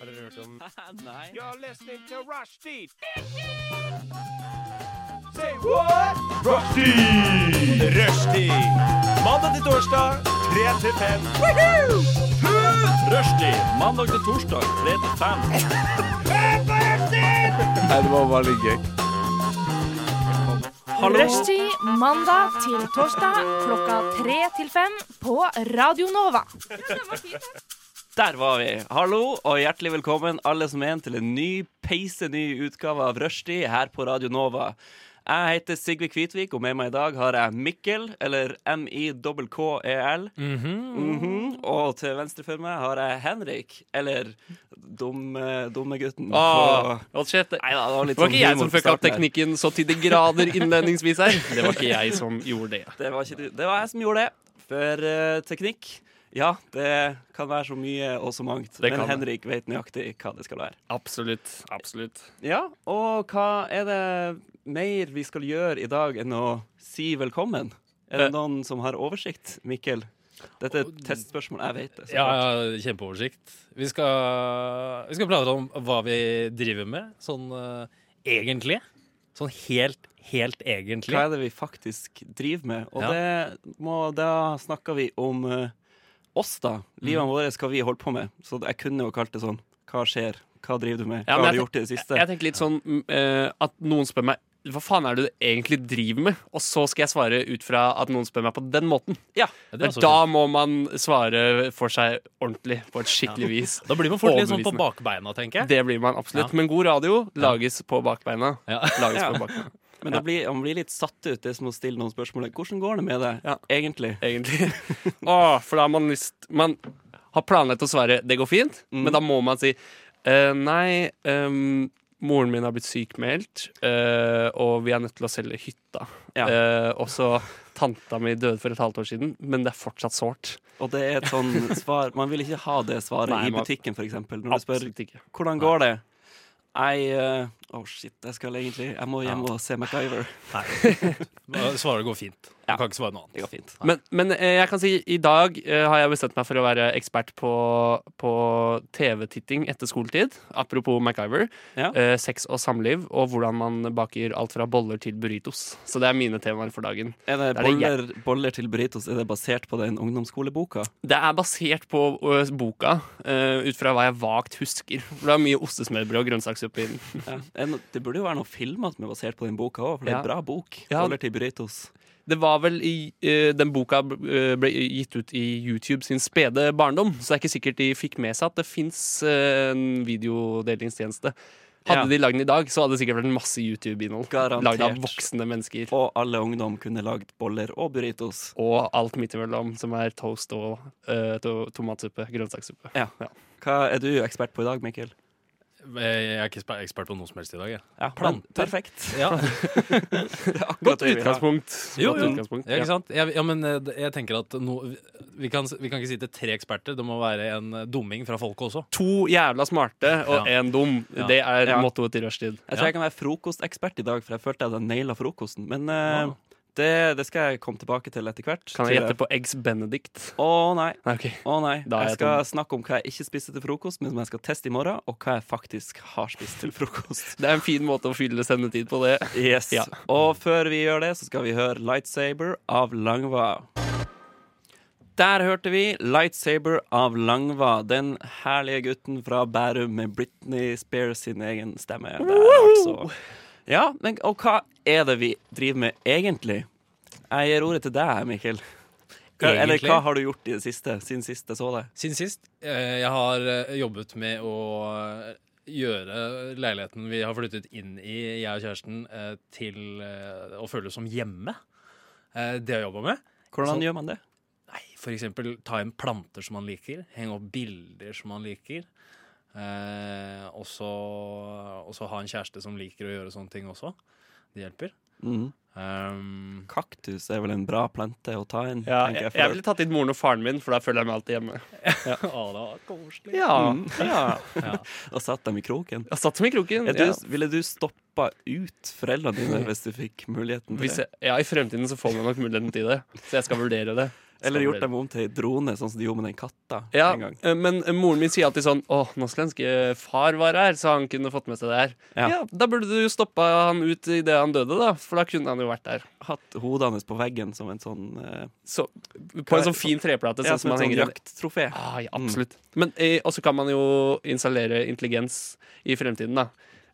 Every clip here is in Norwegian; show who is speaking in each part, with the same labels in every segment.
Speaker 1: Har dere hørt om
Speaker 2: Nei.
Speaker 3: You're listening to Rushdie. Say what? Rushdie! Rushdie. Mandag til torsdag, 3 til 5.
Speaker 2: Rushdie mandag til torsdag 3 til 5.
Speaker 4: Det var veldig gøy.
Speaker 5: Rushtid mandag til torsdag klokka tre til fem på Radio Nova.
Speaker 2: Der var vi. Hallo og hjertelig velkommen alle som er en til en ny, peise ny utgave av Rushdie her på Radio Nova. Jeg heter Sigve Kvitvik, og med meg i dag har jeg Mikkel, eller M-I-K-K-E-L. E Mhm. Og til venstre for meg har jeg Henrik, eller dumme, dumme gutten.
Speaker 1: Ah,
Speaker 2: på-
Speaker 1: hold shit.
Speaker 2: Nei da, det var litt
Speaker 1: Det var ikke
Speaker 2: sånn
Speaker 1: jeg
Speaker 2: humor
Speaker 1: som
Speaker 2: på
Speaker 1: fucka opp
Speaker 2: starten her.
Speaker 1: teknikken så til de grader innledningsvis her. Det var ikke jeg som gjorde det.
Speaker 2: Det var, ikke, du- det var jeg som gjorde det. For eh, teknikk Ja, det kan være så mye og så mangt.
Speaker 1: Det
Speaker 2: men
Speaker 1: kan det.
Speaker 2: Henrik vet nøyaktig hva det skal være.
Speaker 1: Absolutt. Absolutt.
Speaker 2: Ja, og hva er det mer vi skal gjøre i dag enn å si velkommen? Er det
Speaker 1: Eh.
Speaker 2: noen som har oversikt, Mikkel? Dette er et testspørsmål. Jeg vet det. så
Speaker 6: Ja,
Speaker 2: klart.
Speaker 6: ja, kjempeoversikt. Vi skal, vi skal prate om hva vi driver med, sånn eh, egentlig. Sånn helt, helt egentlig.
Speaker 2: Hva er det vi faktisk driver med? Og
Speaker 6: Ja.
Speaker 2: det må, da snakker vi om eh, oss, da.
Speaker 1: Mm.
Speaker 2: Livene våre, hva vi holder på med. Så jeg kunne jo kalt det sånn. Hva skjer? Hva driver du med?
Speaker 1: Ja,
Speaker 2: Hva
Speaker 1: men
Speaker 2: har du
Speaker 1: jeg
Speaker 2: gjort i det siste?
Speaker 1: Jeg tenker litt sånn mm, eh, at noen spør meg hva faen er det du egentlig driver med? Og så skal jeg svare ut fra at noen spør meg på den måten.
Speaker 6: Ja, det er
Speaker 1: For
Speaker 6: også
Speaker 1: da
Speaker 6: fint.
Speaker 1: må man svare for seg ordentlig, på et skikkelig vis.
Speaker 6: da blir man fort litt sånn på
Speaker 1: Overbevisende.
Speaker 6: bakbeina, tenker jeg.
Speaker 1: Det blir man absolutt.
Speaker 6: Ja.
Speaker 1: Men god radio lages på bakbeina.
Speaker 6: Ja.
Speaker 1: Lages
Speaker 2: Ja.
Speaker 1: på bakbeina,
Speaker 2: Men da blir, han blir litt satt ut, det er som å stille noen spørsmål. Hvordan går det med deg,
Speaker 1: Ja.
Speaker 2: egentlig?
Speaker 1: egentlig. Åh, for da har man lyst Man har planlagt å svare 'det går fint',
Speaker 2: Mm.
Speaker 1: men da må man si «Eh, 'nei, ehm, moren min har blitt sykmeldt, eh, og vi er nødt til å selge hytta'.
Speaker 2: Ja.
Speaker 1: Eh, og så tanta mi døde for et halvt år siden, men det er fortsatt sårt.
Speaker 2: Og det er et sånn svar Man vil ikke ha det svaret
Speaker 1: Nei,
Speaker 2: i
Speaker 1: man-
Speaker 2: butikken, f.eks. Når du spør
Speaker 1: Absolutt ikke.
Speaker 2: 'Hvordan går det?' Jeg eh, Å, shit, jeg skal egentlig Jeg må hjem og se MacGyver.
Speaker 6: Bare Svaret går fint. Du kan ikke svare noe
Speaker 2: Det
Speaker 6: annet.
Speaker 2: går fint.
Speaker 1: Men, men eh, jeg kan si i dag eh, har jeg bestemt meg for å være ekspert på, på TV-titting etter skoletid. Apropos MacGyver.
Speaker 2: Ja.
Speaker 1: Eh, sex og samliv, og hvordan man baker alt fra boller til burritos. Så det er mine temaer for dagen.
Speaker 2: Er det
Speaker 1: det er det
Speaker 2: boller, boller til burritos? Er det basert på den ungdomsskoleboka?
Speaker 1: Det er basert på ø, boka, eh, ut fra hva jeg vagt husker. For det er mye ostesmørbrød og grønnsakssuppe i den.
Speaker 2: Ja. Er det no- Det burde jo være noe filmer som er basert på den boka òg, for det er
Speaker 1: Ja.
Speaker 2: en bra bok.
Speaker 1: Ja.
Speaker 2: Boller til burritos.
Speaker 1: Det var vel i eh, Den boka b- eh, ble gitt ut i YouTube sin spede barndom, så det er ikke sikkert de fikk med seg at det fins en videodelingstjeneste. Hadde
Speaker 2: Ja.
Speaker 1: de lagd den i dag, så hadde det sikkert vært masse YouTube-innhold.
Speaker 2: Garantert.
Speaker 1: Lagd av voksne mennesker.
Speaker 2: Og alle ungdom kunne lagd boller og burritos.
Speaker 1: Og alt midt imellom, som er toast og eh, to tomatsuppe. Grønnsakssuppe.
Speaker 2: Ja.
Speaker 1: Ja.
Speaker 2: Hva er du ekspert på i dag, Mikkel?
Speaker 6: Jeg er ikke spe- ekspert på noe som helst i dag. Jeg.
Speaker 2: Ja,
Speaker 6: planter.
Speaker 2: Perfekt.
Speaker 6: Ja,
Speaker 1: Godt
Speaker 2: det vi har.
Speaker 1: utgangspunkt.
Speaker 6: jo,
Speaker 1: Godt
Speaker 6: jo.
Speaker 1: utgangspunkt.
Speaker 6: Ja, ikke sant? Jeg, ja, men eh, jeg tenker at no, vi, kan, vi kan ikke sitte tre eksperter. Det må være en eh, dumming fra folket også.
Speaker 1: To jævla smarte og én
Speaker 6: Ja.
Speaker 1: dum.
Speaker 6: Ja.
Speaker 1: Det er
Speaker 2: Ja.
Speaker 1: mottoet til rushtid.
Speaker 2: Jeg tror jeg kan være frokostekspert i dag, for jeg følte jeg hadde naila frokosten. Men eh,
Speaker 6: Ja.
Speaker 2: det, det skal jeg komme tilbake til etter hvert.
Speaker 1: Kan jeg
Speaker 2: tror
Speaker 1: gjette på Eggs Benedict?
Speaker 2: Å nei.
Speaker 1: Nei, ok.
Speaker 2: Å nei.
Speaker 1: Da er
Speaker 2: Jeg
Speaker 1: jeg
Speaker 2: skal snakke om hva jeg ikke spiste til frokost, men som jeg skal teste i morgen, og hva jeg faktisk har spist til frokost.
Speaker 1: Det er en fin måte å fylle sendetid på det.
Speaker 2: Yes.
Speaker 1: Ja.
Speaker 2: Og før vi gjør det, så skal vi høre Lightsaber av Langva. Der hørte vi Lightsaber av Langva, den herlige gutten fra Bærum med Britney Spears sin egen stemme. Der, altså. Ja, men, og hva er det vi driver med egentlig? Jeg gir ordet til deg, Mikkel. Hva, eller
Speaker 6: Egentlig?
Speaker 2: hva har du gjort i det siste, siden sist jeg så deg?
Speaker 6: Siden sist. eh, Jeg har eh, jobbet med å eh, gjøre leiligheten vi har flyttet inn i, jeg og kjæresten, eh, til eh, å føles som hjemme. Eh, Det har jeg jobba med.
Speaker 2: Hvordan
Speaker 6: Så-
Speaker 2: gjør man det?
Speaker 6: Nei, for eksempel ta inn planter som man liker, henge opp bilder som man liker. eh, Og så og så ha en kjæreste som liker å gjøre sånne ting også. Det hjelper.
Speaker 2: Mm.
Speaker 6: Um,
Speaker 2: Kaktus er vel en bra plante å ta inn,
Speaker 1: Ja,
Speaker 2: tenker
Speaker 1: jeg,
Speaker 2: jeg.
Speaker 1: jeg
Speaker 2: For.
Speaker 1: ville tatt inn moren og faren min, for da føler jeg meg alltid hjemme.
Speaker 6: Å, det var koselig.
Speaker 1: Ja, ja.
Speaker 2: Og satt dem i kroken.
Speaker 1: Jeg satt dem i kroken.
Speaker 2: Er du,
Speaker 1: Ja.
Speaker 2: Ville du stoppa ut foreldrene dine hvis du fikk muligheten til
Speaker 1: Hvis
Speaker 2: det?
Speaker 1: jeg, ja, I fremtiden så får man nok muligheten til det, så jeg skal vurdere det.
Speaker 2: Eller
Speaker 6: Stemmer.
Speaker 2: gjort dem om til ei drone, sånn som de gjorde med den katta
Speaker 1: Ja,
Speaker 2: en gang.
Speaker 1: eh, men eh, moren min sier alltid sånn Å, nå skulle jeg ønske far var her, så han kunne fått med seg det her.
Speaker 2: Ja.
Speaker 1: Ja, Da burde du jo stoppa han ut idet han døde, da, for da kunne han jo vært der.
Speaker 2: Hatt hodet hans på veggen som en sånn eh,
Speaker 1: Så, på en sånn fin treplate,
Speaker 2: Ja,
Speaker 1: sånn
Speaker 2: som
Speaker 1: som man
Speaker 2: et sånn
Speaker 1: henger i-
Speaker 2: jakttrofé.
Speaker 1: Ah, ja, absolutt. Men eh, også kan man jo installere intelligens i fremtiden, da.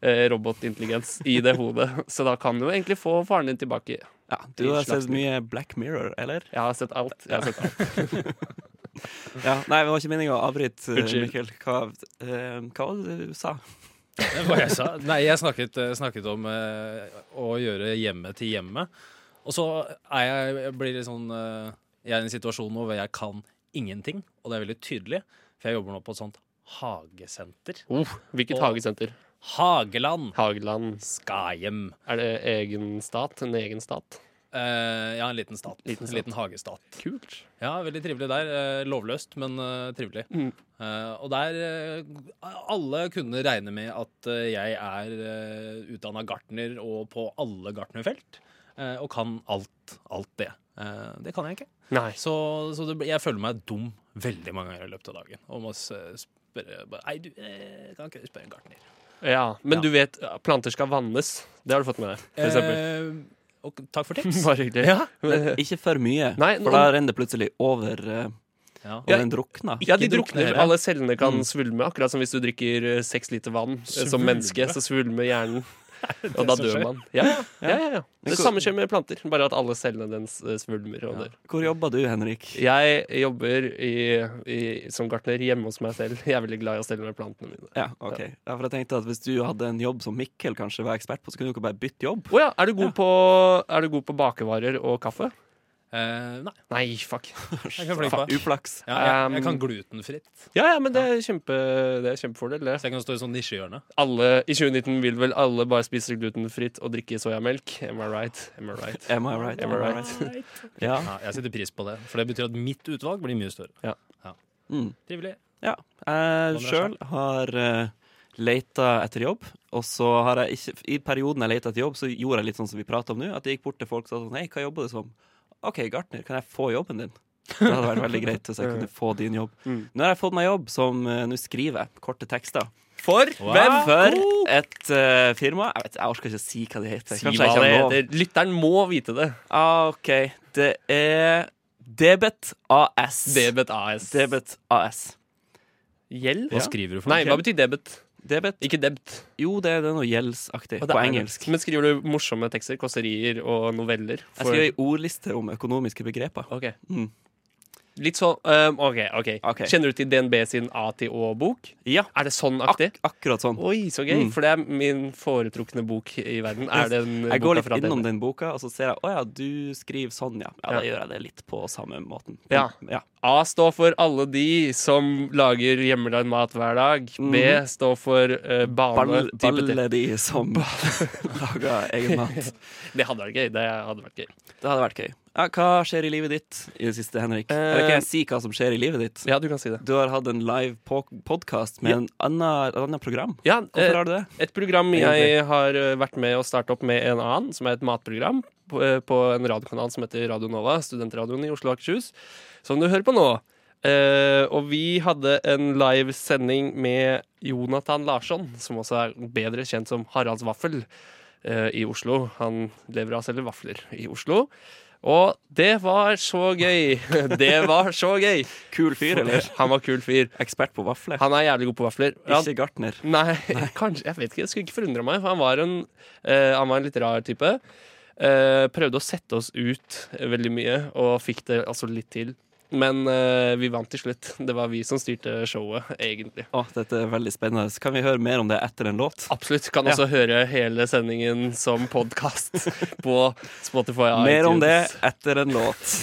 Speaker 1: Eh, robotintelligens i det hodet. Så da kan du jo egentlig få faren din tilbake.
Speaker 2: Ja, du har sett mye Black Mirror, eller?
Speaker 1: Jeg har sett alt. Jeg har sett alt.
Speaker 2: Ja, Nei, det var ikke meninga å avbryte, eh,
Speaker 1: Unnskyld.
Speaker 2: Mikkel. Hva, eh, hva var det du sa?
Speaker 6: Hva jeg sa? Nei, jeg snakket, eh, snakket om eh, å gjøre hjemmet til hjemmet. Og så er jeg, jeg blir litt sånn eh, Jeg er i en situasjon nå hvor jeg kan ingenting, og det er veldig tydelig, for jeg jobber nå på et sånt hagesenter.
Speaker 1: Oh, hvilket
Speaker 6: Og-
Speaker 1: hagesenter?
Speaker 6: Hageland
Speaker 1: Hageland.
Speaker 6: skal hjem.
Speaker 1: Er det egen stat? En egen stat?
Speaker 6: Eh, ja, en liten stat.
Speaker 1: Liten stat.
Speaker 6: En liten hagestat.
Speaker 1: Kult.
Speaker 6: Ja, veldig trivelig der. Eh, Lovløst, men eh, trivelig.
Speaker 1: Mm.
Speaker 6: Eh, og der eh, Alle kunne regne med at eh, jeg er uh, utdanna gartner og på alle gartnerfelt. eh, og kan alt. Alt det. Eh, det kan jeg ikke.
Speaker 1: Nei.
Speaker 6: Så, så det, blir- jeg føler meg dum veldig mange ganger i løpet av dagen. Og må s- eh, spørre bare, Nei, du eh, kan ikke spørre en gartner.
Speaker 1: Ja, Men
Speaker 6: Ja.
Speaker 1: du vet, planter skal vannes. Det har du fått med deg, for eksempel.
Speaker 6: Eh, og takk for tips.
Speaker 1: Bare hyggelig.
Speaker 6: Ja.
Speaker 1: Eh,
Speaker 2: Ikke for mye,
Speaker 1: Nei,
Speaker 2: for da renner det plutselig over, eh,
Speaker 6: Ja.
Speaker 2: og den drukna.
Speaker 1: Ja, de
Speaker 6: Ikke drukne,
Speaker 1: drukner.
Speaker 6: ja. Mm.
Speaker 1: Alle cellene kan svulme, akkurat som hvis du drikker eh, seks liter vann eh, som
Speaker 6: Svulme?
Speaker 1: menneske. Så svulmer hjernen, og da
Speaker 6: som
Speaker 1: dør
Speaker 6: skjer?
Speaker 1: man. Ja, ja, ja, ja, ja.
Speaker 2: Men
Speaker 1: Det
Speaker 2: hvor-
Speaker 1: samme skjer med planter, bare at alle cellene dens eh, svulmer og dør.
Speaker 2: Hvor jobber du, Henrik?
Speaker 1: Jeg jobber i, i, som gartner hjemme hos meg selv. Jeg er veldig glad i å stelle med plantene mine.
Speaker 2: Ja, ok. Ja, for jeg tenkte at Hvis du hadde en jobb som Mikkel kanskje var ekspert på, så kunne du ikke bare bytte jobb.
Speaker 1: Å ja, er du, god på, er du god på bakevarer og kaffe?
Speaker 6: Eh, nei,
Speaker 1: Nei, fuck.
Speaker 6: jeg kan flink på.
Speaker 2: Uflaks.
Speaker 6: Ja, jeg, jeg
Speaker 1: Um,
Speaker 6: kan glutenfritt.
Speaker 1: Ja, ja, men det er, kjempe, det er kjempefordel, det.
Speaker 6: Så jeg kan stå i sånn nisjehjørne.
Speaker 1: Alle, I 2019 vil vel alle bare spise glutenfritt og drikke soyamelk? Am I right? Am I right?
Speaker 2: Am I right?
Speaker 1: Am I right?
Speaker 2: Ja.
Speaker 6: Ja, jeg setter pris på det, for det betyr at mitt utvalg blir mye større.
Speaker 1: Ja.
Speaker 2: Mm.
Speaker 6: Trivelig.
Speaker 2: Ja. Jeg sjøl har uh, leita etter jobb, og så har jeg ikke I perioden jeg leita etter jobb, så gjorde jeg litt sånn som vi prater om nå, at jeg gikk bort til folk og sa sånn Hei, hva jobber du som? OK, gartner, kan jeg få jobben din? Det hadde vært veldig greit hvis jeg kunne få din jobb.
Speaker 1: Mm.
Speaker 2: Nå har jeg fått meg jobb som eh, Nå skriver jeg korte tekster.
Speaker 1: For
Speaker 2: Hvem for et eh, firma? Jeg, vet, jeg orker ikke å si hva det heter.
Speaker 1: Si
Speaker 2: Kanskje
Speaker 1: hva
Speaker 2: jeg ikke
Speaker 1: det
Speaker 2: har lov.
Speaker 1: heter. Lytteren må vite det.
Speaker 2: Ah, OK. Det er Debet AS.
Speaker 1: Debet AS.
Speaker 2: Debet AS.
Speaker 1: Gjeld?
Speaker 6: Hva skriver du for
Speaker 1: Nei,
Speaker 6: noe?
Speaker 1: hva betyr debet?
Speaker 2: Debet
Speaker 1: Ikke debt.
Speaker 2: Jo, det, det er noe gjeldsaktig
Speaker 1: Og det
Speaker 2: på
Speaker 1: er
Speaker 2: engelsk.
Speaker 1: det. Men skriver du morsomme tekster? Kåserier og noveller?
Speaker 2: Jeg skrev ei ordliste om økonomiske begreper.
Speaker 1: Ok.
Speaker 2: Mm.
Speaker 1: Litt sånn um, OK. ok
Speaker 2: Ok.
Speaker 1: Kjenner du til DNB sin A til Å-bok?
Speaker 2: Ja,
Speaker 1: Er det sånn
Speaker 2: ak
Speaker 1: aktig?
Speaker 2: akkurat sånn.
Speaker 1: Oi, så gøy.
Speaker 2: Mm.
Speaker 1: For det er min foretrukne bok i verden. Er den
Speaker 2: Jeg går
Speaker 1: boka
Speaker 2: litt
Speaker 1: fra
Speaker 2: innom
Speaker 1: DNB?
Speaker 2: den boka, og så ser jeg å ja, du skriver sånn, ja. Ja, Da
Speaker 1: Ja.
Speaker 2: gjør jeg det litt på samme måten.
Speaker 1: Ja.
Speaker 2: ja.
Speaker 1: A står for alle de som lager hjemmelagd mat hver dag. B står for eh,
Speaker 2: Mhm.
Speaker 1: bane.
Speaker 2: Ball,
Speaker 1: type te-
Speaker 2: balle de som lager egen mat.
Speaker 1: Det hadde vært gøy. Det hadde vært gøy. Eh,
Speaker 2: Det hadde vært gøy. Ja, hva skjer i livet ditt i det siste, Henrik? Eller kan jeg si hva som skjer i livet ditt?
Speaker 1: Ja, du kan si det.
Speaker 2: Du har hatt en live podkast med
Speaker 1: Ja.
Speaker 2: en annen, et annet program.
Speaker 1: Ja,
Speaker 2: Hvorfor
Speaker 1: eh,
Speaker 2: har du det?
Speaker 1: Et program jeg har eh, vært med å starte opp med en annen, som er et matprogram på, eh, på en radiokanal som heter Radio Nova, studentradioen i Oslo og Akershus, som du hører på nå. Eh, og vi hadde en live sending med Jonathan Larsson, som også er bedre kjent som Haralds Vaffel eh, i Oslo. Han lever av å selge vafler i Oslo. Og det var så gøy! Det var så gøy!
Speaker 2: Kul fyr, eller?
Speaker 1: Han var kul fyr.
Speaker 2: Ekspert på vafler.
Speaker 1: Han er jævlig god på vafler. Han-
Speaker 2: Ikke gartner.
Speaker 1: Nei, kanskje, jeg vet ikke, jeg skulle ikke forundre meg, for han var en, eh, han var en litt rar type. Eh, prøvde å sette oss ut eh, veldig mye, og fikk det altså litt til. Men eh, vi vant til slutt. Det var vi som styrte showet, egentlig.
Speaker 2: Å, dette er veldig spennende. Kan vi høre mer om det etter en låt?
Speaker 1: Absolutt. Kan også høre hele sendingen som podkast på Spotify. og
Speaker 2: Mer om det
Speaker 1: iTunes,
Speaker 2: etter en låt.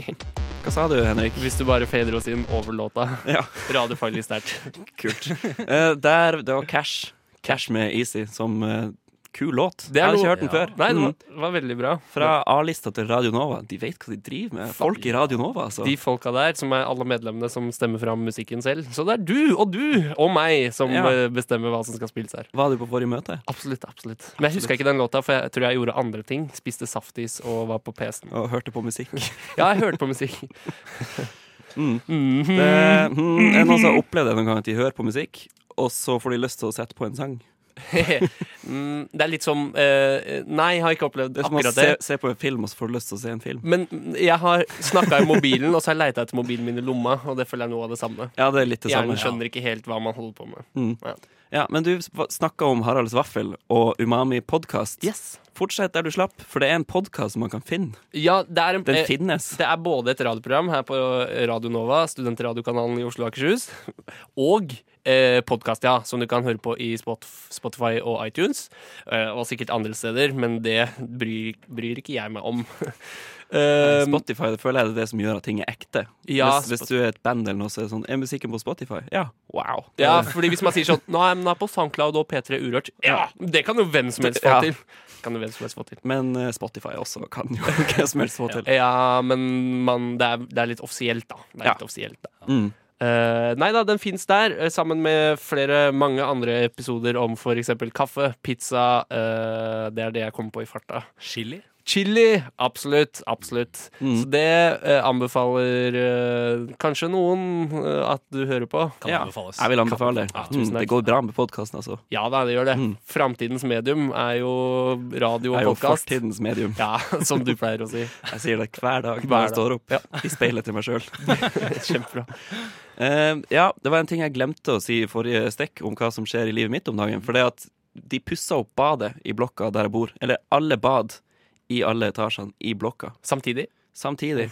Speaker 2: Hva sa du, Henrik?
Speaker 1: Hvis du bare fader oss inn over låta.
Speaker 2: Ja,
Speaker 1: Radiofaglig sterkt.
Speaker 2: kult. Eh, der, det var Cash. Cash med Easy, som eh, kul låt. jeg
Speaker 1: Det er
Speaker 2: har ikke
Speaker 1: noe-
Speaker 2: hørt den
Speaker 6: ja.
Speaker 2: før.
Speaker 1: Nei, det
Speaker 2: Mm.
Speaker 1: var, det var veldig bra.
Speaker 2: Fra A-lista til Radio Nova. De vet hva de driver med. Folk i Radio Nova, altså.
Speaker 1: De folka der, som er alle medlemmene som stemmer fram musikken selv. Så det er du og du og meg som
Speaker 2: Ja.
Speaker 1: eh, bestemmer hva som skal spilles her.
Speaker 2: Var du på forrige møte?
Speaker 1: Absolutt. absolutt Men jeg huska ikke den låta, for jeg tror jeg gjorde andre ting. Spiste saftis og var på PC-en.
Speaker 2: Og hørte på musikk?
Speaker 1: Ja, jeg hørte på musikk.
Speaker 2: Det er noen som har opplevd det noen gang, at de hører på musikk, og så får de lyst til å sette på en sang.
Speaker 1: Mm, det er litt som eh, Nei, jeg har ikke opplevd
Speaker 2: Det er som å
Speaker 1: akkurat
Speaker 2: se,
Speaker 1: det.
Speaker 2: se på en film, og så får du lyst til å se en film.
Speaker 1: Men jeg har snakka i mobilen, og så har jeg leita etter mobilen min i lomma. Og det føler jeg er noe av det samme.
Speaker 2: Ja, Mm. det er litt det samme.
Speaker 1: Hjernen skjønner ikke helt hva man holder på med.
Speaker 2: Ja, men du snakka om Haralds vaffel og Umami podkast. Fortsett der du slapp, for det er en podkast man kan finne.
Speaker 1: Ja, det er en,
Speaker 2: Den
Speaker 1: eh,
Speaker 2: finnes.
Speaker 1: Det er både et radioprogram her på Radio Nova, studentradiokanalen i Oslo og Akershus, og eh, podkast, ja, som du kan høre på i Spot- Spotify og iTunes. Eh, og sikkert andre steder, men det bryr, bryr ikke jeg meg om. Eh,
Speaker 2: Spotify det føler jeg det er det som gjør at ting er ekte.
Speaker 1: Ja,
Speaker 2: hvis, hvis du er et band eller noe, så er det sånn Er musikken på Spotify? Ja. Wow.
Speaker 1: ja, fordi hvis man sier sånn Nå er den på SoundCloud og P3 Urørt. Ja, det kan jo hvem som helst få
Speaker 2: Ja.
Speaker 1: til. Kan jo hvem som helst få til.
Speaker 2: Men eh, Spotify også kan jo hva som helst få til.
Speaker 1: Ja, men man, det, er, det er litt offisielt, da. Det er
Speaker 2: Ja.
Speaker 1: litt offisielt, da.
Speaker 2: Mm.
Speaker 1: Eh, nei da, den fins der, eh, sammen med flere mange andre episoder om f.eks. kaffe, pizza eh, Det er det jeg kommer på i farta.
Speaker 6: Chili?
Speaker 1: Chili! Absolutt. Absolutt.
Speaker 2: Mm.
Speaker 1: Så det eh, anbefaler eh, kanskje noen eh, at du hører på.
Speaker 6: Kan
Speaker 2: Ja,
Speaker 6: anbefales.
Speaker 2: Jeg vil anbefale det.
Speaker 6: Ja,
Speaker 2: Mm,
Speaker 1: takk.
Speaker 2: det går bra med podkasten, altså.
Speaker 1: Ja da, det gjør det.
Speaker 2: Mm.
Speaker 1: Framtidens medium er jo radio
Speaker 2: Jeg er jo
Speaker 1: og podkast.
Speaker 2: fortidens medium.
Speaker 1: Ja, som du pleier å si.
Speaker 2: Jeg sier det hver dag når jeg
Speaker 1: dag.
Speaker 2: står opp
Speaker 1: Ja.
Speaker 2: i speilet til meg sjøl.
Speaker 1: Kjempebra.
Speaker 2: Eh, ja, det var en ting jeg glemte å si i forrige stekk om hva som skjer i livet mitt om dagen. For det at de pussa opp badet i blokka der jeg bor. Eller alle bad i alle etasjene i blokka
Speaker 1: Samtidig.
Speaker 2: samtidig.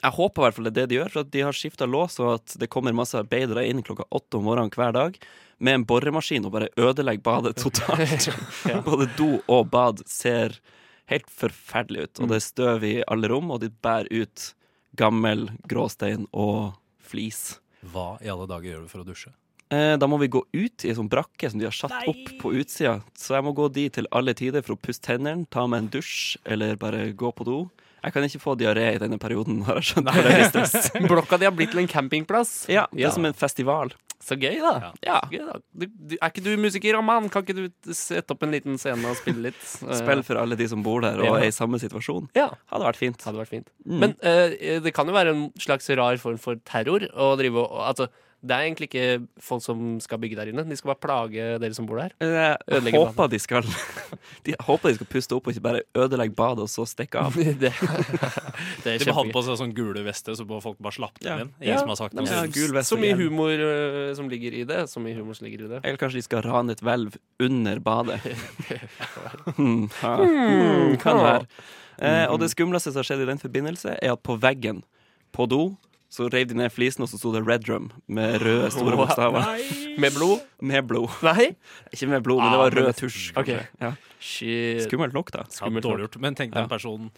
Speaker 2: Jeg håper i hvert fall det er det de gjør, for at de har skifta lås, og at det kommer masse arbeidere inn klokka åtte om morgenen hver dag med en boremaskin og bare ødelegger badet totalt. Både do og bad ser helt forferdelig ut, og det er støv i alle rom, og de bærer ut gammel gråstein og flis.
Speaker 6: Hva i alle dager gjør du for å dusje?
Speaker 2: Eh, Da må vi gå ut i en sånn brakke som de har satt opp på utsida. Så jeg må gå dit til alle tider for å pusse tennene, ta meg en dusj eller bare gå på do. Jeg kan ikke få diaré i denne perioden, har jeg skjønt. for det er litt stress.
Speaker 1: Blokka di har blitt til en campingplass.
Speaker 2: Ja, det
Speaker 1: Ja.
Speaker 2: er som en festival.
Speaker 1: Så gøy, da.
Speaker 2: Ja.
Speaker 1: Gøy, da. Du, du, er ikke du musiker, Aman? Kan ikke du sette opp en liten scene og spille litt?
Speaker 2: Spill for alle de som bor der og
Speaker 1: Ja.
Speaker 2: er i samme situasjon.
Speaker 1: Ja,
Speaker 2: Hadde vært fint.
Speaker 1: hadde vært fint. Men eh, det kan jo være en slags rar form for terror å drive og Altså, det er egentlig ikke folk som skal bygge der inne. De skal bare plage dere som bor der.
Speaker 2: Jeg
Speaker 1: Ødelegge
Speaker 2: Eh, håper de skal de, håper de skal puste opp og ikke bare ødelegge badet og så stikke av.
Speaker 1: Det, det er
Speaker 6: De bare hadde
Speaker 1: kjempegøy.
Speaker 6: på seg sånn gule vester, så bare folk bare slapp dem
Speaker 2: Ja.
Speaker 6: inn. Ingen som har sagt
Speaker 2: Nei,
Speaker 6: noe.
Speaker 2: men
Speaker 6: siden.
Speaker 2: gul vest
Speaker 1: Så
Speaker 2: og
Speaker 1: mye
Speaker 2: hjelm.
Speaker 1: humor eh, som ligger i det. Så mye humor som ligger i det.
Speaker 2: Eller kanskje de skal rane et hvelv under badet. Hmm, ja.
Speaker 1: Mm,
Speaker 2: kan være. Eh, og
Speaker 1: Hmm.
Speaker 2: det skumleste som har skjedd i den forbindelse, er at på veggen på do så reiv de ned flisen, og så sto det Red Drum med røde, store
Speaker 1: Wow.
Speaker 2: bokstaver.
Speaker 1: Med blod?
Speaker 2: Med blod.
Speaker 1: Nei?
Speaker 2: Ikke med blod, men det var rød tusj.
Speaker 1: Ah, Ok.
Speaker 2: kanskje. Ja.
Speaker 1: Shit.
Speaker 2: Skummelt nok, da.
Speaker 6: Ja, dårlig gjort. Men tenk
Speaker 2: Ja.
Speaker 6: den personen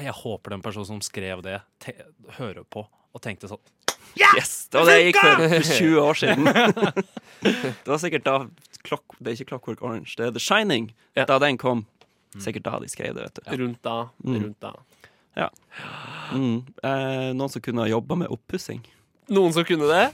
Speaker 6: Jeg håper den personen som skrev det, te hører på og tenkte sånn
Speaker 2: Yes! Det var det jeg gikk for for 20 år siden. det var sikkert da Clock, Det er ikke Clockwork Orange, det er The Shining.
Speaker 1: Ja. Mm.
Speaker 2: Da den kom. Sikkert da de skrev det, vet du.
Speaker 1: Rundt da. Rundt da.
Speaker 2: Mm. Eh, noen som kunne ha jobba med oppussing.
Speaker 1: Noen som kunne det?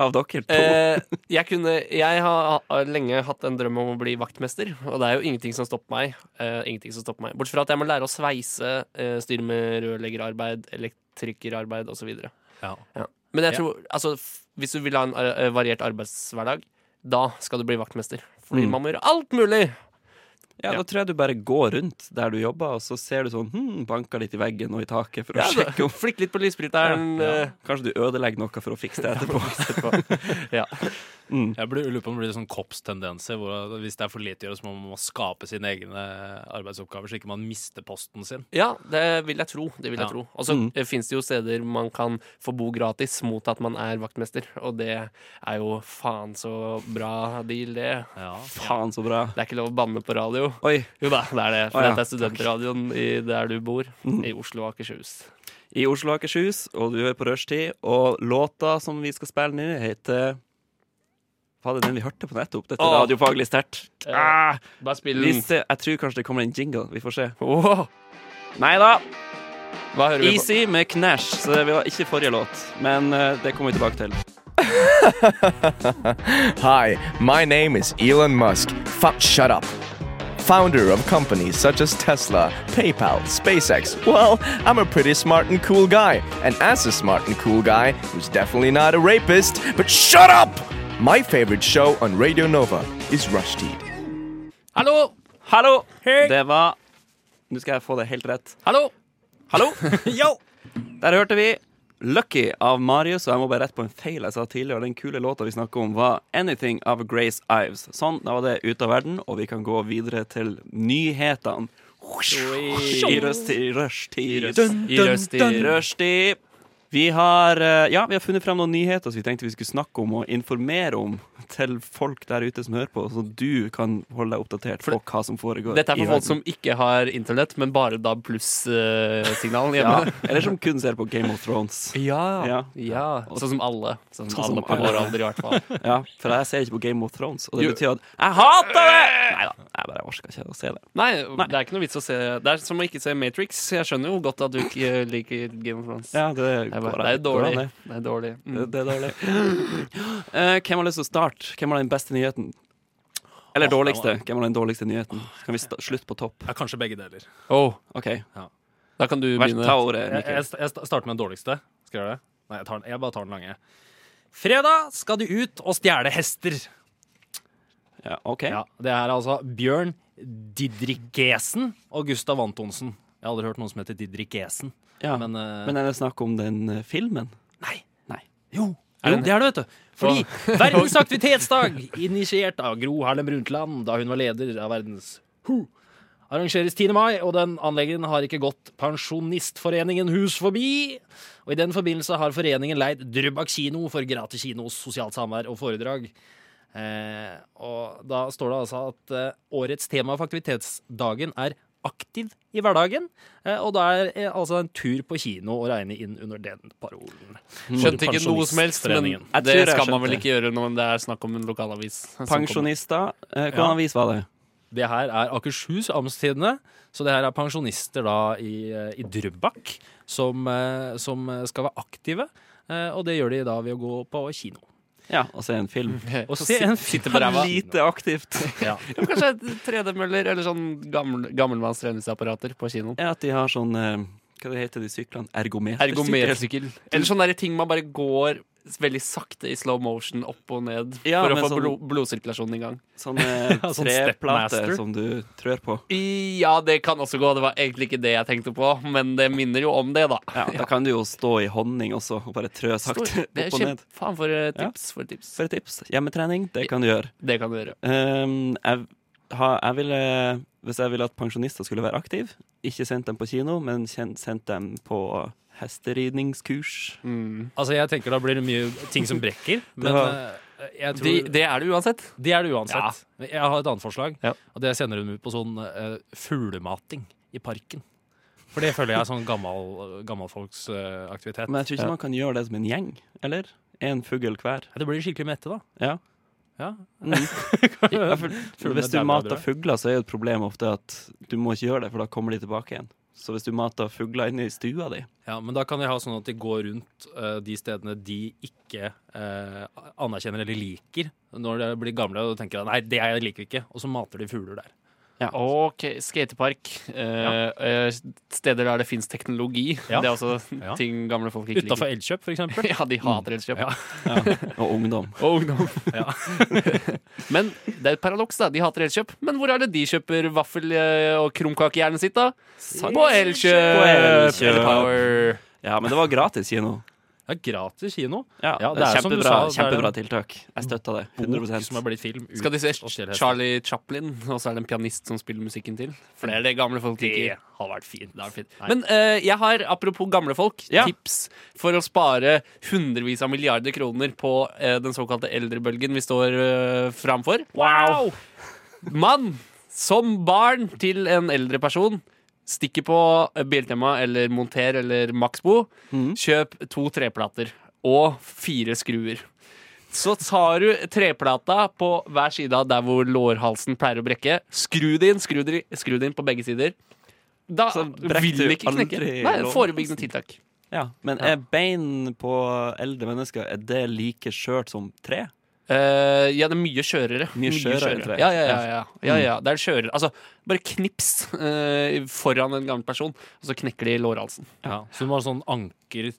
Speaker 2: Av dere to.
Speaker 1: Eh, jeg, kunne, jeg har har lenge hatt en drøm om å bli vaktmester, og det er jo ingenting som stopper meg. Eh, ingenting som stopper meg. Bortsett fra at jeg må lære å sveise, eh, styre med rørleggerarbeid, elektrikerarbeid osv.
Speaker 6: ja.
Speaker 1: Ja. Men jeg
Speaker 6: Ja.
Speaker 1: tror, altså, f- hvis du vil ha en eh, variert arbeidshverdag, da skal du bli vaktmester. Fordi
Speaker 2: Mm.
Speaker 1: man må gjøre alt mulig!
Speaker 2: Ja,
Speaker 1: Ja.
Speaker 2: da tror jeg du bare går rundt der du jobber, og så ser du sånn hmm, Banker litt i veggen og i taket for å
Speaker 1: Ja, da-
Speaker 2: sjekke om
Speaker 1: Flikke litt på lysbryteren.
Speaker 2: ja.
Speaker 1: eh,
Speaker 2: Kanskje du ødelegger noe for å fikse det etterpå.
Speaker 1: Ja.
Speaker 6: Jeg blir- lurer på om det blir sånn koppstendenser. Hvor hvis det er for lite å gjøre, så må man skape sine egne arbeidsoppgaver, så ikke man mister posten sin.
Speaker 1: Ja, det vil jeg tro. Det vil jeg
Speaker 6: Ja.
Speaker 1: tro. Og så mm. fins det jo steder man kan få bo gratis mot at man er vaktmester, og det er jo faen så bra deal, det.
Speaker 6: Ja.
Speaker 2: Faen, så bra.
Speaker 1: Det er ikke lov å banne på radio.
Speaker 2: Oi.
Speaker 1: Jo da, det er det. For
Speaker 2: Å ja, Mm.
Speaker 1: dette er studentradioen i der du bor, i Oslo og Akershus.
Speaker 2: I Oslo og Akershus, og du er på rushtid, og låta som vi skal spille nå, heter Fader, den vi hørte på nettopp. Dette er
Speaker 1: Åh.
Speaker 2: radiofaglig sterkt.
Speaker 1: Ah, Bare spill den.
Speaker 2: Hvis det- Jeg tror kanskje det kommer en jingle. Vi får se.
Speaker 1: Åh,
Speaker 2: Nei da.
Speaker 1: hva hører vi på?
Speaker 2: Easy med Knash. Så det var ikke forrige låt, men eh, det kommer vi tilbake til.
Speaker 4: Hi, my name is Elon Musk. Fuck, shut up. Founder of companies such as Tesla, PayPal, SpaceX. Well, I'm a pretty smart and cool guy. And as a smart and cool guy, who's definitely not a rapist, but shut up! My favorite show on Radio Nova is Rushdie.
Speaker 1: Hallo!
Speaker 2: Hallo! Det var Nå skal jeg få det helt rett.
Speaker 1: Hallo!
Speaker 2: Hallo! Der hørte vi Lucky av Marius, og jeg må bare rette på en feil jeg sa tidligere. Den kule låta vi snakket om, var Anything av Grace Ives. Sånn, da var det ute av verden, og vi kan gå videre til nyhetene. I rushtid, rushtid,
Speaker 1: I røst, i røst.
Speaker 2: rushtid. Vi har, eh, ja, vi har funnet frem noen nyheter som vi tenkte vi skulle snakke om og informere om til folk der ute som hører på, så du kan holde deg oppdatert på hva som foregår.
Speaker 1: Dette er
Speaker 2: i
Speaker 1: for folk
Speaker 2: verden.
Speaker 1: som ikke har internett, men bare da pluss-signalen
Speaker 2: ja,
Speaker 1: hjemme.
Speaker 2: Eller som kun ser på Game of Thrones.
Speaker 1: Ja.
Speaker 2: Ja.
Speaker 1: ja. Sånn som alle. Sånn som
Speaker 2: Sånn som
Speaker 1: alle på
Speaker 2: alle.
Speaker 1: vår alder, i hvert fall.
Speaker 2: Ja, for jeg ser ikke på Game of Thrones, og det
Speaker 1: Jo.
Speaker 2: betyr at jeg hater det! Nei da, jeg bare orker ikke å se det.
Speaker 1: Nei, det er ikke noe vits å se Det er som å ikke se Matrix. Jeg skjønner jo godt at du ikke liker Game of Thrones.
Speaker 2: Ja, det,
Speaker 1: Det er bare-
Speaker 2: går
Speaker 1: det er
Speaker 2: an- går an,
Speaker 1: dårlig.
Speaker 2: det.
Speaker 1: Det er dårlig. Mm.
Speaker 2: Det, det er dårlig. Eh, hvem har lyst til å starte? Hvem har den beste nyheten? Eller dårligste? Hvem har den dårligste nyheten? Så kan vi sta- slutte på topp.
Speaker 6: Ja, kanskje begge deler.
Speaker 1: Åh,
Speaker 2: OK,
Speaker 1: da kan du
Speaker 2: vær
Speaker 1: begynne.
Speaker 2: ta ordet,
Speaker 6: Jeg, jeg,
Speaker 2: Mikkel.
Speaker 6: sta- jeg sta- starter med den dårligste. Skal jeg gjøre det? Nei, jeg, tar den, jeg bare tar den lange. Fredag skal du ut og stjele hester.
Speaker 2: Ja, OK.
Speaker 6: Ja, Det er altså Bjørn Didrikesen og Gustav Antonsen. Jeg har aldri hørt noen som heter Didrikesen.
Speaker 2: Ja.
Speaker 6: Men,
Speaker 2: Men
Speaker 6: eh,
Speaker 2: er det snakk om den eh, filmen?
Speaker 6: Nei.
Speaker 2: Nei.
Speaker 6: Jo, jo det er det, vet du. Fordi Verdens aktivitetsdag, initiert av Gro Harlem Brundtland da hun var leder av Verdens WHO, arrangeres 10. mai, og den anleggeren har ikke gått Pensjonistforeningen hus forbi. Og i den forbindelse har foreningen leid Drøbak kino for gratis kinos, sosialt samvær og foredrag. Eh, og da står det altså at eh, årets tema for aktivitetsdagen er aktiv i hverdagen. Eh, og da er eh, altså en tur på kino å regne inn under den parolen.
Speaker 1: Skjønte ikke noe som helst, men
Speaker 6: Pensjonistforeningen.
Speaker 2: Jeg
Speaker 1: det
Speaker 2: tror jeg
Speaker 1: skal man vel
Speaker 2: skjønte.
Speaker 1: ikke gjøre når det er snakk om en lokalavis. som kommer.
Speaker 2: Pensjonister. Eh, hvilken
Speaker 6: Ja.
Speaker 2: avis var det?
Speaker 6: Det her er Akershus Amtstidende, så det her er pensjonister da i, eh, i Drøbak som, eh, som skal være aktive. eh, Og det gjør de da ved å gå på kino.
Speaker 2: Ja, å se en film.
Speaker 6: Og se en film på
Speaker 2: Lite aktivt.
Speaker 6: Ja.
Speaker 1: Kanskje 3D-møller eller sånn gammel, gammelmanns treningsapparater på kinoen.
Speaker 2: Ja, at de har sånn eh, Hva det heter de syklene? Ergometersykler?
Speaker 1: Ergometersykkel. Eller sånne der ting man bare går veldig sakte i slow motion opp og ned
Speaker 2: Ja,
Speaker 1: for å
Speaker 2: men
Speaker 1: få
Speaker 2: sånn-
Speaker 1: blod, blodsirkulasjonen i gang.
Speaker 2: Sånne
Speaker 6: sånn
Speaker 2: treplater
Speaker 6: Stepmaster.
Speaker 2: eh, som du trør på.
Speaker 1: I- Ja, det kan også gå. Det var egentlig ikke det jeg tenkte på, men det minner jo om det, da.
Speaker 2: Ja, da kan du jo stå i honning også og bare trø sakte
Speaker 1: Stor- Det er
Speaker 2: opp og ned.
Speaker 1: kjempe... Faen, for eh, tips. For tips.
Speaker 2: For et tips. Hjemmetrening, det kan du gjøre.
Speaker 1: Det kan du gjøre.
Speaker 2: Ehm, jeg, har- jeg ville, hvis jeg ville at pensjonister skulle være aktive, ikke sendt dem på kino, men kjen- sendt dem på hesteridningskurs.
Speaker 6: Altså, jeg tenker da blir det mye ting som brekker, men
Speaker 2: Ja.
Speaker 6: eh, jeg tror
Speaker 1: De, det er det uansett.
Speaker 6: Det er det uansett. Men Jeg har et annet forslag,
Speaker 1: Ja.
Speaker 6: og det sender hun ut på sånn eh, fuglemating i parken. For det føler jeg er sånn gammel, gammelfolks eh, aktivitet.
Speaker 2: Men jeg tror ikke man kan gjøre det som en gjeng, eller? Én fugl hver.
Speaker 6: Ja, Det blir skikkelig mette, da.
Speaker 2: Ja.
Speaker 6: Ja.
Speaker 2: Mm. Ja, for, for hvis du
Speaker 6: Fuglene
Speaker 2: mater
Speaker 6: dauer,
Speaker 2: fugler, så er jo et problem ofte at du må ikke gjøre det, for da kommer de tilbake igjen. Så hvis du mater fugler inne i stua di
Speaker 6: Ja, men da kan de ha sånn at de går rundt eh, de stedene de ikke eh, anerkjenner eller liker, når de blir gamle og tenker at nei, det her liker vi ikke, og så mater de fugler der.
Speaker 1: Ok, skatepark. Eh, eh, Steder der det fins teknologi.
Speaker 6: Ja.
Speaker 1: Det er også
Speaker 6: Ja.
Speaker 1: ting gamle folk ikke
Speaker 6: Utafor Elkjøp, for eksempel.
Speaker 1: liker. Ja, de hater elkjøp.
Speaker 6: Ja.
Speaker 2: og ungdom
Speaker 1: Og ungdom. men det er et paradoks, da. De hater elkjøp. Men hvor er det de kjøper vaffel- eh, og krumkakehjernen sitt, da? På
Speaker 2: På
Speaker 1: Elkjøp!
Speaker 2: Elkjøp.
Speaker 1: Elpower.
Speaker 2: Ja, men det var gratis kino.
Speaker 6: Det er gratis kino.
Speaker 2: Ja,
Speaker 6: Ja,
Speaker 2: det er
Speaker 6: som du
Speaker 2: kjempebra,
Speaker 6: sa, det er
Speaker 2: kjempebra
Speaker 6: en
Speaker 2: tiltak. Jeg støtta det.
Speaker 6: Bok
Speaker 2: 100
Speaker 6: som er blitt film. ut
Speaker 1: Skal de se
Speaker 6: og stjele hesten.
Speaker 1: Charlie Chaplin, og så er det en pianist som spiller musikken til? For det er det gamle folk liker.
Speaker 6: Det har vært fint.
Speaker 1: Det er fint. Men eh, jeg har, apropos gamle folk,
Speaker 2: Ja.
Speaker 1: tips for å spare hundrevis av milliarder kroner på eh, den såkalte eldrebølgen vi står eh, framfor.
Speaker 6: wow!
Speaker 1: Mann som barn til en eldre person. Stikker på Biltema eller Monter
Speaker 2: Mm.
Speaker 1: eller Maxbo. Kjøp to treplater og fire skruer. Så tar du treplata på hver side av der hvor lårhalsen pleier å brekke. Skru det inn, skru det, inn- skru det inn på begge sider. Da
Speaker 2: Så brekker
Speaker 1: vil
Speaker 2: du
Speaker 1: den ikke knekke.
Speaker 2: aldri
Speaker 1: Nei,
Speaker 2: lårhalsen.
Speaker 1: forebyggende tiltak.
Speaker 2: Ja, Men er bein på eldre mennesker Er det like skjørt som tre?
Speaker 1: Eh, ja, det er mye skjørere.
Speaker 2: Mye skjørere, tror jeg. Mm.
Speaker 1: Ja, ja, ja, ja. ja, ja. Det er skjørere. Altså, bare knips eh, foran en gammel person, og så knekker de lårhalsen.
Speaker 6: Så du må ha sånn anker eh,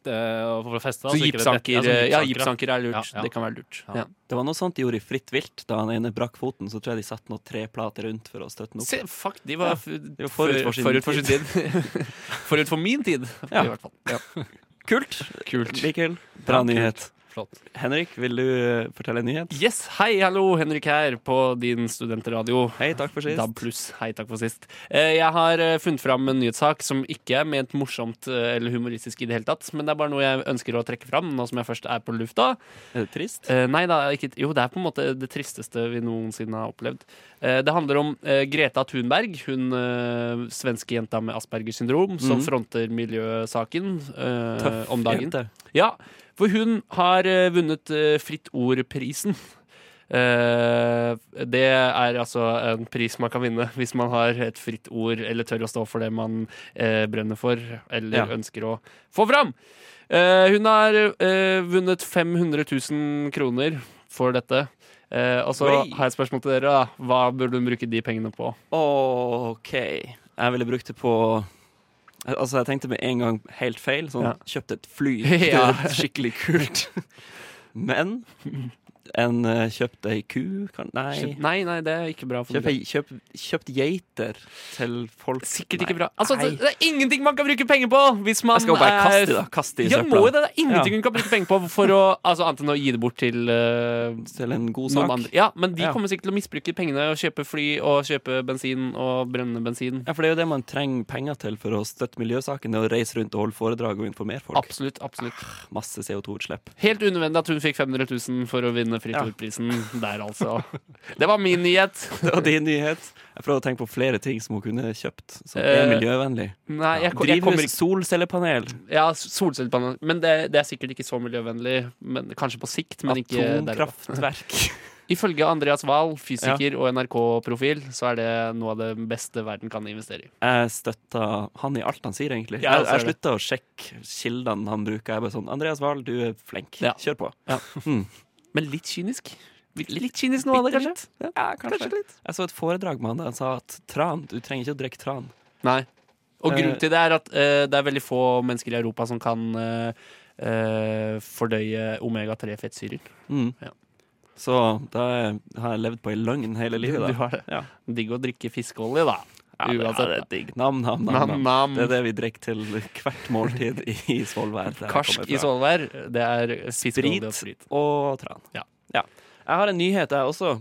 Speaker 6: for å feste? da,
Speaker 1: Så
Speaker 6: så ikke det detter-
Speaker 1: gipsanker, eh,
Speaker 6: ja, sånn
Speaker 1: ja,
Speaker 6: gipsanker,
Speaker 1: gipsanker er lurt.
Speaker 6: Ja, ja.
Speaker 1: Det kan være lurt.
Speaker 6: Ja.
Speaker 1: Ja.
Speaker 2: Det var noe sånt de gjorde i Fritt vilt. Da han ene brakk foten, så tror jeg de satte noen treplater rundt for å støtte den opp.
Speaker 1: Se, fuck, de var, f-
Speaker 2: var forut for sin
Speaker 1: forut for sin tid. forut for min tid,
Speaker 2: Ja.
Speaker 1: i hvert fall.
Speaker 2: Kult!
Speaker 1: Kult.
Speaker 2: Likevel. Bra nyhet.
Speaker 6: Flott.
Speaker 2: Henrik, vil du eh, fortelle en nyhet?
Speaker 1: Yes, hei, hallo, Henrik her på din studentradio.
Speaker 2: Hei, takk for sist.
Speaker 1: DAB pluss. Hei, takk for sist. Eh, Jeg har eh, funnet fram en nyhetssak som ikke er ment morsomt eh, eller humoristisk i det hele tatt, men det er bare noe jeg ønsker å trekke fram nå som jeg først er på lufta.
Speaker 2: Er det trist?
Speaker 1: Eh, Nei, det er ikke, jo, det er på en måte det tristeste vi noensinne har opplevd. Eh, Det handler om eh, Greta Thunberg, hun eh, svenske jenta med Aspergers syndrom, som fronter miljøsaken eh,
Speaker 2: Mhm. Tøff
Speaker 1: om dagen.
Speaker 2: jente.
Speaker 1: Ja, for hun har eh, vunnet eh, Fritt Ord-prisen. Eh, det er altså en pris man kan vinne hvis man har et fritt ord, eller tør å stå for det man eh, brenner for, eller
Speaker 2: Ja.
Speaker 1: ønsker å få fram. Eh, hun har eh, vunnet 500 000 kroner for dette. Eh, og så
Speaker 2: Oi.
Speaker 1: har jeg et spørsmål til dere. da Hva burde hun bruke de pengene på?
Speaker 2: OK. Jeg ville brukt det på Altså, jeg tenkte med en gang helt feil. Sånn,
Speaker 1: Ja.
Speaker 2: kjøpt et fly.
Speaker 1: Ja.
Speaker 2: Skikkelig kult. Men en eh, kjøpt ei ku kan, Nei.
Speaker 1: Nei, nei, det er ikke bra. For
Speaker 2: Kjøpt,
Speaker 1: miljøet.
Speaker 2: ei, kjøpt, kjøpt geiter til folk
Speaker 1: Sikkert
Speaker 2: Nei.
Speaker 1: ikke bra. Altså,
Speaker 2: Nei.
Speaker 1: det, det er ingenting man kan bruke penger på hvis man
Speaker 2: Jeg skal jo bare
Speaker 1: er
Speaker 2: kaste de, da. Kaste de i
Speaker 1: Ja,
Speaker 2: søpla.
Speaker 1: må jo det. Det er
Speaker 2: Ja.
Speaker 1: ingenting hun kan bruke penger på for å altså, Annet enn å gi det bort til eh,
Speaker 2: Til en god
Speaker 1: noen
Speaker 2: sak.
Speaker 1: andre. Ja, men de
Speaker 2: Ja.
Speaker 1: kommer sikkert til å misbruke pengene og kjøpe fly og kjøpe bensin og brenne bensin.
Speaker 2: Ja, for det er jo det man trenger penger til for å støtte miljøsaken. Det er å reise rundt og holde foredrag og informere folk.
Speaker 1: Absolutt. absolutt
Speaker 2: Masse CO2-utslipp.
Speaker 1: Helt unødvendig at hun fikk 500 000 for å vinne Fritt
Speaker 2: Ja.
Speaker 1: Ord-prisen der, altså. Det var min nyhet.
Speaker 2: Det var din nyhet. Jeg prøver å tenke på flere ting som hun kunne kjøpt, som er
Speaker 1: Eh,
Speaker 2: miljøvennlig.
Speaker 1: Nei, jeg, jeg kommer
Speaker 2: Drivhus,
Speaker 1: ikke
Speaker 2: solcellepanel,
Speaker 1: Ja, solcellepanel. Men det, det er sikkert ikke så miljøvennlig. Men, kanskje på sikt, men ikke der. og da.
Speaker 2: atomkraftverk.
Speaker 1: Ifølge Andreas Wahl, fysiker og NRK-profil, så er det noe av det beste verden kan investere i.
Speaker 2: Jeg støtter han i alt han sier, egentlig.
Speaker 1: Ja,
Speaker 2: jeg
Speaker 1: jeg
Speaker 2: jeg
Speaker 1: ser det.
Speaker 2: slutta å sjekke kildene han bruker. Jeg er bare sånn Andreas Wahl, du er flink.
Speaker 1: Ja.
Speaker 2: Kjør på.
Speaker 1: Men litt kynisk. Litt, litt kynisk nå, det,
Speaker 2: Bitte
Speaker 1: kanskje?
Speaker 2: litt. Ja, kanskje. litt. Jeg så et foredrag med han der han sa at tran, du trenger ikke å drikke tran.
Speaker 1: Nei. Og
Speaker 2: Eh,
Speaker 1: grunnen til det er at eh, det er veldig få mennesker i Europa som kan eh, eh, fordøye omega-3-fettsyrer.
Speaker 2: Mm.
Speaker 1: Ja.
Speaker 2: Så da har jeg levd på ei løgn hele livet. Da.
Speaker 1: Du har det.
Speaker 2: Ja.
Speaker 1: Digg å drikke fiskeolje, da.
Speaker 2: Ja, det, ja, det er digg. Nam, nam, nam, nam.
Speaker 1: Nam-nam.
Speaker 2: Det er det vi drikker til hvert måltid i, i Svolvær. der jeg kommer
Speaker 1: Karsk i
Speaker 2: fra.
Speaker 1: solvær, det er fiskeolje og sprit.
Speaker 2: Sprit og tran.
Speaker 1: Ja.
Speaker 2: Jeg har en nyhet, jeg også.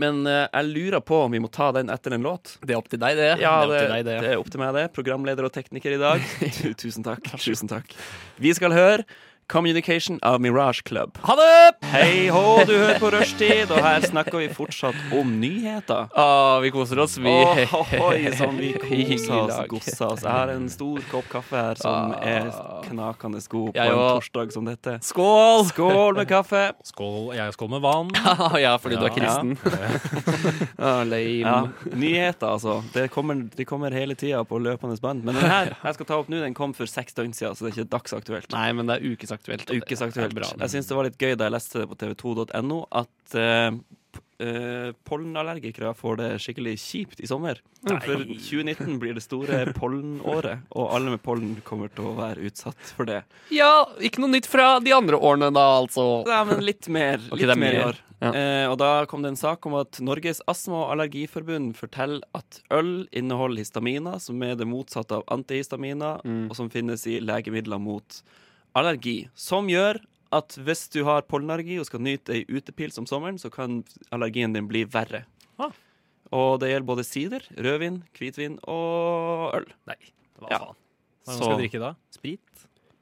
Speaker 2: Men eh, jeg lurer på om vi må ta den etter en låt.
Speaker 1: Det er opp til deg, det.
Speaker 2: Ja,
Speaker 1: det, er opp til deg, det.
Speaker 2: er opp til meg, det. Programleder og tekniker i dag. Tu- Tusen takk. Tusen takk. Vi skal høre Communication av Mirage Club.
Speaker 1: Ha det!
Speaker 2: Hei hå, du hører på Rushtid, og her snakker vi fortsatt om nyheter.
Speaker 1: Å, Ah, vi koser oss. Vi
Speaker 2: Ohoi, som vi koser
Speaker 1: Hyggelig
Speaker 2: oss,
Speaker 1: dag.
Speaker 2: gosser oss. Jeg har en stor kopp kaffe her som er knakende god på
Speaker 1: Ah. Jeg
Speaker 2: en
Speaker 1: òg.
Speaker 2: torsdag som dette.
Speaker 1: Skål!
Speaker 2: Skål med kaffe!
Speaker 6: Skål, jeg skål med vann.
Speaker 1: ja, fordi du er kristen. Å, lame.
Speaker 2: Ja, nyheter, altså. Det kommer, det kommer hele tida på løpende bånd. Men den her jeg skal ta opp nå, den kom for seks døgn siden, så det er ikke dagsaktuelt.
Speaker 1: Nei, men det er ukesaktuelt. og det
Speaker 2: Ukesaktuelt.
Speaker 1: er Bra,
Speaker 2: Jeg syns det var litt gøy da jeg leste det på tv2.no, at eh, p- eh, pollenallergikere får det skikkelig kjipt i sommer. For 2019 blir det store pollenåret, og alle med pollen kommer til å være utsatt for det.
Speaker 1: Ja, ikke noe nytt fra de andre årene da, altså.
Speaker 2: Nei, men litt mer.
Speaker 1: Ok, det
Speaker 2: litt
Speaker 1: er
Speaker 2: mer i
Speaker 1: mer.
Speaker 2: år.
Speaker 1: Ja.
Speaker 2: Eh, og da kom det en sak om at Norges astma- og allergiforbund forteller at øl inneholder histaminer, som er det motsatte av antihistaminer, og som finnes i legemidler mot allergi. Som gjør at hvis du har pollenallergi og skal nyte ei utepils om sommeren, så kan allergien din bli verre.
Speaker 1: Ah.
Speaker 2: Og det gjelder både sider, rødvin, hvitvin og øl.
Speaker 6: Nei, hva
Speaker 2: Ja.
Speaker 6: faen. Hva er det man skal drikke da? Sprit?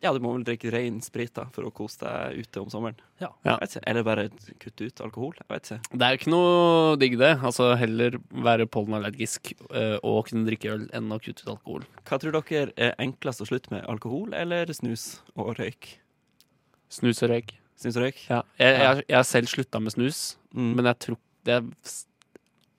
Speaker 2: Ja, du må vel drikke ren sprit da for å kose deg ute om sommeren.
Speaker 6: Ja.
Speaker 2: Jeg vet ikke. Eller bare kutte ut alkohol. Jeg vet ikke.
Speaker 1: Det er jo ikke noe digg, det. Altså, heller være pollenallergisk eh, og kunne drikke øl enn å kutte ut alkohol.
Speaker 2: Hva tror dere er enklest å slutte med? Alkohol eller snus og røyk?
Speaker 1: Snus og røyk.
Speaker 2: Snusrøyk?
Speaker 1: Ja. Jeg, jeg, jeg har selv slutta med snus,
Speaker 2: Mm.
Speaker 1: men jeg tror det s-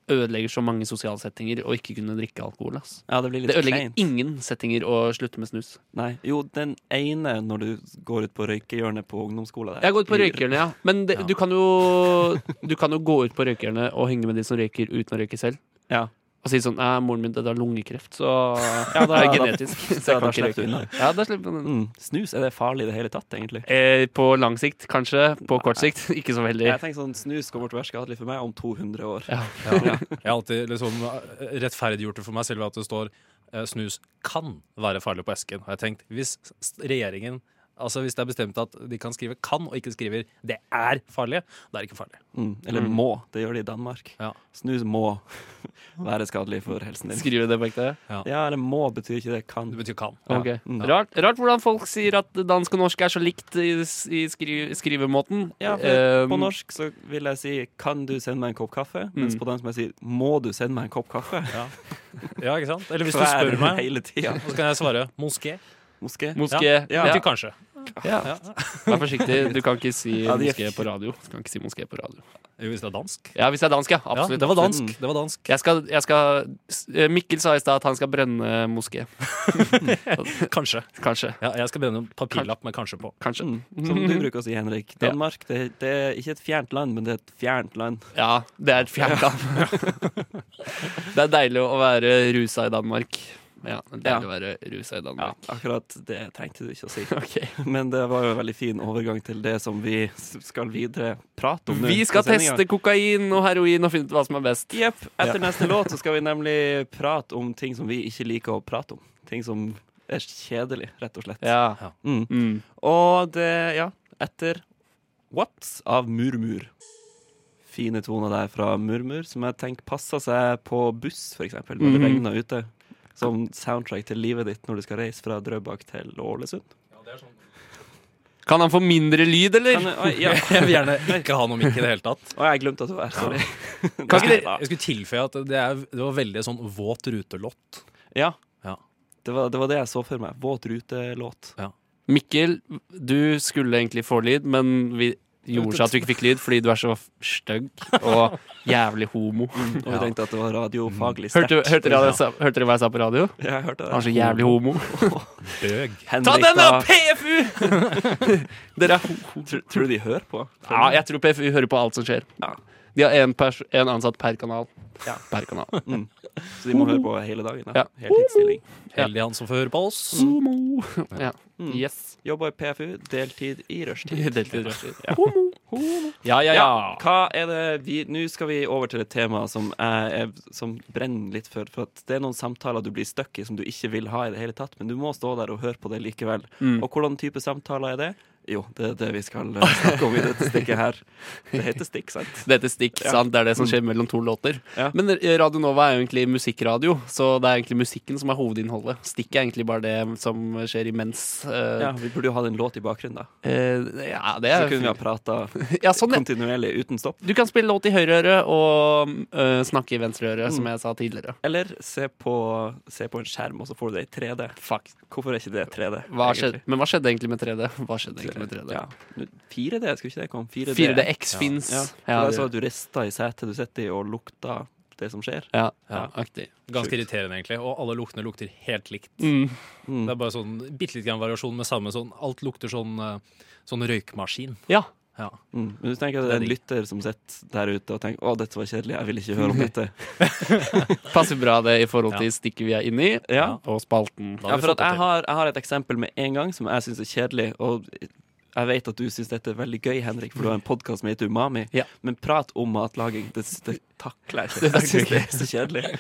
Speaker 1: ødelegger så mange sosiale settinger å ikke kunne drikke alkohol. Ass.
Speaker 2: Ja, det blir litt
Speaker 1: Det
Speaker 2: kleint.
Speaker 1: ødelegger ingen settinger å slutte med snus.
Speaker 2: Nei. Jo, den ene når du går ut på røykehjørnet på ungdomsskolen. der.
Speaker 1: Jeg har gått på
Speaker 2: Blir-
Speaker 1: røykerne, ja. Men det,
Speaker 2: Ja.
Speaker 1: Du, kan jo, du kan jo gå ut på røykerne og henge med de som røyker uten å røyke selv.
Speaker 2: Ja.
Speaker 1: Og si sånn Nei, moren min døde av lungekreft, så
Speaker 2: Ja,
Speaker 1: det
Speaker 2: da-
Speaker 1: er
Speaker 2: da-
Speaker 1: genetisk. Så jeg
Speaker 2: da
Speaker 1: kan ikke
Speaker 2: slipper du
Speaker 1: røyke.
Speaker 2: unna.
Speaker 1: Ja, da slipper man unna.
Speaker 2: Mm. Snus, er det farlig i det hele tatt, egentlig?
Speaker 1: Eh, på lang sikt, kanskje. På kort sikt, ikke så veldig.
Speaker 2: Jeg tenker sånn, Snus kommer til å være skadelig for meg om 200 år.
Speaker 6: Jeg har alltid liksom eh, rettferdiggjort det for meg selv ved at det står eh, snus kan være farlig på esken. Har jeg tenkt, hvis s- regjeringen Altså Hvis det er bestemt at de kan skrive 'kan' og ikke skriver 'det er farlig', da er det ikke farlig.
Speaker 2: Mm. Eller må. Det gjør de i Danmark.
Speaker 6: Ja.
Speaker 2: Snus må være skadelig for helsen din.
Speaker 1: Skriver det på ekte?
Speaker 2: Ja, eller må betyr ikke det kan.
Speaker 6: Det betyr 'kan'.
Speaker 1: Ok.
Speaker 2: Mm.
Speaker 1: Rart, rart hvordan folk sier at dansk og norsk er så likt i, s- i skri, skrivemåten.
Speaker 2: Ja, for
Speaker 1: Ehm,
Speaker 2: På norsk så vil jeg si 'kan du sende meg en kopp kaffe?' Mens på dansk må jeg si 'må du sende meg en kopp kaffe?'
Speaker 6: Ja, ikke sant? Eller hvis du
Speaker 2: For jeg er
Speaker 6: spør
Speaker 2: det
Speaker 6: meg,
Speaker 2: Hele tida.
Speaker 6: så kan jeg svare 'moské'.
Speaker 2: Moské.
Speaker 1: Moské.
Speaker 6: Ja.
Speaker 1: Ja.
Speaker 6: Ikke kanskje.
Speaker 1: Ja. Vær forsiktig, du kan ikke si
Speaker 2: Ja, de er-
Speaker 1: moské på radio. Du kan ikke si moské på radio.
Speaker 6: Jo, hvis det er dansk.
Speaker 1: Ja, hvis det er dansk, ja.
Speaker 6: Ja,
Speaker 1: Absolutt.
Speaker 6: det var
Speaker 1: absolutt.
Speaker 6: dansk. Det var dansk.
Speaker 1: Jeg skal, jeg skal, s- eh, Mikkel sa i stad at han skal brenne moské.
Speaker 6: Kanskje.
Speaker 1: Kanskje.
Speaker 6: Ja, jeg skal brenne en papirlapp med 'kanskje' på.
Speaker 1: Kanskje.
Speaker 2: Mm. Som du bruker å si, Henrik.
Speaker 1: Ja.
Speaker 2: Danmark det, det er ikke et fjernt land, men det er et fjernt land.
Speaker 1: Ja, det er et fjernt land. det er deilig å være rusa i Danmark. Ja, det er deilig å være rusa i
Speaker 2: Ja,
Speaker 1: Danmark.
Speaker 2: akkurat det trengte du ikke å si.
Speaker 1: Ok.
Speaker 2: Men det var jo en veldig fin overgang til det som vi s- skal videre prate om nå.
Speaker 1: Vi skal
Speaker 2: på sendingen.
Speaker 1: teste kokain og heroin og finne ut hva som er best.
Speaker 2: Jepp. Etter neste låt så skal vi nemlig prate om ting som vi ikke liker å prate om. Ting som er kjedelig, rett og slett.
Speaker 1: Ja.
Speaker 2: Mm.
Speaker 1: Mm.
Speaker 2: Og det, ja, etter What av Murmur. Fine toner der fra Murmur, som jeg tenker passer seg på buss, f.eks., når det
Speaker 1: Mhm.
Speaker 2: regner ute. Som soundtrack til livet ditt når du skal reise fra Drøbak til Ålesund.
Speaker 1: Kan han få mindre lyd, eller?
Speaker 2: Men, oi, ja.
Speaker 6: Jeg vil gjerne ikke ha noe mikk i det hele tatt.
Speaker 2: Å, jeg glemte at du var her. Sorry.
Speaker 1: Kan ikke
Speaker 2: Neida.
Speaker 1: dere-
Speaker 6: Jeg skulle tilføye at det, er, det var veldig sånn våt rutelåt.
Speaker 2: Ja.
Speaker 6: Ja.
Speaker 2: Det var, det var det jeg så for meg. Våt rute-låt.
Speaker 1: Mikkel, du skulle egentlig få lyd, men vi gjorde så at du ikke fikk lyd fordi du er så f- stygg og jævlig homo.
Speaker 2: Og vi tenkte at det var radiofaglig sterkt.
Speaker 1: Hørte, hørte, dere, hva jeg sa- hørte dere hva jeg sa på radio?
Speaker 2: Ja, jeg hørte det.
Speaker 1: Han er så jævlig homo.
Speaker 6: Bøg.
Speaker 2: Henrik,
Speaker 1: Ta den da,
Speaker 2: da.
Speaker 1: PFU! Dere er
Speaker 2: Tror, tror du de hører på?
Speaker 1: Ja, jeg tror PFU hører på alt som skjer.
Speaker 2: Ja.
Speaker 1: De har én pers- én ansatt per kanal.
Speaker 2: Ja. Mm.
Speaker 1: Per kanal.
Speaker 2: Så de må høre på hele dagen? Da.
Speaker 1: Ja.
Speaker 2: Heltidsstilling.
Speaker 6: Heldig han som får høre på oss.
Speaker 1: Mm. Homo. Ja.
Speaker 2: Mm.
Speaker 1: Yes.
Speaker 2: Jobber i PFU, deltid i rushtid.
Speaker 1: Deltid rushtid.
Speaker 2: Ja.
Speaker 1: Ja, ja, ja.
Speaker 2: Ja, hva er det vi Nå skal vi over til et tema som, eh, er, som brenner litt for. For at det er noen samtaler du blir stuck i som du ikke vil ha i det hele tatt, men du må stå der og høre på det likevel.
Speaker 1: Mm.
Speaker 2: Og hvordan type samtaler er det? Jo, det er det vi skal eh, snakke om i dette stikket her. Det heter stikk, sant?
Speaker 1: Det heter stikk, sant? Det er det som skjer mellom to låter.
Speaker 2: Mm. Ja.
Speaker 1: Men eh, Radio Nova er jo egentlig musikkradio, så det er egentlig musikken som er hovedinnholdet. Stikk er egentlig bare det som skjer imens. eh,
Speaker 2: Ja, vi burde jo ha en låt i bakgrunnen, da.
Speaker 1: eh, ja, det
Speaker 2: Så
Speaker 1: er
Speaker 2: kunne vi ha prata
Speaker 1: ja, sånn, ja.
Speaker 2: kontinuerlig uten stopp.
Speaker 1: Du kan spille låt i høyre øre og eh, snakke i venstre øre,
Speaker 2: Mm.
Speaker 1: som jeg sa tidligere.
Speaker 2: Eller se på, se på en skjerm, og så får du det i 3D.
Speaker 1: Fuck.
Speaker 2: Hvorfor er ikke det 3D?
Speaker 1: Hva
Speaker 2: egentlig?
Speaker 1: skjedde? Men hva skjedde egentlig med 3D? Hva skjedde egentlig med 3D?
Speaker 2: Ja. 4D, skulle ikke det komme? 4D.
Speaker 1: 4DX
Speaker 6: Ja.
Speaker 1: fins.
Speaker 2: Ja, for
Speaker 1: Ja,
Speaker 2: jeg så
Speaker 1: det-
Speaker 2: at du rista i setet du sitter i, og lukta det som skjer.
Speaker 1: ja, ja, aktig.
Speaker 6: Ganske irriterende, egentlig. Og alle luktene lukter helt likt.
Speaker 1: Mm.
Speaker 6: Det er bare sånn bitte litt grann variasjon med samme sånn Alt lukter sånn, eh, sånn røykmaskin.
Speaker 1: Ja.
Speaker 6: Ja.
Speaker 2: Mm. Men du tenker at det er en lytter som sitter der ute og tenker 'Å, dette var kjedelig, jeg vil ikke høre om dette'.
Speaker 1: Passer bra det i forhold
Speaker 6: Ja.
Speaker 1: til stikket vi er inni,
Speaker 2: Ja.
Speaker 1: og spalten.
Speaker 6: Da
Speaker 2: Ja,
Speaker 6: har vi
Speaker 2: for at
Speaker 6: fått det
Speaker 2: jeg
Speaker 6: til.
Speaker 2: har, jeg har et eksempel med en gang som jeg syns er kjedelig, og jeg vet at du syns dette er veldig gøy, Henrik, for du har en podkast som heter Umami,
Speaker 1: Ja.
Speaker 2: men prat om matlaging, det, det takler jeg ikke. Jeg syns det er så kjedelig.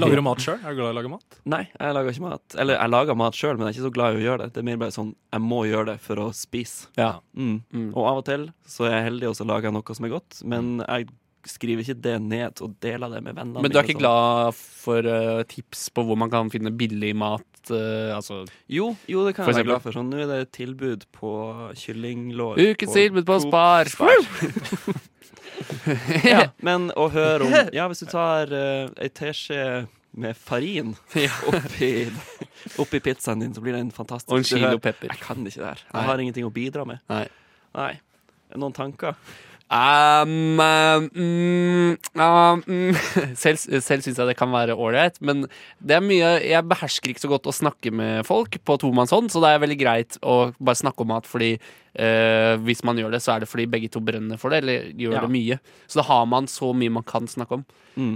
Speaker 6: Lager du mat sjøl? Er du glad i å lage mat?
Speaker 2: Nei, jeg lager ikke mat. Eller jeg lager mat sjøl, men jeg er ikke så glad i å gjøre det. Det er mer bare sånn jeg må gjøre det for å spise.
Speaker 1: Ja.
Speaker 2: Mm. Og av og til så er jeg heldig og så lager jeg noe som er godt, men jeg skriver ikke det ned og deler det sånn. med vennene
Speaker 1: Mm. Men du er
Speaker 2: mine
Speaker 1: ikke
Speaker 2: og
Speaker 1: glad for eh, tips på hvor man kan finne billig mat? eh, altså
Speaker 2: sånn. Jo, jo, det kan
Speaker 1: For
Speaker 2: jeg være
Speaker 1: eksempel?
Speaker 2: glad for. Sånn, nå er det tilbud på kyllinglår.
Speaker 1: Ukens tilbud
Speaker 2: Coop.
Speaker 1: på Spar!
Speaker 2: Ja, men å høre om Ja, hvis du tar uh, ei teskje med farin oppi, oppi pizzaen din, så blir det en fantastisk
Speaker 1: Og en
Speaker 2: du hører-
Speaker 1: kilo pepper.
Speaker 2: Jeg kan ikke det her.
Speaker 1: Nei.
Speaker 2: Jeg har ingenting å bidra med.
Speaker 1: Nei.
Speaker 2: Nei. Noen tanker?
Speaker 1: Um, um, mm, um, mm. Selv, selv syns jeg det kan være ålreit, men det er mye Jeg behersker ikke så godt å snakke med folk på tomannshånd, så det er veldig greit å bare snakke om at fordi eh, hvis man gjør det, så er det fordi begge to brenner for det, eller gjør
Speaker 6: Ja.
Speaker 1: det mye. Så da har man så mye man kan snakke om.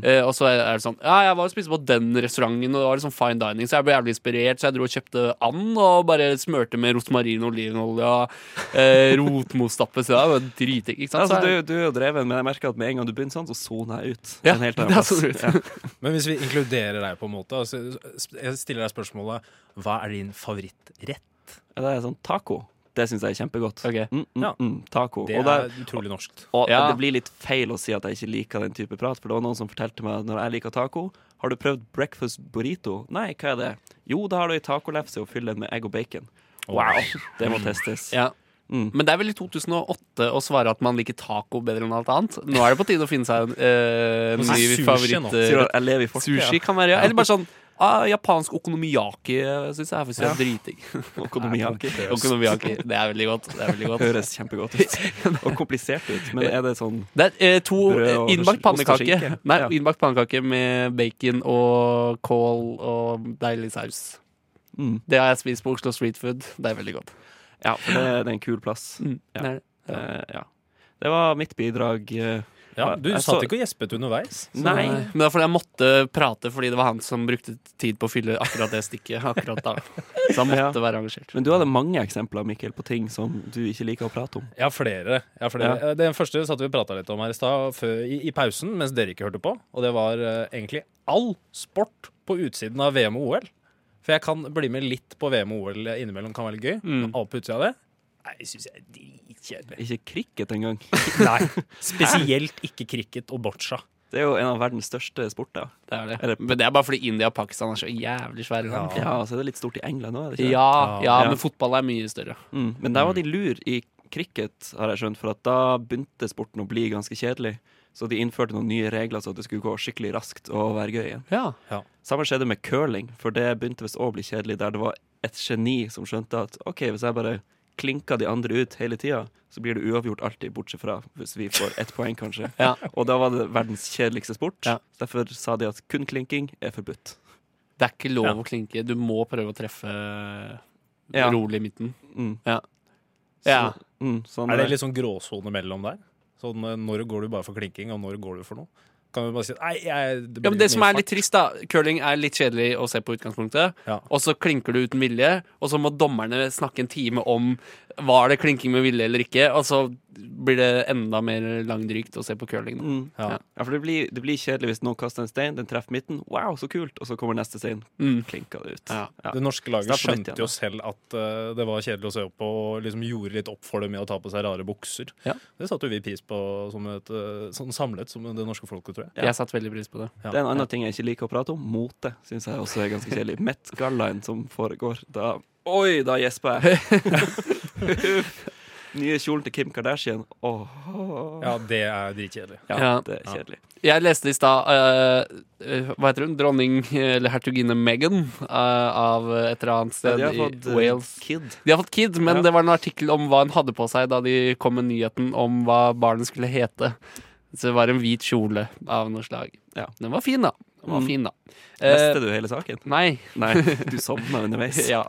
Speaker 1: Eh, og så er det sånn Ja, jeg var og spiste på den restauranten, og det var liksom fine dining, så jeg ble jævlig inspirert, så jeg dro og kjøpte and og bare smurte med rosmarin og olivenolje og eh, rotmostappe, så det var dritdigg, ikke sant?
Speaker 2: Altså,
Speaker 1: Så er-
Speaker 2: du, du er jo dreven, men jeg merker at med en gang du begynner sånn, så soner jeg ut.
Speaker 1: Ja,
Speaker 2: En helt annen
Speaker 1: det er
Speaker 2: plass.
Speaker 1: sånn ut.
Speaker 2: Ja.
Speaker 6: Men hvis vi inkluderer deg på en måte altså, Jeg stiller deg spørsmålet Hva er din favorittrett?
Speaker 2: Det er sånn taco. Det syns jeg er kjempegodt.
Speaker 1: Ok.
Speaker 2: Mm, mm,
Speaker 6: Ja.
Speaker 2: mm, taco.
Speaker 6: Det
Speaker 2: og det,
Speaker 6: er utrolig norskt.
Speaker 2: og
Speaker 1: Ja.
Speaker 2: det blir litt feil å si at jeg ikke liker den type prat, for det var noen som fortalte meg at når jeg liker taco Har du prøvd breakfast burrito? Nei, hva er det? Jo, da har du ei tacolefse og fyller den med egg og bacon. Wow! Det må testes.
Speaker 1: Ja.
Speaker 2: Mm.
Speaker 1: Men det er vel i 2008 å svare at man liker taco bedre enn alt annet. Nå er det på tide å finne seg en eh,
Speaker 6: Og så er
Speaker 1: ny
Speaker 6: sushi nå.
Speaker 1: favoritt.
Speaker 2: Sier du
Speaker 1: eh,
Speaker 2: at jeg lever i fortida?
Speaker 1: sushi kan være ja. Eller bare sånn ah, japansk okonomiyaki syns jeg er faktisk er dritdigg.
Speaker 2: Økonomiaki.
Speaker 1: Okonomiyaki, det er veldig godt. Det er veldig godt.
Speaker 2: Høres kjempegodt ut. Og komplisert ut, men er det sånn
Speaker 1: Det er eh, to
Speaker 2: Brød
Speaker 1: eh,
Speaker 2: og
Speaker 1: innbakt
Speaker 2: ost og
Speaker 1: pannekake.
Speaker 2: skinke.
Speaker 1: Nei,
Speaker 2: Ja.
Speaker 1: innbakt pannekake med bacon og kål og deilig saus.
Speaker 2: Mm.
Speaker 1: Det har jeg spist på Oslo Street Food. Det er veldig godt.
Speaker 2: Ja, for det, det er en kul plass.
Speaker 1: Mm.
Speaker 2: Ja.
Speaker 1: Det er det.
Speaker 2: Eh, ja. Det var mitt bidrag. eh.
Speaker 6: Ja, du
Speaker 2: Jeg
Speaker 6: satt
Speaker 2: så-
Speaker 6: ikke og gjespet underveis.
Speaker 2: Nei.
Speaker 1: Men det er fordi jeg måtte prate fordi det var han som brukte tid på å fylle akkurat det stikket akkurat da. Så han måtte være engasjert.
Speaker 2: Men du hadde mange eksempler Mikkel, på ting som du ikke liker å prate om.
Speaker 6: Jeg har flere. Jeg har flere. Eh, Den første satt vi og prata litt om her i stad, før- i, i pausen, mens dere ikke hørte på. Og det var eh, egentlig all sport på utsiden av VM og OL. For jeg kan bli med litt på VM og OL innimellom, kan være litt gøy.
Speaker 1: Mm.
Speaker 6: Men alt på utsida av det Nei, jeg syns jeg er dritkjedelig.
Speaker 2: Ikke cricket engang.
Speaker 6: Nei. Spesielt ikke cricket og boccia.
Speaker 2: Det er jo en av verdens største sporter.
Speaker 1: Det er
Speaker 2: Er
Speaker 1: det.
Speaker 2: det-
Speaker 1: Men det er bare fordi India og Pakistan er så jævlig svære land.
Speaker 2: Ja, så er det litt stort i England òg, er det ikke? det?
Speaker 1: Ja, ja,
Speaker 2: Ja.
Speaker 1: men fotball er mye større.
Speaker 2: Mm. Men der var de lur i cricket, har jeg skjønt, for at da begynte sporten å bli ganske kjedelig. Så de innførte noen nye regler så at det skulle gå skikkelig raskt og være gøy igjen.
Speaker 1: Ja.
Speaker 2: Samme skjedde med curling, for det begynte visst å bli kjedelig der det var et geni som skjønte at OK, hvis jeg bare klinker de andre ut hele tida, så blir det uavgjort alltid, bortsett fra hvis vi får ett poeng, kanskje.
Speaker 1: Ja.
Speaker 2: Og da var det verdens kjedeligste sport.
Speaker 1: Ja.
Speaker 2: Så Derfor sa de at kun klinking er forbudt.
Speaker 1: Det er ikke lov
Speaker 6: Ja.
Speaker 1: å klinke. Du må prøve å treffe
Speaker 2: Ja.
Speaker 1: rolig i midten.
Speaker 2: Mm.
Speaker 1: Ja.
Speaker 2: Så,
Speaker 1: Ja.
Speaker 2: Mm, sånn
Speaker 6: Er det litt sånn gråsone mellom der? Sånn, eh, når går du bare for klinking, og når går du for noe? Kan du bare si Nei, jeg
Speaker 1: Ja, men det som er litt trist,
Speaker 6: trist
Speaker 1: da. Curling er litt kjedelig å se på utgangspunktet.
Speaker 6: Ja.
Speaker 1: Og så klinker du uten vilje, og så må dommerne snakke en time om var det klinking med vilje eller ikke, og så blir det enda mer langdrygt å se på curling. da.
Speaker 2: Mm.
Speaker 6: ja.
Speaker 2: Ja, for det blir, det blir kjedelig hvis noen kaster en stein, den treffer midten, wow, så kult, og så kommer neste stein,
Speaker 1: Mm.
Speaker 2: klinker det ut.
Speaker 1: Ja.
Speaker 2: Ja.
Speaker 6: Det norske laget
Speaker 2: Start på nytt
Speaker 6: skjønte
Speaker 2: igjen,
Speaker 6: jo
Speaker 2: da.
Speaker 6: selv at eh, det var kjedelig å se opp på, og liksom gjorde litt opp for det med å ta på seg rare bukser.
Speaker 1: Ja.
Speaker 6: Det satte jo vi pris på som et, eh, sånn samlet som det norske folket, tror jeg.
Speaker 1: Jeg satte veldig pris på det.
Speaker 6: Ja.
Speaker 2: Det er en annen ting jeg ikke liker å prate om. Mote syns jeg også er ganske kjedelig. Met-gallaen som foregår, da Oi, da gjesper jeg. Nye kjolen til Kim Kardashian. Åh,
Speaker 6: Ja, det er dritkjedelig.
Speaker 2: ja,
Speaker 1: Ja.
Speaker 2: det er kjedelig.
Speaker 1: Jeg leste i stad eh, eh, Hva heter hun? Dronning, eh, eller hertuginne Meghan eh, av et eller annet
Speaker 2: Ja,
Speaker 1: sted
Speaker 2: de har fått
Speaker 1: i
Speaker 2: eh,
Speaker 1: Wales.
Speaker 2: kid.
Speaker 1: De har fått kid, men
Speaker 2: Ja.
Speaker 1: det var en artikkel om hva hun hadde på seg da de kom med nyheten om hva barnet skulle hete. Så det var en hvit kjole av noe slag.
Speaker 2: Ja.
Speaker 1: Den var fin, da. Den var
Speaker 2: Mm.
Speaker 1: fin, da. Eh,
Speaker 2: Leste du hele saken?
Speaker 1: nei.
Speaker 2: Nei, du sovna underveis.
Speaker 1: Ja.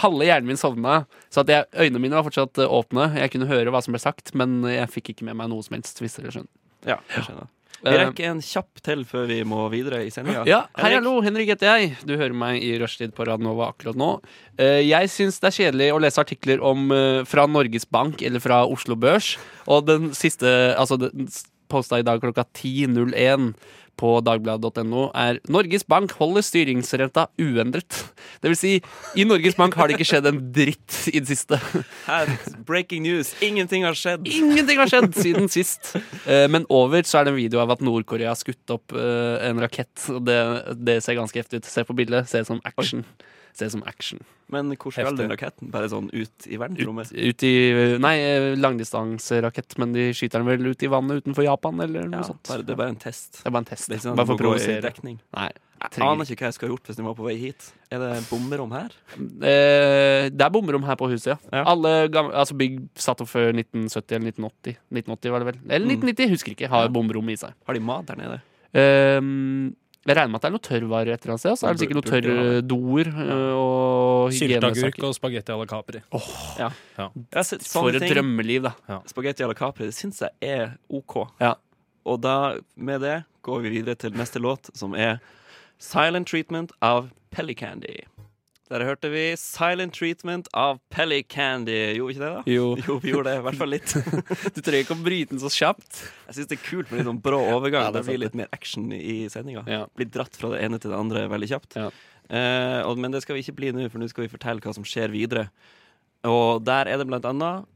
Speaker 1: Halve hjernen min sovna, så at jeg, øynene mine var fortsatt eh, åpne. Jeg kunne høre hva som ble sagt, men jeg fikk ikke med meg noe som helst. Hvis dere skjønner.
Speaker 2: Ja, jeg skjønner. Vi
Speaker 1: Eh,
Speaker 2: rekker en kjapp til før vi må videre i sendinga.
Speaker 1: Ja, hei,
Speaker 2: Henrik?
Speaker 1: hallo, Henrik heter jeg. Du hører meg i rushtid på Radnova akkurat nå. Eh, Jeg syns det er kjedelig å lese artikler om eh, fra Norges Bank eller fra Oslo Børs. Og den siste, altså den s- posta i dag klokka 10.01 på dagbladet.no er Norges Bank holder styringsrenta uendret. Det vil si, i Norges Bank har det ikke skjedd en dritt i det siste.
Speaker 2: Her, breaking news. Ingenting har skjedd.
Speaker 1: Ingenting har skjedd siden sist. Eh, Men over så er det en video av at Nord-Korea har skutt opp eh, en rakett. Og det, det ser ganske heftig ut. Se på bildet. Se som action. Se som action.
Speaker 2: Men hvor skal
Speaker 6: Heftig.
Speaker 2: den raketten? Bare sånn ut i verdensrommet?
Speaker 1: Ut i Nei, eh, langdistanserakett, men de skyter den vel ut i vannet utenfor Japan, eller noe
Speaker 2: Ja,
Speaker 1: sånt.
Speaker 2: bare, det er bare en test.
Speaker 1: Det er bare en test.
Speaker 2: Det er ikke sånn at
Speaker 1: bare
Speaker 2: den
Speaker 1: for å
Speaker 2: må gå i
Speaker 1: provosere.
Speaker 2: dekning.
Speaker 1: Nei.
Speaker 2: Aner ikke hva jeg skulle ha gjort hvis jeg var på vei hit. Er det bomberom her?
Speaker 1: Eh, det er bomberom her på huset, ja.
Speaker 2: Ja.
Speaker 1: Alle gamle, altså Bygg satt opp før 1970 eller 1980. 1980 var det vel Eller 1990, husker ikke. Har bomberom i seg.
Speaker 2: Har de mat der nede?
Speaker 1: Eh, jeg regner med at det er noe tørrvarer et eller annet sted. Så er det sikkert noen
Speaker 2: Burde- burde
Speaker 1: tørre doer eh, og
Speaker 6: Sylteagurk
Speaker 1: hygienesaker.
Speaker 6: og spagetti à la Capri.
Speaker 2: Jeg har sett
Speaker 1: For
Speaker 2: sånne
Speaker 1: et
Speaker 2: ting.
Speaker 1: drømmeliv, da.
Speaker 2: Spagetti à la Capri, det syns jeg er OK.
Speaker 1: Ja.
Speaker 2: Og da, med det, går vi videre til neste låt, som er Silent Treatment av Pellycandy. Der hørte vi Silent Treatment av Pellycandy. Gjorde vi ikke det, da?
Speaker 1: Jo.
Speaker 2: Jo, vi gjorde det. I hvert fall litt.
Speaker 1: Du trenger ikke å bryte den så kjapt.
Speaker 2: Jeg syns det er kult med litt sånn brå overgang.
Speaker 1: Ja, det er
Speaker 2: det blir
Speaker 1: sant.
Speaker 2: litt mer action i sendinga.
Speaker 1: Ja.
Speaker 2: Blir dratt fra det ene til det andre veldig kjapt.
Speaker 1: Ja.
Speaker 2: Eh, og, men det skal vi ikke bli nå, for nå skal vi fortelle hva som skjer videre. Og der er det blant annet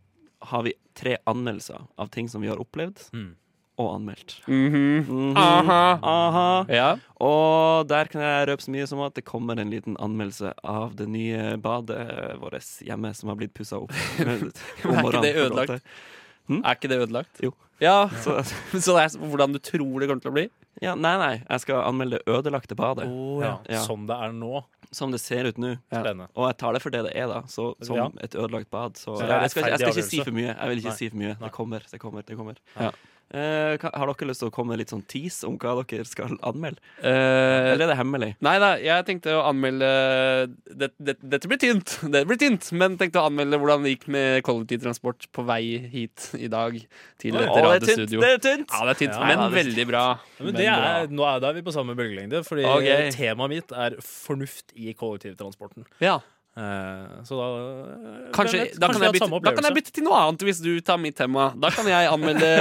Speaker 2: har vi tre anmeldelser av ting som vi har opplevd
Speaker 6: Mm.
Speaker 2: og anmeldt.
Speaker 1: Mhm.
Speaker 2: Mhm.
Speaker 1: Aha.
Speaker 2: Aha.
Speaker 1: Ja.
Speaker 2: Og der kan jeg røpe så mye som at det kommer en liten anmeldelse av det nye badet vårt hjemme, som har blitt pussa opp. Men
Speaker 1: Er ikke det ødelagt? Er ikke det ødelagt?
Speaker 2: Jo.
Speaker 1: Ja,
Speaker 2: Så,
Speaker 1: Så det er hvordan du tror det kommer til å bli?
Speaker 2: ja, nei, nei. Jeg skal anmelde det ødelagte badet.
Speaker 6: Ja.
Speaker 2: Ja.
Speaker 6: Som det er nå.
Speaker 2: som det ser ut nå.
Speaker 1: Ja.
Speaker 6: Spennende.
Speaker 2: Og jeg tar det for det det er, da. Så, som
Speaker 6: Ja.
Speaker 2: et ødelagt bad. Så,
Speaker 6: Så det er
Speaker 2: jeg, skal, ikke- jeg skal
Speaker 6: rettferdig
Speaker 2: ikke si for mye. Jeg vil ikke
Speaker 6: Nei.
Speaker 2: si for mye.
Speaker 6: Nei.
Speaker 2: Det kommer, det kommer. det kommer
Speaker 1: Ja.
Speaker 2: Eh, hva- Har dere lyst til å komme med litt sånn tease om hva dere skal anmelde?
Speaker 1: Eh,
Speaker 2: Eller er det hemmelig?
Speaker 1: Nei da, jeg tenkte å anmelde det, det, Dette blir tynt, det blir tynt Men tenkte å anmelde hvordan det gikk med kollektivtransport På vei hit i dag Til
Speaker 2: Å, det
Speaker 1: et
Speaker 2: er tynt!
Speaker 1: radiostudio
Speaker 2: Det er tynt.
Speaker 1: Ja, det er tynt,
Speaker 6: Ja,
Speaker 2: ja,
Speaker 1: men
Speaker 2: det er
Speaker 1: veldig bra
Speaker 6: Men det er, nå er da er vi på samme bølgelengde, fordi
Speaker 1: Ok.
Speaker 6: temaet mitt er fornuft i kollektivtransporten.
Speaker 1: ja.
Speaker 6: Eh, Så da
Speaker 1: kanskje,
Speaker 6: Hvem vet?
Speaker 1: da, kan
Speaker 6: vi har
Speaker 1: jeg
Speaker 6: hatt
Speaker 1: bytte, da
Speaker 6: samme
Speaker 1: kan jeg
Speaker 6: opplevelse.
Speaker 1: bytte til noe annet Hvis du tar mitt tema Da kan jeg anmelde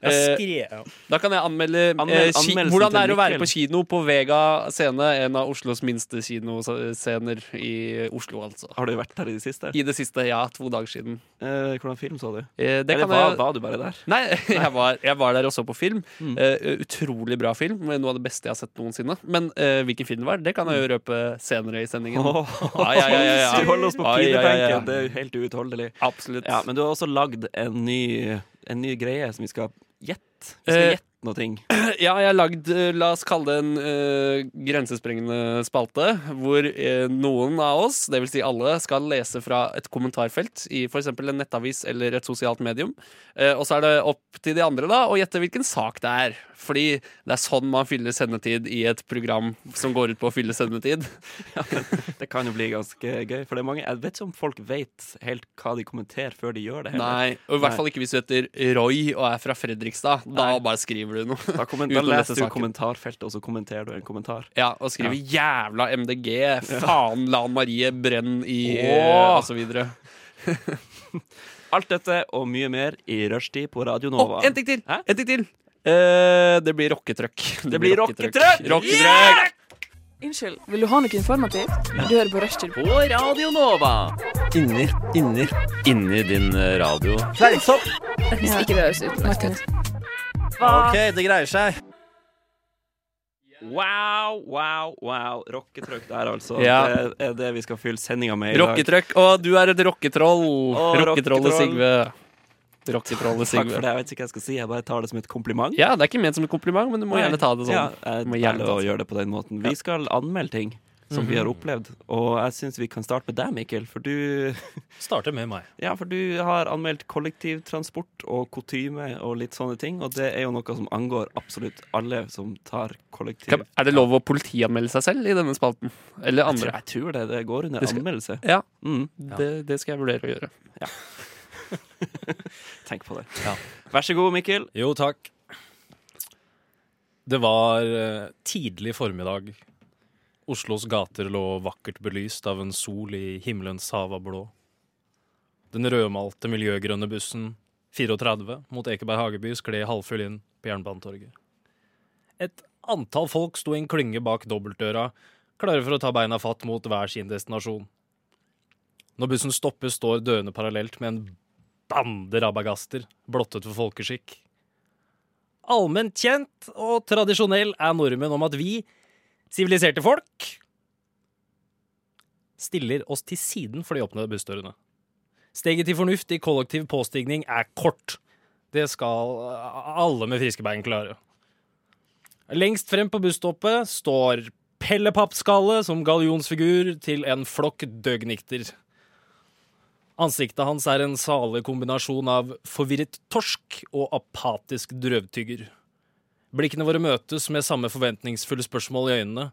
Speaker 1: eh,
Speaker 6: Jeg skrev-
Speaker 1: Da kan jeg anmelde eh,
Speaker 2: Anmeld-
Speaker 1: ki
Speaker 2: anmeldelsen
Speaker 1: Hvordan det er
Speaker 2: til
Speaker 1: å være
Speaker 2: Mikkel.
Speaker 1: på kino På Vega scene En av Oslos minste kinoscener I Oslo altså
Speaker 2: Har du vært der i det siste?
Speaker 1: I det siste, ja, to dager siden
Speaker 2: Eh, hvordan film så du?
Speaker 1: Eh, det
Speaker 2: Eller
Speaker 1: kan jeg-
Speaker 2: var, var du bare der?
Speaker 1: Nei, jeg var, jeg var der og så på film. Eh, utrolig bra film. Noe av det beste jeg har sett noensinne. Men eh, hvilken film det var, det kan jeg jo røpe senere i sendingen. Ja, ja, ja, ja, ja.
Speaker 2: Du holder oss på
Speaker 1: Ai, ja, ja, ja.
Speaker 2: pinebenken. Det er jo helt uutholdelig.
Speaker 1: Absolutt.
Speaker 2: Ja, men du har også lagd en ny, en ny greie som vi skal gjette. Vi skal
Speaker 1: Eh,
Speaker 2: gjette noe. ting.
Speaker 1: Ja, jeg har lagd, eh, la oss kalle det en eh, grensesprengende spalte, hvor eh, noen av oss, det vil si alle, skal lese fra et kommentarfelt i for eksempel en nettavis eller et sosialt medium. Eh, og så er det opp til de andre da å gjette hvilken sak det er. Fordi det er sånn man fyller sendetid i et program som går ut på å fylle sendetid.
Speaker 2: Det kan jo bli ganske gøy. For det er mange, jeg vet ikke om folk vet helt hva de kommenterer før de gjør det. heller.
Speaker 1: Nei, og i hvert fall ikke hvis du heter Roy og er fra Fredrikstad. Da bare skriver du noe.
Speaker 2: Da, kommen,
Speaker 1: Uten
Speaker 2: da
Speaker 1: å lese
Speaker 2: leser du
Speaker 1: saken.
Speaker 2: kommentarfeltet, og så kommenterer du en kommentar.
Speaker 1: Ja, Og skriver 'jævla MDG', 'faen Lan Marie brenn i' eh,
Speaker 2: Åh!
Speaker 1: og så videre.
Speaker 2: Alt dette og mye mer i rushtid på Radio
Speaker 1: Å,
Speaker 2: Nova.
Speaker 1: en ting til!
Speaker 2: Hæ?
Speaker 1: En ting til. Eh, det blir rocketrøkk.
Speaker 2: Det blir rocketrøkk!
Speaker 1: Rocketrøkk!
Speaker 7: Unnskyld, vil du ha noe informativt? Du hører på Rushtid.
Speaker 2: På Radio Nova!
Speaker 1: eh,
Speaker 7: Hvis ikke det høres ut. Martin.
Speaker 2: Wow, wow, wow. Rocketrøkk der, altså.
Speaker 1: Ja.
Speaker 2: Det er det vi skal fylle sendinga med i dag.
Speaker 1: Rocketrøkk. Og du er et rocketroll.
Speaker 2: Å, rocketroll.
Speaker 1: Rocketrollet Sigve. Rocketrollet
Speaker 2: Takk for
Speaker 1: Sigve.
Speaker 2: det. Jeg vet ikke hva jeg skal si. Jeg bare tar det som et kompliment.
Speaker 1: Ja, det er ikke ment som en kompliment, men du må
Speaker 2: Nei.
Speaker 1: gjerne ta det sånn.
Speaker 2: Ja, jeg
Speaker 1: Du må gjerne
Speaker 2: velger
Speaker 1: ta
Speaker 2: å
Speaker 1: det Mhm.
Speaker 2: gjøre det på den måten. Vi skal anmelde ting som vi har opplevd, og jeg syns vi kan starte med deg, Mikkel. For du,
Speaker 6: Starter med meg.
Speaker 2: ja, for du har anmeldt kollektivtransport og kutyme og litt sånne ting, og det er jo noe som angår absolutt alle som tar kollektiv...
Speaker 1: Kan- Er det lov å politianmelde seg selv i denne spalten? Eller
Speaker 2: Jeg tror-
Speaker 1: andre?
Speaker 2: Jeg tror det, det går under
Speaker 1: Det skal-
Speaker 2: anmeldelse.
Speaker 1: Ja,
Speaker 2: Mm,
Speaker 1: det, det skal jeg vurdere å gjøre.
Speaker 2: tenk på det.
Speaker 6: Ja.
Speaker 2: Vær så god, Mikkel.
Speaker 6: Jo, takk. Det var eh, tidlig formiddag. Oslos gater lå vakkert belyst av en sol i himmelens hav av blå. Den rødmalte miljøgrønne bussen 34 mot Ekeberg Hageby skled halvfull inn på Jernbanetorget. Et antall folk sto i en klynge bak dobbeltdøra, klare for å ta beina fatt mot hver sin destinasjon. Når bussen stopper, står dørene parallelt med en bande rabagaster, blottet for folkeskikk. Allment kjent og tradisjonell er normen om at vi, siviliserte folk, stiller oss til siden for de åpnede bussdørene. Steget til fornuft i kollektiv påstigning er kort. Det skal eh, alle med friske bein klare. Lengst frem på busstoppet står pellepappskalle som gallionsfigur til en flokk døgnikter. Ansiktet hans er en salig kombinasjon av forvirret torsk og apatisk drøvtygger. Blikkene våre møtes med samme forventningsfulle spørsmål i øynene.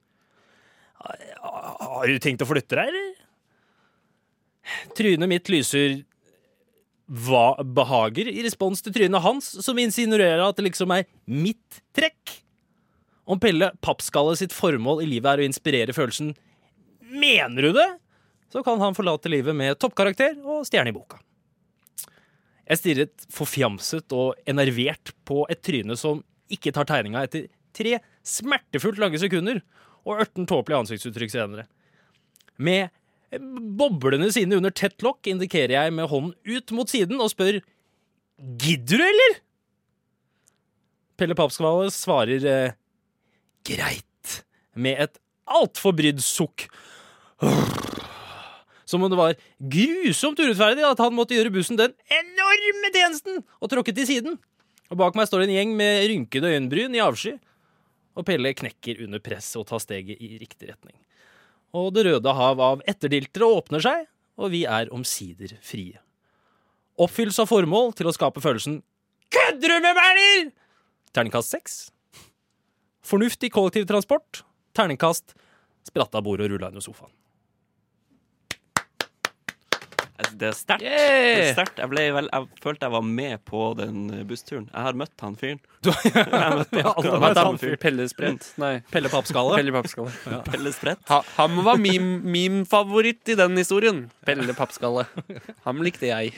Speaker 6: Har du tenkt å flytte deg, eller? Trynet mitt lyser hva behager i respons til trynet hans, som insinuerer at det liksom er mitt trekk. Om Pelle Pappskalle sitt formål i livet er å inspirere følelsen 'mener du det?', så kan han forlate livet med toppkarakter og stjerne i boka. Jeg stirret forfjamset og enervert på et tryne som ikke tar tegninga etter tre smertefullt lange sekunder og ørten tåpelig ansiktsuttrykk senere. Med boblende sine under tett lokk indikerer jeg med hånden ut mot siden og spør Gidder du, eller? Pelle Pappskvalle svarer eh, greit med et altfor brydd sukk. Som om det var grusomt urettferdig at han måtte gjøre bussen den enorme tjenesten og tråkke til siden. Og bak meg står en gjeng med rynkede øyenbryn i avsky. Og Pelle knekker under presset og tar steget i riktig retning. Og det røde hav av etterdiltere åpner seg, og vi er omsider frie. Oppfyllelse av formål til å skape følelsen 'Kødder du med meg, eller?' Terningkast seks. Fornuftig kollektivtransport. Terningkast. Spratt av bordet og rulla under sofaen.
Speaker 2: Altså, Det er sterkt. Det er
Speaker 1: Yeah!
Speaker 2: sterkt. Jeg, ble vel- jeg følte jeg var med på den eh, bussturen. Jeg har møtt han fyren.
Speaker 6: Ja, alle
Speaker 2: Hva
Speaker 6: vet
Speaker 2: heter
Speaker 6: han.
Speaker 2: han fyren?
Speaker 1: Pellesprent. Nei.
Speaker 6: Pelle Pappskalle.
Speaker 1: Pelle Pappskalle.
Speaker 2: Pelle Sprett.
Speaker 1: Ha, han var min, min favoritt i den historien. Pelle Pappskalle. Ham likte jeg.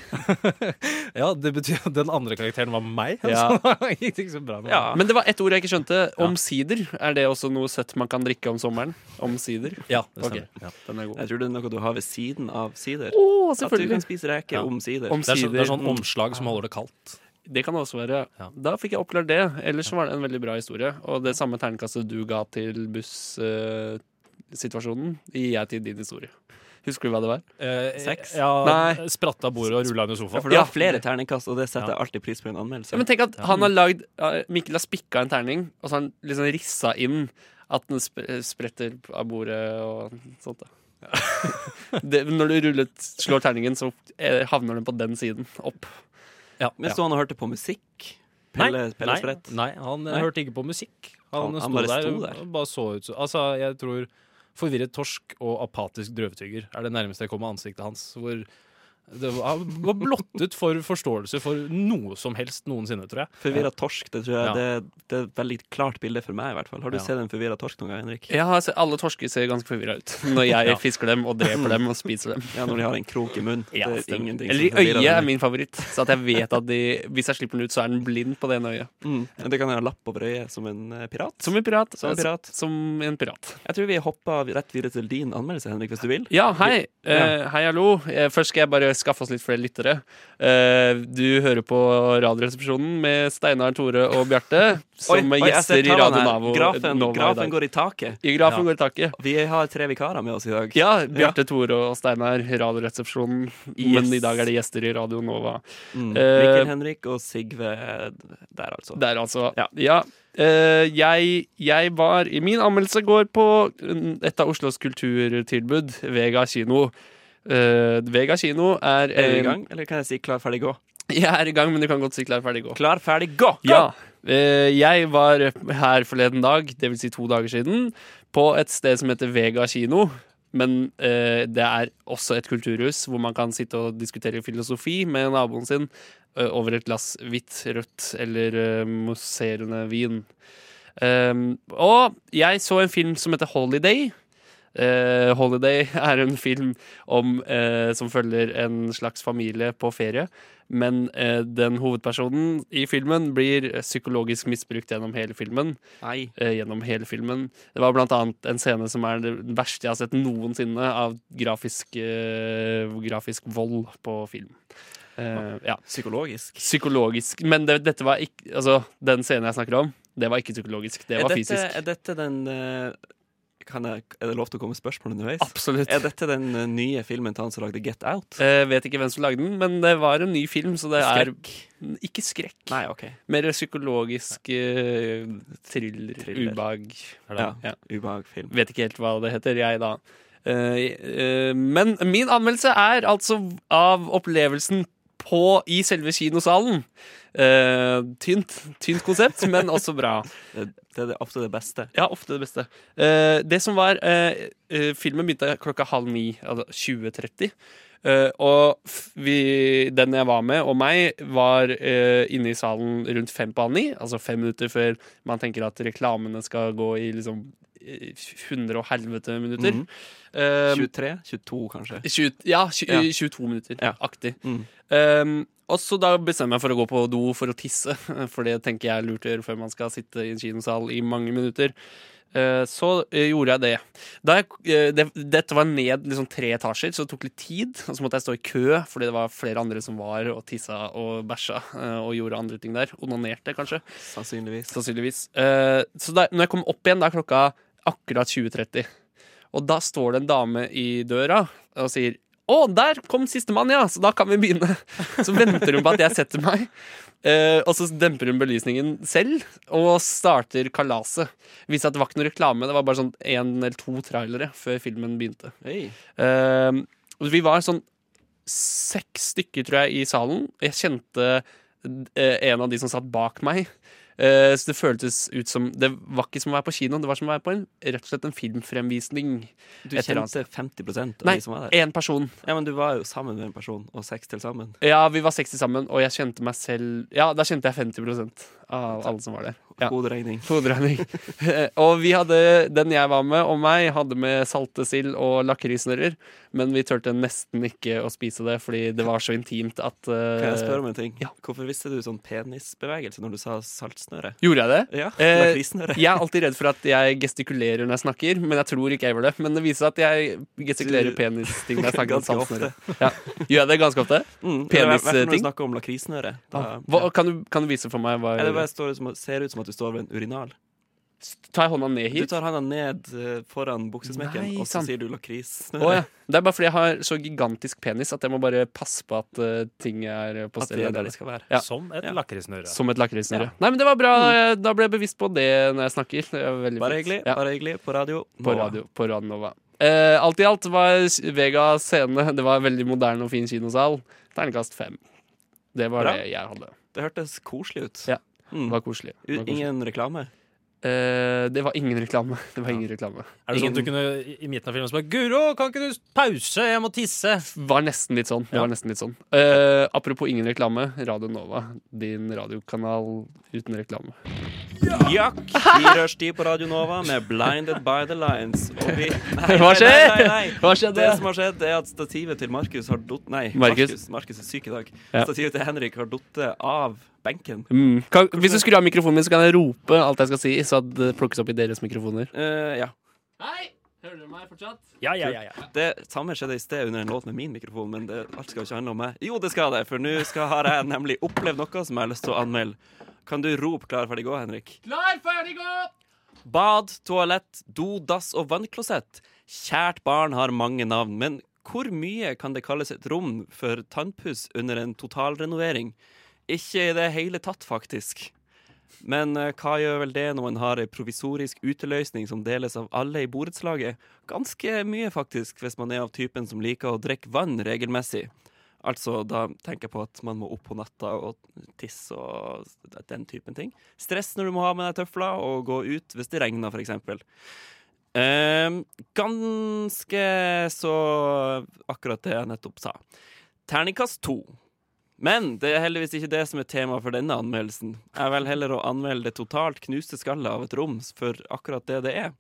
Speaker 6: Ja, det betyr at den andre karakteren var meg.
Speaker 1: Ja.
Speaker 6: Så det gikk ikke så bra med
Speaker 1: Ja. Men det var ett ord jeg ikke skjønte. Omsider. Er det også noe søtt man kan drikke om sommeren? Omsider.
Speaker 6: meg. ja, det stemmer. Ja.
Speaker 1: Den er god.
Speaker 2: Jeg tror det er noe du har ved siden av sider. At
Speaker 1: Å,
Speaker 2: du kan
Speaker 1: selvfølgelig.
Speaker 2: spise reker
Speaker 6: Ja.
Speaker 2: omsider.
Speaker 6: Det, er så, det
Speaker 1: Omsider.
Speaker 6: er sånn omslag som holder det kaldt.
Speaker 1: Det kan det også være.
Speaker 6: Ja.
Speaker 1: Da fikk jeg oppklart det. Ellers så var det en veldig bra historie. Og det samme ternekastet du ga til bussituasjonen, gir jeg til din historie. Husker du hva det var?
Speaker 2: Sex?
Speaker 6: Eh, Ja,
Speaker 1: Nei.
Speaker 6: Spratt av bordet og rulla under
Speaker 2: Ja,
Speaker 6: sofaen.
Speaker 2: for du
Speaker 1: Ja.
Speaker 2: har flere terningkast, og det setter jeg alltid pris på i en anmeldelse.
Speaker 1: Ja, men tenk at han har lagd ja, Mikkel har spikka en terning, og så har han liksom rissa inn at den sp spretter av bordet og sånt. Da. Det, når du rullet, slår terningen, så eh, havner den på den siden. Opp.
Speaker 6: Ja.
Speaker 2: Men
Speaker 6: Ja.
Speaker 2: så han og hørte på musikk?
Speaker 6: Nei,
Speaker 2: Pelle, Pelle
Speaker 6: nei,
Speaker 2: Sprett?
Speaker 6: nei, han eh,
Speaker 2: Nei.
Speaker 6: hørte ikke på musikk.
Speaker 2: Han-
Speaker 6: Han,
Speaker 2: han
Speaker 6: sto,
Speaker 2: bare
Speaker 6: der,
Speaker 2: sto der.
Speaker 6: og bare så ut som Altså, jeg tror forvirret torsk og apatisk drøvtygger er det nærmeste jeg kommer ansiktet hans. Hvor det var, han var blottet for forståelse for noe som helst noensinne, tror jeg.
Speaker 2: Forvirra torsk, det tror jeg
Speaker 6: Ja.
Speaker 2: det, det er et veldig klart bilde for meg. i hvert fall Har du
Speaker 6: Ja.
Speaker 2: sett en forvirra torsk noen gang, Henrik?
Speaker 1: Jeg har sett, altså, alle torsker ser ganske forvirra ut når jeg
Speaker 6: Ja.
Speaker 1: fisker dem og dreper dem og spiser dem.
Speaker 2: Ja, Når de har en krok i munnen.
Speaker 1: Ja,
Speaker 2: det er
Speaker 1: stemmer.
Speaker 2: ingenting
Speaker 1: Eller i øyet er
Speaker 2: dem.
Speaker 1: min favoritt. Så at jeg vet at de, hvis jeg slipper den ut, så er den blind på det ene øyet.
Speaker 2: Mm. Men Det kan jeg ha lapp over øyet som en eh, pirat.
Speaker 1: Som en pirat.
Speaker 2: Som en pirat.
Speaker 1: Som en pirat.
Speaker 2: Jeg tror vi hopper rett videre til din anmeldelse, Henrik, hvis du vil.
Speaker 1: Ja, hei.
Speaker 2: Ja.
Speaker 1: Eh, hei, hallo. Eh, først skal jeg bare skaffe oss litt flere lyttere. Eh, du hører på Radioresepsjonen med Steinar, Tore og Bjarte, som er
Speaker 2: jeg ser
Speaker 1: gjester i
Speaker 2: tallene
Speaker 1: Radio
Speaker 2: her.
Speaker 1: Navo.
Speaker 2: Grafen,
Speaker 1: Nova i dag.
Speaker 2: grafen går i taket.
Speaker 1: I grafen
Speaker 6: Ja.
Speaker 1: går i taket.
Speaker 2: Vi har tre vikarer med oss i dag.
Speaker 1: Ja, Bjarte, Tore og Steinar, Radioresepsjonen. Men i dag er det gjester i Radio Nova.
Speaker 2: Mm.
Speaker 1: Eh,
Speaker 2: Mikkel Henrik og Sigve der, altså.
Speaker 1: Der, altså.
Speaker 2: Ja.
Speaker 1: Eh, jeg, jeg var i Min anmeldelse går på et av Oslos kulturtilbud, Vega kino. Eh, Vega kino er
Speaker 2: Er vi i
Speaker 1: en-
Speaker 2: gang, eller kan jeg si klar, ferdig, gå?
Speaker 1: Jeg er i gang, men du kan godt si klar, ferdig, gå.
Speaker 2: Klar, ferdig, gå! gå!
Speaker 1: Ja. eh, Jeg var her forleden dag, dvs. Si to dager siden, på et sted som heter Vega kino. Men eh, det er også et kulturhus hvor man kan sitte og diskutere filosofi med naboen sin eh, over et glass hvitt, rødt eller eh, mousserende vin. Ehm, og jeg så en film som heter Holiday. Eh, Holiday er en film om, eh, som følger en slags familie på ferie. Men eh, den hovedpersonen i filmen blir eh, psykologisk misbrukt gjennom hele filmen.
Speaker 2: Nei.
Speaker 1: Eh, gjennom hele filmen Det var blant annet en scene som er den verste jeg har sett noensinne av grafisk, eh, grafisk vold på film. Eh, ja
Speaker 2: Psykologisk.
Speaker 1: Psykologisk. Men det, dette var ikke Altså, den scenen jeg snakker om, det var ikke psykologisk. Det var
Speaker 2: er, dette,
Speaker 1: fysisk.
Speaker 2: er dette den eh, kan jeg, er det lov til å komme med spørsmål underveis?
Speaker 1: Absolutt.
Speaker 2: Er dette den eh, nye filmen til han som lagde Get Out?
Speaker 1: Eh, vet ikke hvem som lagde den, men det var en ny film, så det er Ikke skrekk.
Speaker 2: Nei, OK.
Speaker 1: Mer psykologisk eh, thriller,
Speaker 2: Thriller.
Speaker 1: ubehag.
Speaker 2: Ja, Ubehagfilm.
Speaker 1: Vet ikke helt hva det heter, jeg, da. Eh, eh, men min anmeldelse er altså av opplevelsen på, i selve kinosalen. Eh, tynt, tynt konsept, men også bra.
Speaker 2: Det, det er det, ofte det beste.
Speaker 1: Ja, ofte det beste. Eh, det som var eh, eh, Filmen begynte klokka halv ni, altså 20.30. Eh, og f vi, den jeg var med, og meg, var eh, inne i salen rundt fem på halv ni. Altså fem minutter før man tenker at reklamene skal gå i liksom eh, hundre og helvete minutter.
Speaker 2: Mhm.
Speaker 1: Eh,
Speaker 2: 23? 22, kanskje?
Speaker 1: tjue- ja, tjue-
Speaker 2: Ja.
Speaker 1: 22 minutter
Speaker 2: Ja.
Speaker 1: aktig.
Speaker 2: Mm.
Speaker 1: Um, og så da bestemmer jeg for å gå på do for å tisse, for det tenker jeg er lurt å gjøre før man skal sitte i en kinosal i mange minutter. Eh, så eh, gjorde jeg det. Da jeg, eh, det. Dette var ned liksom tre etasjer, så det tok litt tid. Og så måtte jeg stå i kø, fordi det var flere andre som var og tissa og bæsja eh, og gjorde andre ting der. Onanerte, kanskje.
Speaker 2: Sannsynligvis.
Speaker 1: Sannsynligvis. Eh, så da, når jeg kom opp igjen, da er klokka akkurat 20.30. Og da står det en dame i døra og sier å, der kom sistemann, ja! Så da kan vi begynne. Så venter hun på at jeg setter meg. Eh, og så demper hun belysningen selv og starter kalaset. Det Viste seg at det var ikke noe reklame, det var bare sånn én eller to trailere før filmen begynte.
Speaker 2: Hey.
Speaker 1: Eh, og vi var sånn seks stykker, tror jeg, i salen. Jeg kjente eh, en av de som satt bak meg. Eh, så det føltes ut som Det var ikke som å være på kino, det var som å være på en, rett og slett en filmfremvisning.
Speaker 2: Du
Speaker 1: Et eller annet
Speaker 2: kjente 50 av
Speaker 1: Nei,
Speaker 2: de som var der?
Speaker 1: én person.
Speaker 2: Ja, men du var jo sammen med en person, og seks til sammen.
Speaker 1: Ja, vi var 60 sammen, og jeg kjente meg selv Ja, da kjente jeg 50 av alle som var der. Ja.
Speaker 2: God regning.
Speaker 1: Hoderegning. og vi hadde, den jeg var med, og meg, hadde med saltesild og lakrisnørrer. Men vi turte nesten ikke å spise det, fordi det var så intimt at eh,
Speaker 2: Kan jeg spørre om en ting?
Speaker 1: ja.
Speaker 2: Hvorfor visste du sånn penisbevegelse når du sa saltsnøre?
Speaker 1: Gjorde jeg det?
Speaker 2: Ja,
Speaker 1: Eh,
Speaker 2: lakrisnøre.
Speaker 1: Jeg er alltid redd for at jeg gestikulerer når jeg snakker, men jeg tror ikke jeg gjør det. Men det viser seg at jeg gestikulerer
Speaker 2: Du-
Speaker 1: penisting når jeg snakker om
Speaker 2: Ganske
Speaker 1: saltsnøre. Ja. Gjør jeg det ganske ofte?
Speaker 2: Mm, eller i hvert fall Når
Speaker 1: penisting? Ah,
Speaker 2: du snakker om lakrisnøre. da-
Speaker 1: Hva, kan, du, kan du vise for meg hva
Speaker 2: Eller
Speaker 1: jeg
Speaker 2: bare
Speaker 1: gjør?
Speaker 2: står ut som, ser ut som at du står ved en urinal.
Speaker 1: Tar jeg hånda ned
Speaker 2: Du
Speaker 1: hit?
Speaker 2: tar handa ned eh, foran buksesmekken,
Speaker 1: Nei,
Speaker 2: og så
Speaker 1: sant.
Speaker 2: sier du lakrisnøre.
Speaker 1: Å, ja. Det er bare fordi jeg har så gigantisk penis at jeg må bare passe på at eh, ting er på
Speaker 2: At det
Speaker 1: stedet
Speaker 2: er der
Speaker 1: der.
Speaker 2: det skal være.
Speaker 1: Ja.
Speaker 6: Som et
Speaker 2: Ja.
Speaker 6: lakrisnøre.
Speaker 1: Som et lakrisnøre. Nei, men det var bra. eh, Da ble jeg bevisst på det når jeg snakker. Det var
Speaker 2: Mm.
Speaker 1: veldig
Speaker 2: Bare
Speaker 1: fint.
Speaker 2: hyggelig,
Speaker 1: Ja.
Speaker 2: bare hyggelig. På radio.
Speaker 1: På
Speaker 2: Nå.
Speaker 1: radio, på Radio Nova. Eh, alt i alt var Vega scene Det var en veldig moderne og fin kinosal. Terningkast fem. Det var
Speaker 2: Bra.
Speaker 1: det jeg hadde.
Speaker 2: Det hørtes koselig ut.
Speaker 1: Ja. Det
Speaker 2: Mm.
Speaker 1: var koselig. Det var,
Speaker 2: U-
Speaker 1: koselig.
Speaker 2: Ingen reklame.
Speaker 1: Eh, det var ingen reklame. Det var ingen reklame.
Speaker 6: Er det sånn at du kunne i- i midten av filmen spørre Guro, kan ikke du pause? Jeg må tisse.
Speaker 1: Var nesten litt sånn. Det
Speaker 6: Ja.
Speaker 1: var nesten litt sånn. Eh, apropos ingen reklame. Radio Nova, din radiokanal uten reklame.
Speaker 2: Jack i rushtid på Radio Nova med 'Blinded by the Lines'. Og vi Nei,
Speaker 1: Hva skjer?
Speaker 2: Nei, nei, nei.
Speaker 1: Hva
Speaker 2: Det som har skjedd, er at stativet til Markus har dott... Nei,
Speaker 1: Markus.
Speaker 2: Markus Markus er syk i dag.
Speaker 1: Ja.
Speaker 2: Stativet til Henrik har dottet av benken.
Speaker 1: Mm. Kan, hvis du skrur av mikrofonen min, så kan jeg rope alt jeg skal si, så det plukkes opp i deres mikrofoner.
Speaker 2: Eh, ja.
Speaker 1: Hei! Hører du meg fortsatt?
Speaker 6: Ja, ja, ja, ja.
Speaker 2: Det samme skjedde i sted under en låt med min mikrofon, men det, alt skal jo ikke handle om meg. Jo, det skal det, for nå skal- har jeg nemlig opplevd noe som jeg har lyst til å anmelde. Kan du rope 'klar, ferdig, gå', Henrik?
Speaker 1: Klar, ferdig, gå!
Speaker 2: Bad, toalett, do, dass og vannklosett. Kjært barn har mange navn, men hvor mye kan det kalles et rom for tannpuss under en totalrenovering? Ikke i det hele tatt, faktisk. Men eh, hva gjør vel det når man har ei provisorisk uteløsning som deles av alle i borettslaget? Ganske mye, faktisk, hvis man er av typen som liker å drikke vann regelmessig. Altså, da tenker jeg på at man må opp på natta og tisse og den typen ting. Stress når du må ha med deg tøfler og gå ut hvis det regner, f.eks. Um, ganske så akkurat det jeg nettopp sa. Terningkast to. Men det er heldigvis ikke det som er tema for denne anmeldelsen. Jeg vil heller å anmelde det totalt knuste skallet av et rom for akkurat det det er.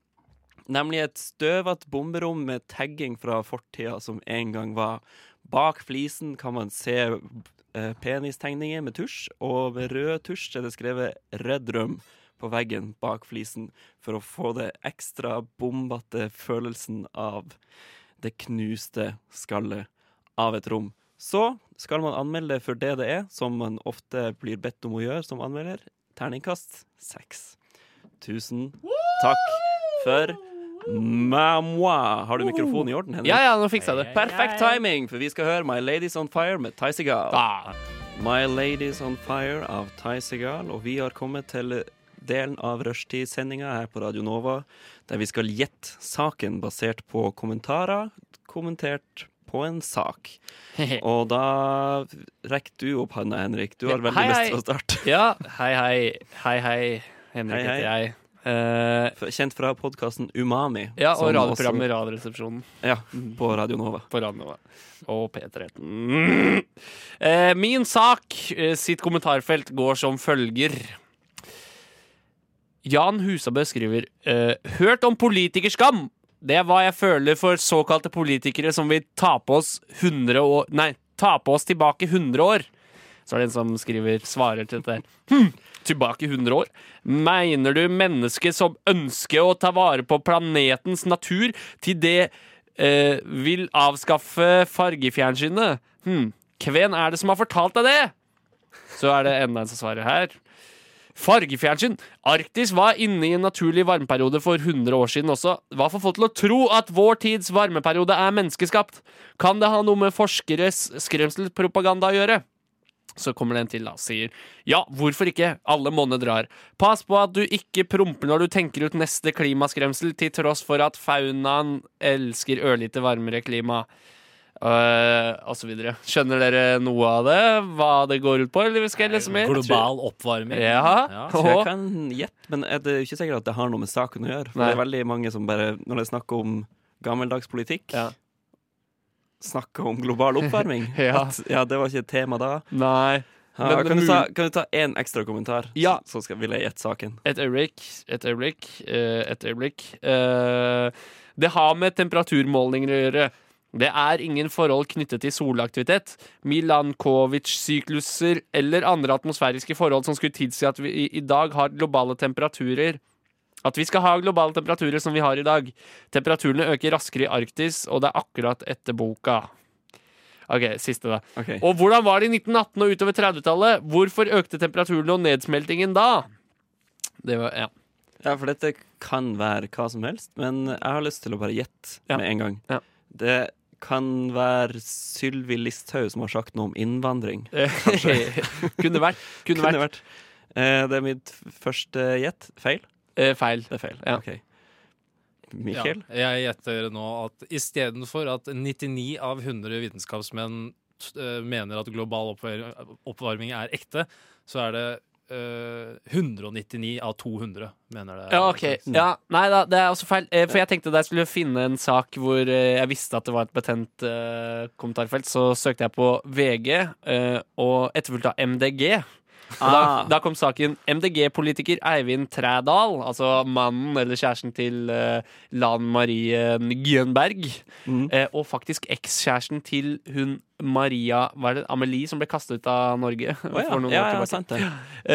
Speaker 2: Nemlig et støvete bomberom med tagging fra fortida som en gang var. Bak flisen kan man se eh, penistegninger med tusj, og med rød tusj er det skrevet 'Red Rum' på veggen bak flisen for å få det ekstra bombete følelsen av det knuste skallet av et rom. Så skal man anmelde det for det det er, som man ofte blir bedt om å gjøre som anmelder. Terningkast seks. Tusen takk for Mamoi. Har du mikrofonen i orden, Henrik?
Speaker 1: Ja, ja, nå fiksa jeg det.
Speaker 2: Perfekt timing, for vi skal høre My Ladies On Fire med Ty Segal.
Speaker 1: Ah,
Speaker 2: My Ladies On Fire av Ty Segal, og vi har kommet til delen av rushtidssendinga her på Radio Nova, der vi skal gjette saken basert på kommentarer kommentert på en sak. Og da rekker du opp handa, Henrik. Du har
Speaker 1: Ja,
Speaker 2: veldig
Speaker 1: hei,
Speaker 2: lyst
Speaker 1: hei.
Speaker 2: til å starte.
Speaker 1: ja, hei, hei. Hei, hei.
Speaker 2: Hei,
Speaker 1: Henrik
Speaker 2: hei.
Speaker 1: heter jeg. Eh,
Speaker 2: Kjent fra podkasten Umami.
Speaker 1: ja, og
Speaker 2: som
Speaker 1: radioprogrammet Radioresepsjonen
Speaker 2: også- Ja, på Radio Nova.
Speaker 1: på Radio Nova. Og P13. Mm. Eh, min sak eh, sitt kommentarfelt går som følger. Jan Husabø skriver eh, Hørt om politikerskam! Det er hva jeg føler for såkalte politikere som vil ta på oss 100 år Nei, ta på oss tilbake 100 år. Så er det en som skriver, svarer til dette her. Hm, tilbake 100 år? Mener du mennesket som ønsker å ta vare på planetens natur, til det eh, vil avskaffe fargefjernsynet? Hm, hvem er det som har fortalt deg det? Så er det enda en som svarer her. Fargefjernsyn. Arktis var inne i en naturlig varmeperiode for 100 år siden også. Hva får folk til å tro at vår tids varmeperiode er menneskeskapt? Kan det ha noe med forskeres skremselspropaganda å gjøre? Så kommer det en til da og sier Ja, hvorfor ikke? Alle måneder drar. Pass på at du ikke promper når du tenker ut neste klimaskremsel, til tross for at faunaen elsker ørlite varmere klima. Eh, og så videre. Skjønner dere noe av det? Hva det går ut på, eller skal jeg lese mer?
Speaker 6: Global oppvarming.
Speaker 1: Ja.
Speaker 6: Ja.
Speaker 2: Så jeg
Speaker 1: Og-
Speaker 2: kan gjette, men er det er ikke sikkert at det har noe med saken å gjøre. For
Speaker 1: Nei.
Speaker 2: det er veldig mange som bare, når det er snakk om gammeldags politikk,
Speaker 1: Ja.
Speaker 2: snakker om global oppvarming.
Speaker 1: Ja.
Speaker 2: At, ja, det var ikke et tema da.
Speaker 1: Nei.
Speaker 2: Ja,
Speaker 1: Men
Speaker 2: kan,
Speaker 1: mul-
Speaker 2: du ta, kan du ta én ekstra kommentar,
Speaker 1: Ja.
Speaker 2: så, så skal, vil jeg gjette saken?
Speaker 1: Et øyeblikk, et øyeblikk, eh, et øyeblikk. Eh, Det har med temperaturmålinger å gjøre. Det er ingen forhold knyttet til solaktivitet, Milankovic-sykluser eller andre atmosfæriske forhold som skulle tilsi at vi i- i dag har globale temperaturer. At vi skal ha globale temperaturer som vi har i dag. Temperaturene øker raskere i Arktis, og det er akkurat etter boka. OK, siste, da.
Speaker 2: Ok.
Speaker 1: Og hvordan var det i 1918 og utover 30-tallet? Hvorfor økte temperaturen og nedsmeltingen da? Det var, ja.
Speaker 2: Ja, for dette kan være hva som helst, men jeg har lyst til å bare gjette
Speaker 1: Ja.
Speaker 2: med en gang.
Speaker 1: Ja.
Speaker 2: Det kan være Sylvi Listhaug som har sagt noe om innvandring.
Speaker 1: kunne vært. Kunne
Speaker 2: Kunne
Speaker 1: vært.
Speaker 2: vært. Eh, det er mitt første gjett. Feil?
Speaker 1: Eh, feil.
Speaker 2: Det er feil.
Speaker 1: Ja.
Speaker 2: Ok. Mikkel?
Speaker 6: Ja, jeg gjetter nå at istedenfor at 99 av 100 vitenskapsmenn t- eh, mener at global oppvar- oppvarming er ekte, så er det eh, 199 av 200 mener det. er
Speaker 1: Ja, ok.
Speaker 2: Mm.
Speaker 6: korrekt.
Speaker 1: Ja, nei da, det er også feil. Eh, for jeg tenkte da jeg skulle finne en sak hvor eh, jeg visste at det var et betent eh, kommentarfelt, så søkte jeg på VG, eh, og etterfulgt av MDG. Og da,
Speaker 2: Ah.
Speaker 1: da kom saken MDG-politiker Eivind Trædal, altså mannen eller kjæresten til eh, Lan Marie Gønberg,
Speaker 2: Mm.
Speaker 1: eh, og faktisk ekskjæresten til hun Maria hva er det, Amelie, som ble kastet ut av Norge.
Speaker 2: Å ja.
Speaker 1: for noen
Speaker 2: ja, ja,
Speaker 1: år tilbake.
Speaker 2: sant det.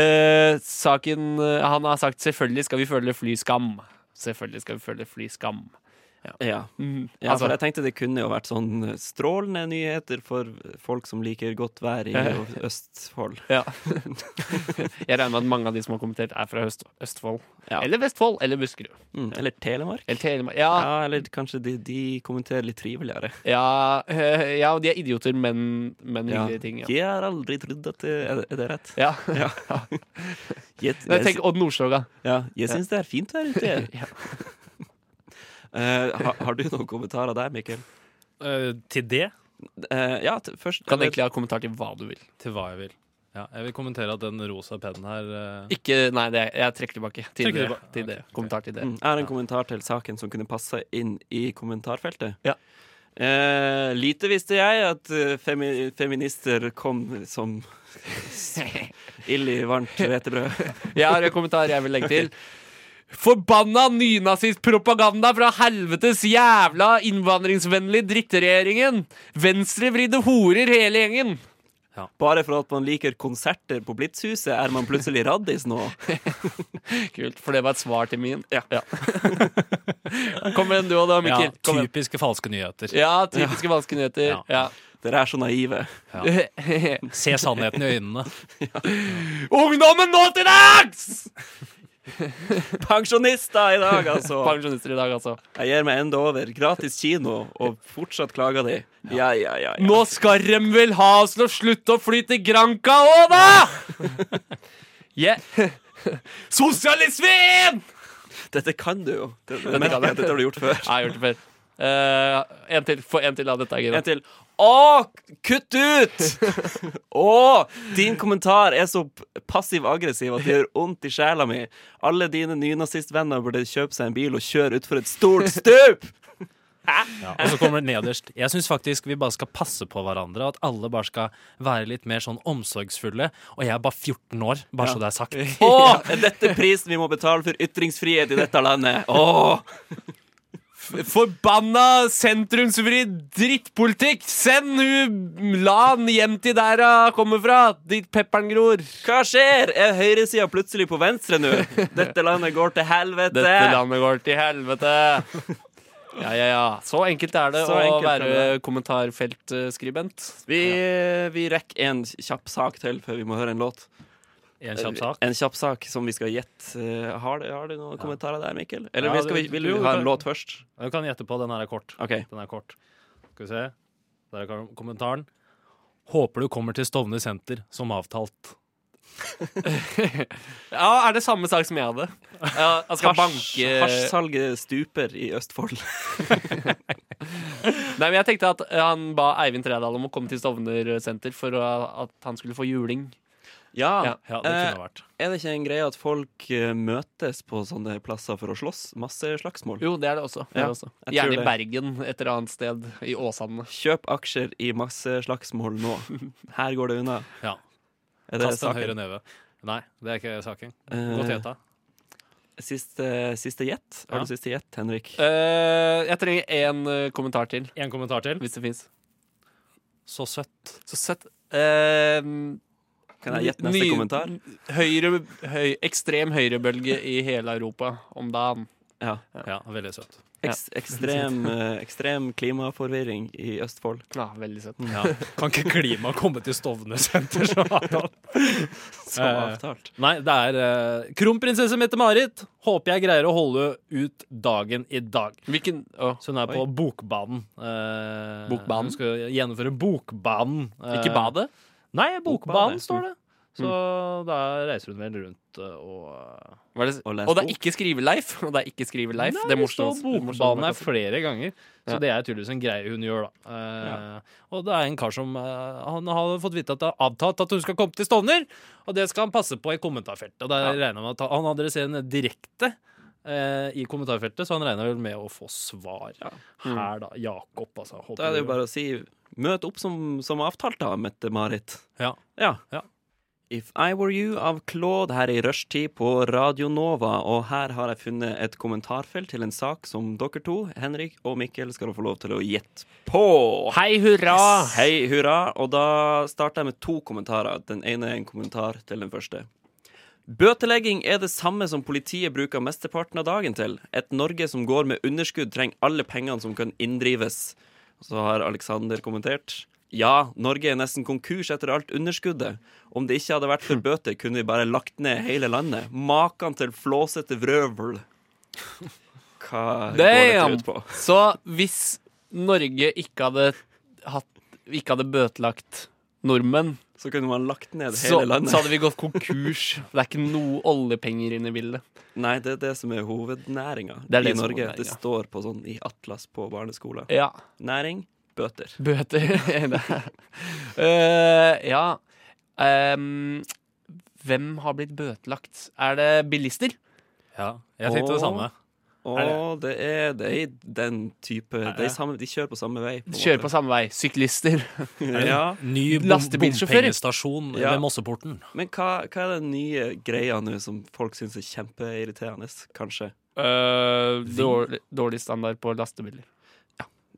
Speaker 1: Eh, saken eh, Han har sagt 'selvfølgelig skal vi føle flyskam'. Selvfølgelig skal vi føle flyskam.
Speaker 2: Ja.
Speaker 1: Mm.
Speaker 2: Ja,
Speaker 1: altså,
Speaker 2: for Mhm. jeg tenkte det kunne jo vært sånn strålende nyheter for eh, folk som liker godt vær i Østfold.
Speaker 1: ja. jeg regner med at mange av de som har kommentert, er fra Øst Østfold.
Speaker 2: Ja.
Speaker 1: Eller Vestfold. Eller Buskerud.
Speaker 2: Mm. Eller Telemark.
Speaker 1: Eller Telemark. Ja,
Speaker 2: Ja, eller kanskje de, de kommenterer litt triveligere.
Speaker 1: ja, eh, ja, og de er idioter, men, men
Speaker 2: Ja.
Speaker 1: hyggelige ting. Ja.
Speaker 2: Jeg har aldri trodd at det er, er det rett.
Speaker 1: Ja.
Speaker 2: Ja. Jeg,
Speaker 1: Men
Speaker 2: jeg,
Speaker 1: tenk Odd Nordstoga.
Speaker 2: ja, jeg syns det er fint der ute.
Speaker 1: Ja.
Speaker 2: Eh, har, har du noen kommentarer der, Mikkel?
Speaker 6: Eh, til det,
Speaker 2: Eh, ja, t først
Speaker 1: Kan egentlig ha kommentar til hva du vil.
Speaker 6: til hva jeg vil. Ja, jeg vil kommentere at den rosa pennen her eh,
Speaker 1: Ikke, nei, det, jeg trekker tilbake. Til
Speaker 6: Trekker
Speaker 1: dere.
Speaker 6: tilbake.
Speaker 1: Til
Speaker 6: Ok,
Speaker 1: dere.
Speaker 6: ok.
Speaker 1: Kommentar til dere.
Speaker 2: Mm, Jeg har en kommentar til saken som kunne passe inn i kommentarfeltet.
Speaker 1: Ja.
Speaker 2: Eh, lite visste jeg at eh, femi feminister kom som ild i varmt hvetebrød.
Speaker 1: Jeg har en kommentar jeg vil legge til. Forbanna nynazistpropaganda fra helvetes jævla innvandringsvennlige drittregjeringen! Venstrevridde horer hele gjengen!
Speaker 2: Bare for at man liker konserter på Blitzhuset, er man plutselig raddis nå.
Speaker 1: Kult, for det var et svar til min. Ja. Kom igjen, du og da,
Speaker 6: ja,
Speaker 1: Mikkel. Kom igjen.
Speaker 6: Typiske falske nyheter.
Speaker 1: Ja, typiske falske nyheter.
Speaker 6: Ja.
Speaker 1: Ja.
Speaker 2: Dere er så naive.
Speaker 6: Se sannheten i øynene.
Speaker 1: Ungdommen nå til dags!
Speaker 2: Pensjonister i dag, altså!
Speaker 1: Pensjonister i dag, altså.
Speaker 2: Jeg gir meg enda over. Gratis kino, og fortsatt klager de. Ja, ja, ja. ja.
Speaker 1: Nå skal de vel ha oss til å slutte å fly til Granca òg, da! yeah. Sosialismen!
Speaker 2: Dette kan du jo. Det- det-
Speaker 1: Dette kan jeg.
Speaker 2: Dette har du gjort før.
Speaker 1: Jeg har gjort det før. Eh, en til. Få en til av dette. Gina.
Speaker 2: En til. Å, kutt ut! Å, din kommentar er så p- passiv-aggressiv at det gjør vondt i sjela mi. Alle dine nynazistvenner burde kjøpe seg en bil og kjøre utfor et stort stup!
Speaker 6: Ja, og så kommer det nederst. Jeg syns faktisk vi bare skal passe på hverandre, og at alle bare skal være litt mer sånn omsorgsfulle. Og jeg er bare 14 år, bare så det er sagt.
Speaker 2: Å, er dette prisen vi må betale for ytringsfrihet i dette landet? Å,
Speaker 1: Forbanna sentrumsvridd drittpolitikk! Send hun Lan hjem til der hun kommer fra, dit pepperen gror.
Speaker 2: hva skjer? Er høyresida plutselig på venstre nå? Dette landet går til helvete.
Speaker 1: Dette landet går til helvete. Ja, ja, ja. Så enkelt er det
Speaker 2: Så
Speaker 1: å
Speaker 2: enkelt er
Speaker 1: være kommentarfeltskribent.
Speaker 2: Vi, vi rekker en kjapp sak til før vi må høre en låt.
Speaker 6: En kjapp sak.
Speaker 2: En kjapp sak som vi skal gjette. Eh, Har, du- har du noen kommentarer der, Mikkel? Eller
Speaker 6: Ja,
Speaker 2: vi skal,
Speaker 6: det-
Speaker 2: vi- vil
Speaker 6: jo,
Speaker 2: du ha en
Speaker 6: det-
Speaker 2: låt først?
Speaker 6: Du kan gjette på. Den her er kort.
Speaker 2: OK.
Speaker 6: Den er kort. Skal vi se. Der er kom- kommentaren. Håper du kommer til Stovner senter som avtalt.
Speaker 1: Ja, er det samme sak som jeg hadde? Ja, jeg skal
Speaker 2: Hasj-
Speaker 1: banke
Speaker 2: Hasjsalget stuper i Østfold.
Speaker 1: Nei, men jeg tenkte at eh, han ba Eivind Tredal om å komme til Stovner senter for å- at han skulle få juling.
Speaker 2: Ja,
Speaker 6: Ja, det
Speaker 2: eh,
Speaker 6: kunne det vært.
Speaker 2: Er det ikke en greie at folk eh, møtes på sånne plasser for å slåss? Masse slagsmål.
Speaker 1: Jo, det er det også. Det
Speaker 2: Ja,
Speaker 1: er det også.
Speaker 2: jeg tror
Speaker 1: Gjerne
Speaker 2: det.
Speaker 1: i Bergen, et eller annet sted. I Åsane.
Speaker 2: Kjøp aksjer i masse slagsmål nå. Her går det unna.
Speaker 6: Ja.
Speaker 2: Er det
Speaker 6: Kast en høyre
Speaker 2: saken?
Speaker 6: neve. Nei, det er ikke saken. Gå til
Speaker 2: Eh,
Speaker 6: Eta.
Speaker 2: siste, siste gjett? Har
Speaker 6: Ja.
Speaker 2: du siste gjett, Henrik?
Speaker 1: Eh, jeg trenger én eh, kommentar til,
Speaker 6: En kommentar til.
Speaker 1: hvis det fins.
Speaker 6: Så søtt.
Speaker 1: Så sett eh,
Speaker 2: Kan jeg gjette neste
Speaker 1: ny-
Speaker 2: kommentar?
Speaker 1: Høyre, høy, ekstrem høyrebølge i hele Europa om dagen.
Speaker 2: Ja.
Speaker 6: Ja, veldig søtt.
Speaker 2: Eks, ekstrem, eh, ekstrem klimaforvirring i Østfold.
Speaker 1: Ja, veldig søtt.
Speaker 2: Mm.
Speaker 6: Ja. Kan ikke klima komme til Stovner senter som avtalt?
Speaker 2: Som
Speaker 6: Eh,
Speaker 2: avtalt.
Speaker 6: Nei, det er eh, Kronprinsesse Mette-Marit. Håper jeg greier å holde ut dagen i dag.
Speaker 1: Hvilken å,
Speaker 6: Så hun er
Speaker 2: Oi.
Speaker 6: på Bokbanen. Eh,
Speaker 1: Bokbanen?
Speaker 6: Hun skal gjennomføre Bokbanen. eh,
Speaker 1: Ikke badet? Mm.
Speaker 6: Nei,
Speaker 2: Bokbanen,
Speaker 6: Bokbanen står det. Så da reiser hun vel rundt eh, og eh,
Speaker 1: Hva er det?
Speaker 2: Og
Speaker 1: Og,
Speaker 2: les
Speaker 1: det
Speaker 2: bok.
Speaker 1: er ikke Skrive-Leif. Og det er ikke Skrive-Leif.
Speaker 6: Nei,
Speaker 1: Det er
Speaker 6: står
Speaker 1: morsomt.
Speaker 6: Bokbanen her flere ganger. Så
Speaker 1: Ja.
Speaker 6: det er tydeligvis en greie hun gjør, da. Eh, Og det er en kar som eh, Han har fått vite at det er avtalt at hun skal komme til Stovner, og det skal han passe på i kommentarfeltet. Og der regner han med at han adresserer henne direkte eh, i kommentarfeltet, så han regner vel med å få svar her, da. Jakob, altså.
Speaker 2: Mm.
Speaker 6: Håper
Speaker 2: Da er det jo
Speaker 6: du-
Speaker 2: bare å si møt opp som, som avtalt, da, Mette-Marit.
Speaker 6: Ja.
Speaker 2: Ja.
Speaker 6: Ja.
Speaker 2: If I Were You av Claude her i rushtid på Radio Nova, og her har jeg funnet et kommentarfelt til en sak som dere to, Henrik og Mikkel, skal få lov til å gjette på.
Speaker 1: Hei, hurra!
Speaker 2: Hei, hurra. Og da starter jeg med to kommentarer. Den ene er en kommentar til den første. Bøtelegging er det samme som politiet bruker mesteparten av dagen til. Et Norge som går med underskudd, trenger alle pengene som kan inndrives. Så har Alexander kommentert. Ja, Norge er nesten konkurs etter alt underskuddet. Om det ikke hadde vært for bøter, kunne vi bare lagt ned hele landet. Makan til flåsete vrøvl. Hva går dette
Speaker 1: Damn!
Speaker 2: ut på?
Speaker 1: Så hvis Norge ikke hadde hatt Ikke hadde bøtelagt nordmenn,
Speaker 2: Så kunne man lagt ned
Speaker 1: så, så
Speaker 2: hele landet.
Speaker 1: hadde vi gått konkurs. Det er ikke noe oljepenger inne i bildet.
Speaker 2: Nei, det er det som er hovednæringa
Speaker 1: Det er
Speaker 2: i
Speaker 1: det som er
Speaker 2: Norge.
Speaker 1: hovednæringa.
Speaker 2: Det står på sånn i Atlas på barneskolen.
Speaker 1: Ja.
Speaker 2: Næring bøter.
Speaker 1: Bøter. Eh, ja. Ehm, hvem har blitt bøtelagt? Er det bilister?
Speaker 6: ja. Jeg tenkte
Speaker 2: Og-
Speaker 6: det samme.
Speaker 2: Og det er de, den type de,
Speaker 6: ja.
Speaker 2: samme, de kjører på samme vei. en
Speaker 1: Kjører
Speaker 2: måte.
Speaker 1: på samme vei. Syklister.
Speaker 2: Ja.
Speaker 6: Ny bom-
Speaker 1: Lastebilsjåfører.
Speaker 6: bompengestasjon
Speaker 2: Ja.
Speaker 6: ved Mosseporten.
Speaker 2: Men hva, hva er den nye greia nå som folk syns er kjempeirriterende, kanskje?
Speaker 1: Eh, dårlig, dårlig standard på lastebiler.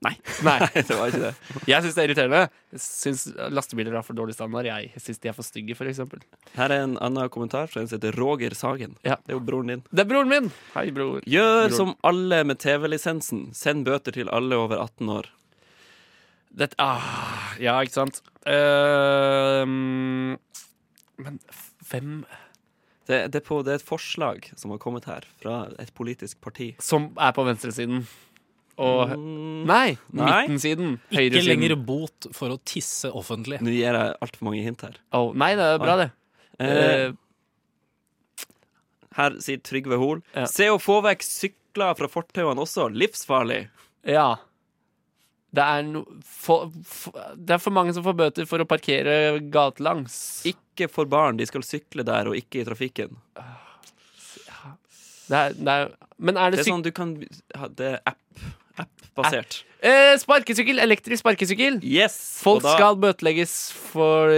Speaker 2: Nei.
Speaker 1: Nei.
Speaker 2: Nei, det var ikke det.
Speaker 1: Jeg syns det er irriterende. Jeg syns lastebiler har for dårlig standard. Jeg syns de er for stygge, f.eks.
Speaker 2: Her er en annen kommentar fra en som heter Roger Sagen.
Speaker 1: Ja.
Speaker 2: Det er jo broren din.
Speaker 1: Det er broren min! Hei, bror.
Speaker 2: Gjør som alle med TV-lisensen. Send bøter til alle over 18 år.
Speaker 1: Dette, ah, ja, ikke sant. Ehm, men f- hvem
Speaker 2: Det, det, er på, det er et forslag som har kommet her fra et politisk parti.
Speaker 1: Som er på venstresiden. Og
Speaker 2: Mm,
Speaker 1: Nei,
Speaker 2: Nei.
Speaker 1: midtensiden.
Speaker 6: Ikke lenger
Speaker 1: Høyresiden.
Speaker 6: bot for å tisse offentlig.
Speaker 2: nå gir jeg altfor mange hint her.
Speaker 1: Å, nei, det er bra, det.
Speaker 2: Eh,
Speaker 1: Eh,
Speaker 2: her sier Trygve Hol.
Speaker 1: Ja.
Speaker 2: Se å få vekk sykler fra fortauene også. Livsfarlig.
Speaker 1: ja. Det er, no, for, for, det er for mange som får bøter for å parkere gatelangs.
Speaker 2: Ikke for barn. De skal sykle der, og ikke i trafikken.
Speaker 1: Det er, det er, men er det,
Speaker 2: Det er
Speaker 1: syk...
Speaker 2: sånn du kan ha- Det er app. App-basert.
Speaker 1: eh, Sparkesykkel! Elektrisk sparkesykkel!
Speaker 2: Yes!
Speaker 1: Folk
Speaker 2: sånn- og da-
Speaker 1: skal bøtelegges for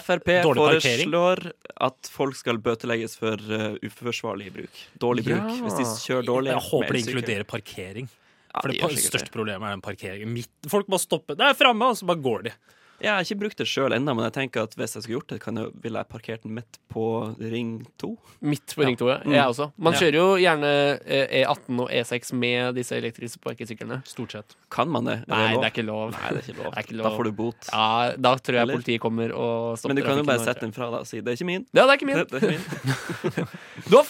Speaker 2: Frp
Speaker 6: Dårlig parkering.
Speaker 2: foreslår at folk skal bøtelegges for eh, uforsvarlig bruk. Dårlig
Speaker 1: Ja.
Speaker 2: bruk. Hvis de kjører dårlig.
Speaker 6: Jeg håper det
Speaker 2: med elsykkel.
Speaker 6: inkluderer parkering.
Speaker 2: Ja,
Speaker 6: For
Speaker 2: de
Speaker 6: det
Speaker 2: gjør
Speaker 6: pa-
Speaker 2: sikkert
Speaker 6: største problemet er den parkeringen. Midt, folk bare stopper. Det er framme, og så bare går de.
Speaker 2: det. Jeg har ikke brukt det sjøl ennå, men jeg tenker at hvis jeg skulle gjort det, kan jeg, ville jeg parkert den midt på ring 2.
Speaker 1: midt på Ring 2. Ja. Jeg også. Man kjører jo gjerne eh, E18 og E6 med disse elektriske sparkesyklene.
Speaker 6: Stort sett.
Speaker 2: Kan man det?
Speaker 1: Nei,
Speaker 2: lov?
Speaker 1: det er ikke lov.
Speaker 2: Nei, det er ikke lov.
Speaker 1: Det er ikke lov.
Speaker 2: Da får du bot.
Speaker 1: Ja, da tror jeg
Speaker 2: Eller?
Speaker 1: politiet kommer og stopper
Speaker 2: men du kan jo
Speaker 1: trafikken
Speaker 2: bare
Speaker 1: og-
Speaker 2: sette den fra deg og si 'det er ikke min'.
Speaker 1: Ja, det er ikke min.
Speaker 2: Det, det er ikke min.
Speaker 1: Du har,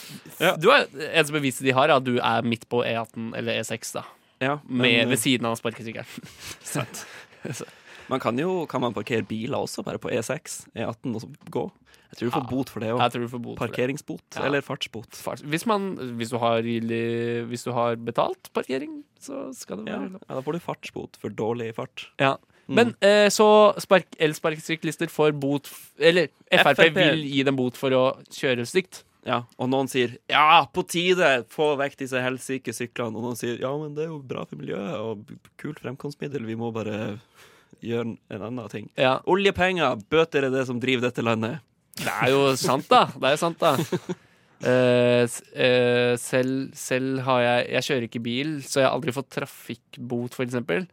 Speaker 1: du har, eneste beviset de har, er at du er midt på E18 eller E6, da.
Speaker 2: Ja,
Speaker 1: Med,
Speaker 2: men,
Speaker 1: ved siden av sparkesykkelen.
Speaker 2: eh, man kan jo kan man parkere biler også, bare på E E6, E18 og så gå. Jeg tror du får
Speaker 1: Ja.
Speaker 2: bot for det
Speaker 1: Jeg
Speaker 2: òg.
Speaker 1: tror du får bot for det.
Speaker 2: Parkeringsbot
Speaker 1: Ja.
Speaker 2: eller fartsbot.
Speaker 1: Fart- Hvis, man, hvis, du har, gyldig- hvis du har betalt parkering, så skal det
Speaker 2: Ja,
Speaker 1: være
Speaker 2: ja, da får du fartsbot for dårlig fart.
Speaker 1: Ja. Men eh, så spark, elsparkesyklister får bot f- Eller Frp,
Speaker 2: FrP.
Speaker 1: vil gi dem bot for å kjøre stygt.
Speaker 2: Ja, og noen sier 'ja, på tide, få vekk disse helsike syklene'. Og noen sier 'ja, men det er jo bra for miljøet og kult fremkomstmiddel, vi må bare gjøre en annen ting'.
Speaker 1: Ja,
Speaker 2: Oljepenger, bøter er det som driver dette landet.
Speaker 1: det er jo sant, da. Det er jo sant, da. Eh, s- eh, selv, selv har jeg Jeg kjører ikke bil, så jeg har aldri fått trafikkbot, for eksempel.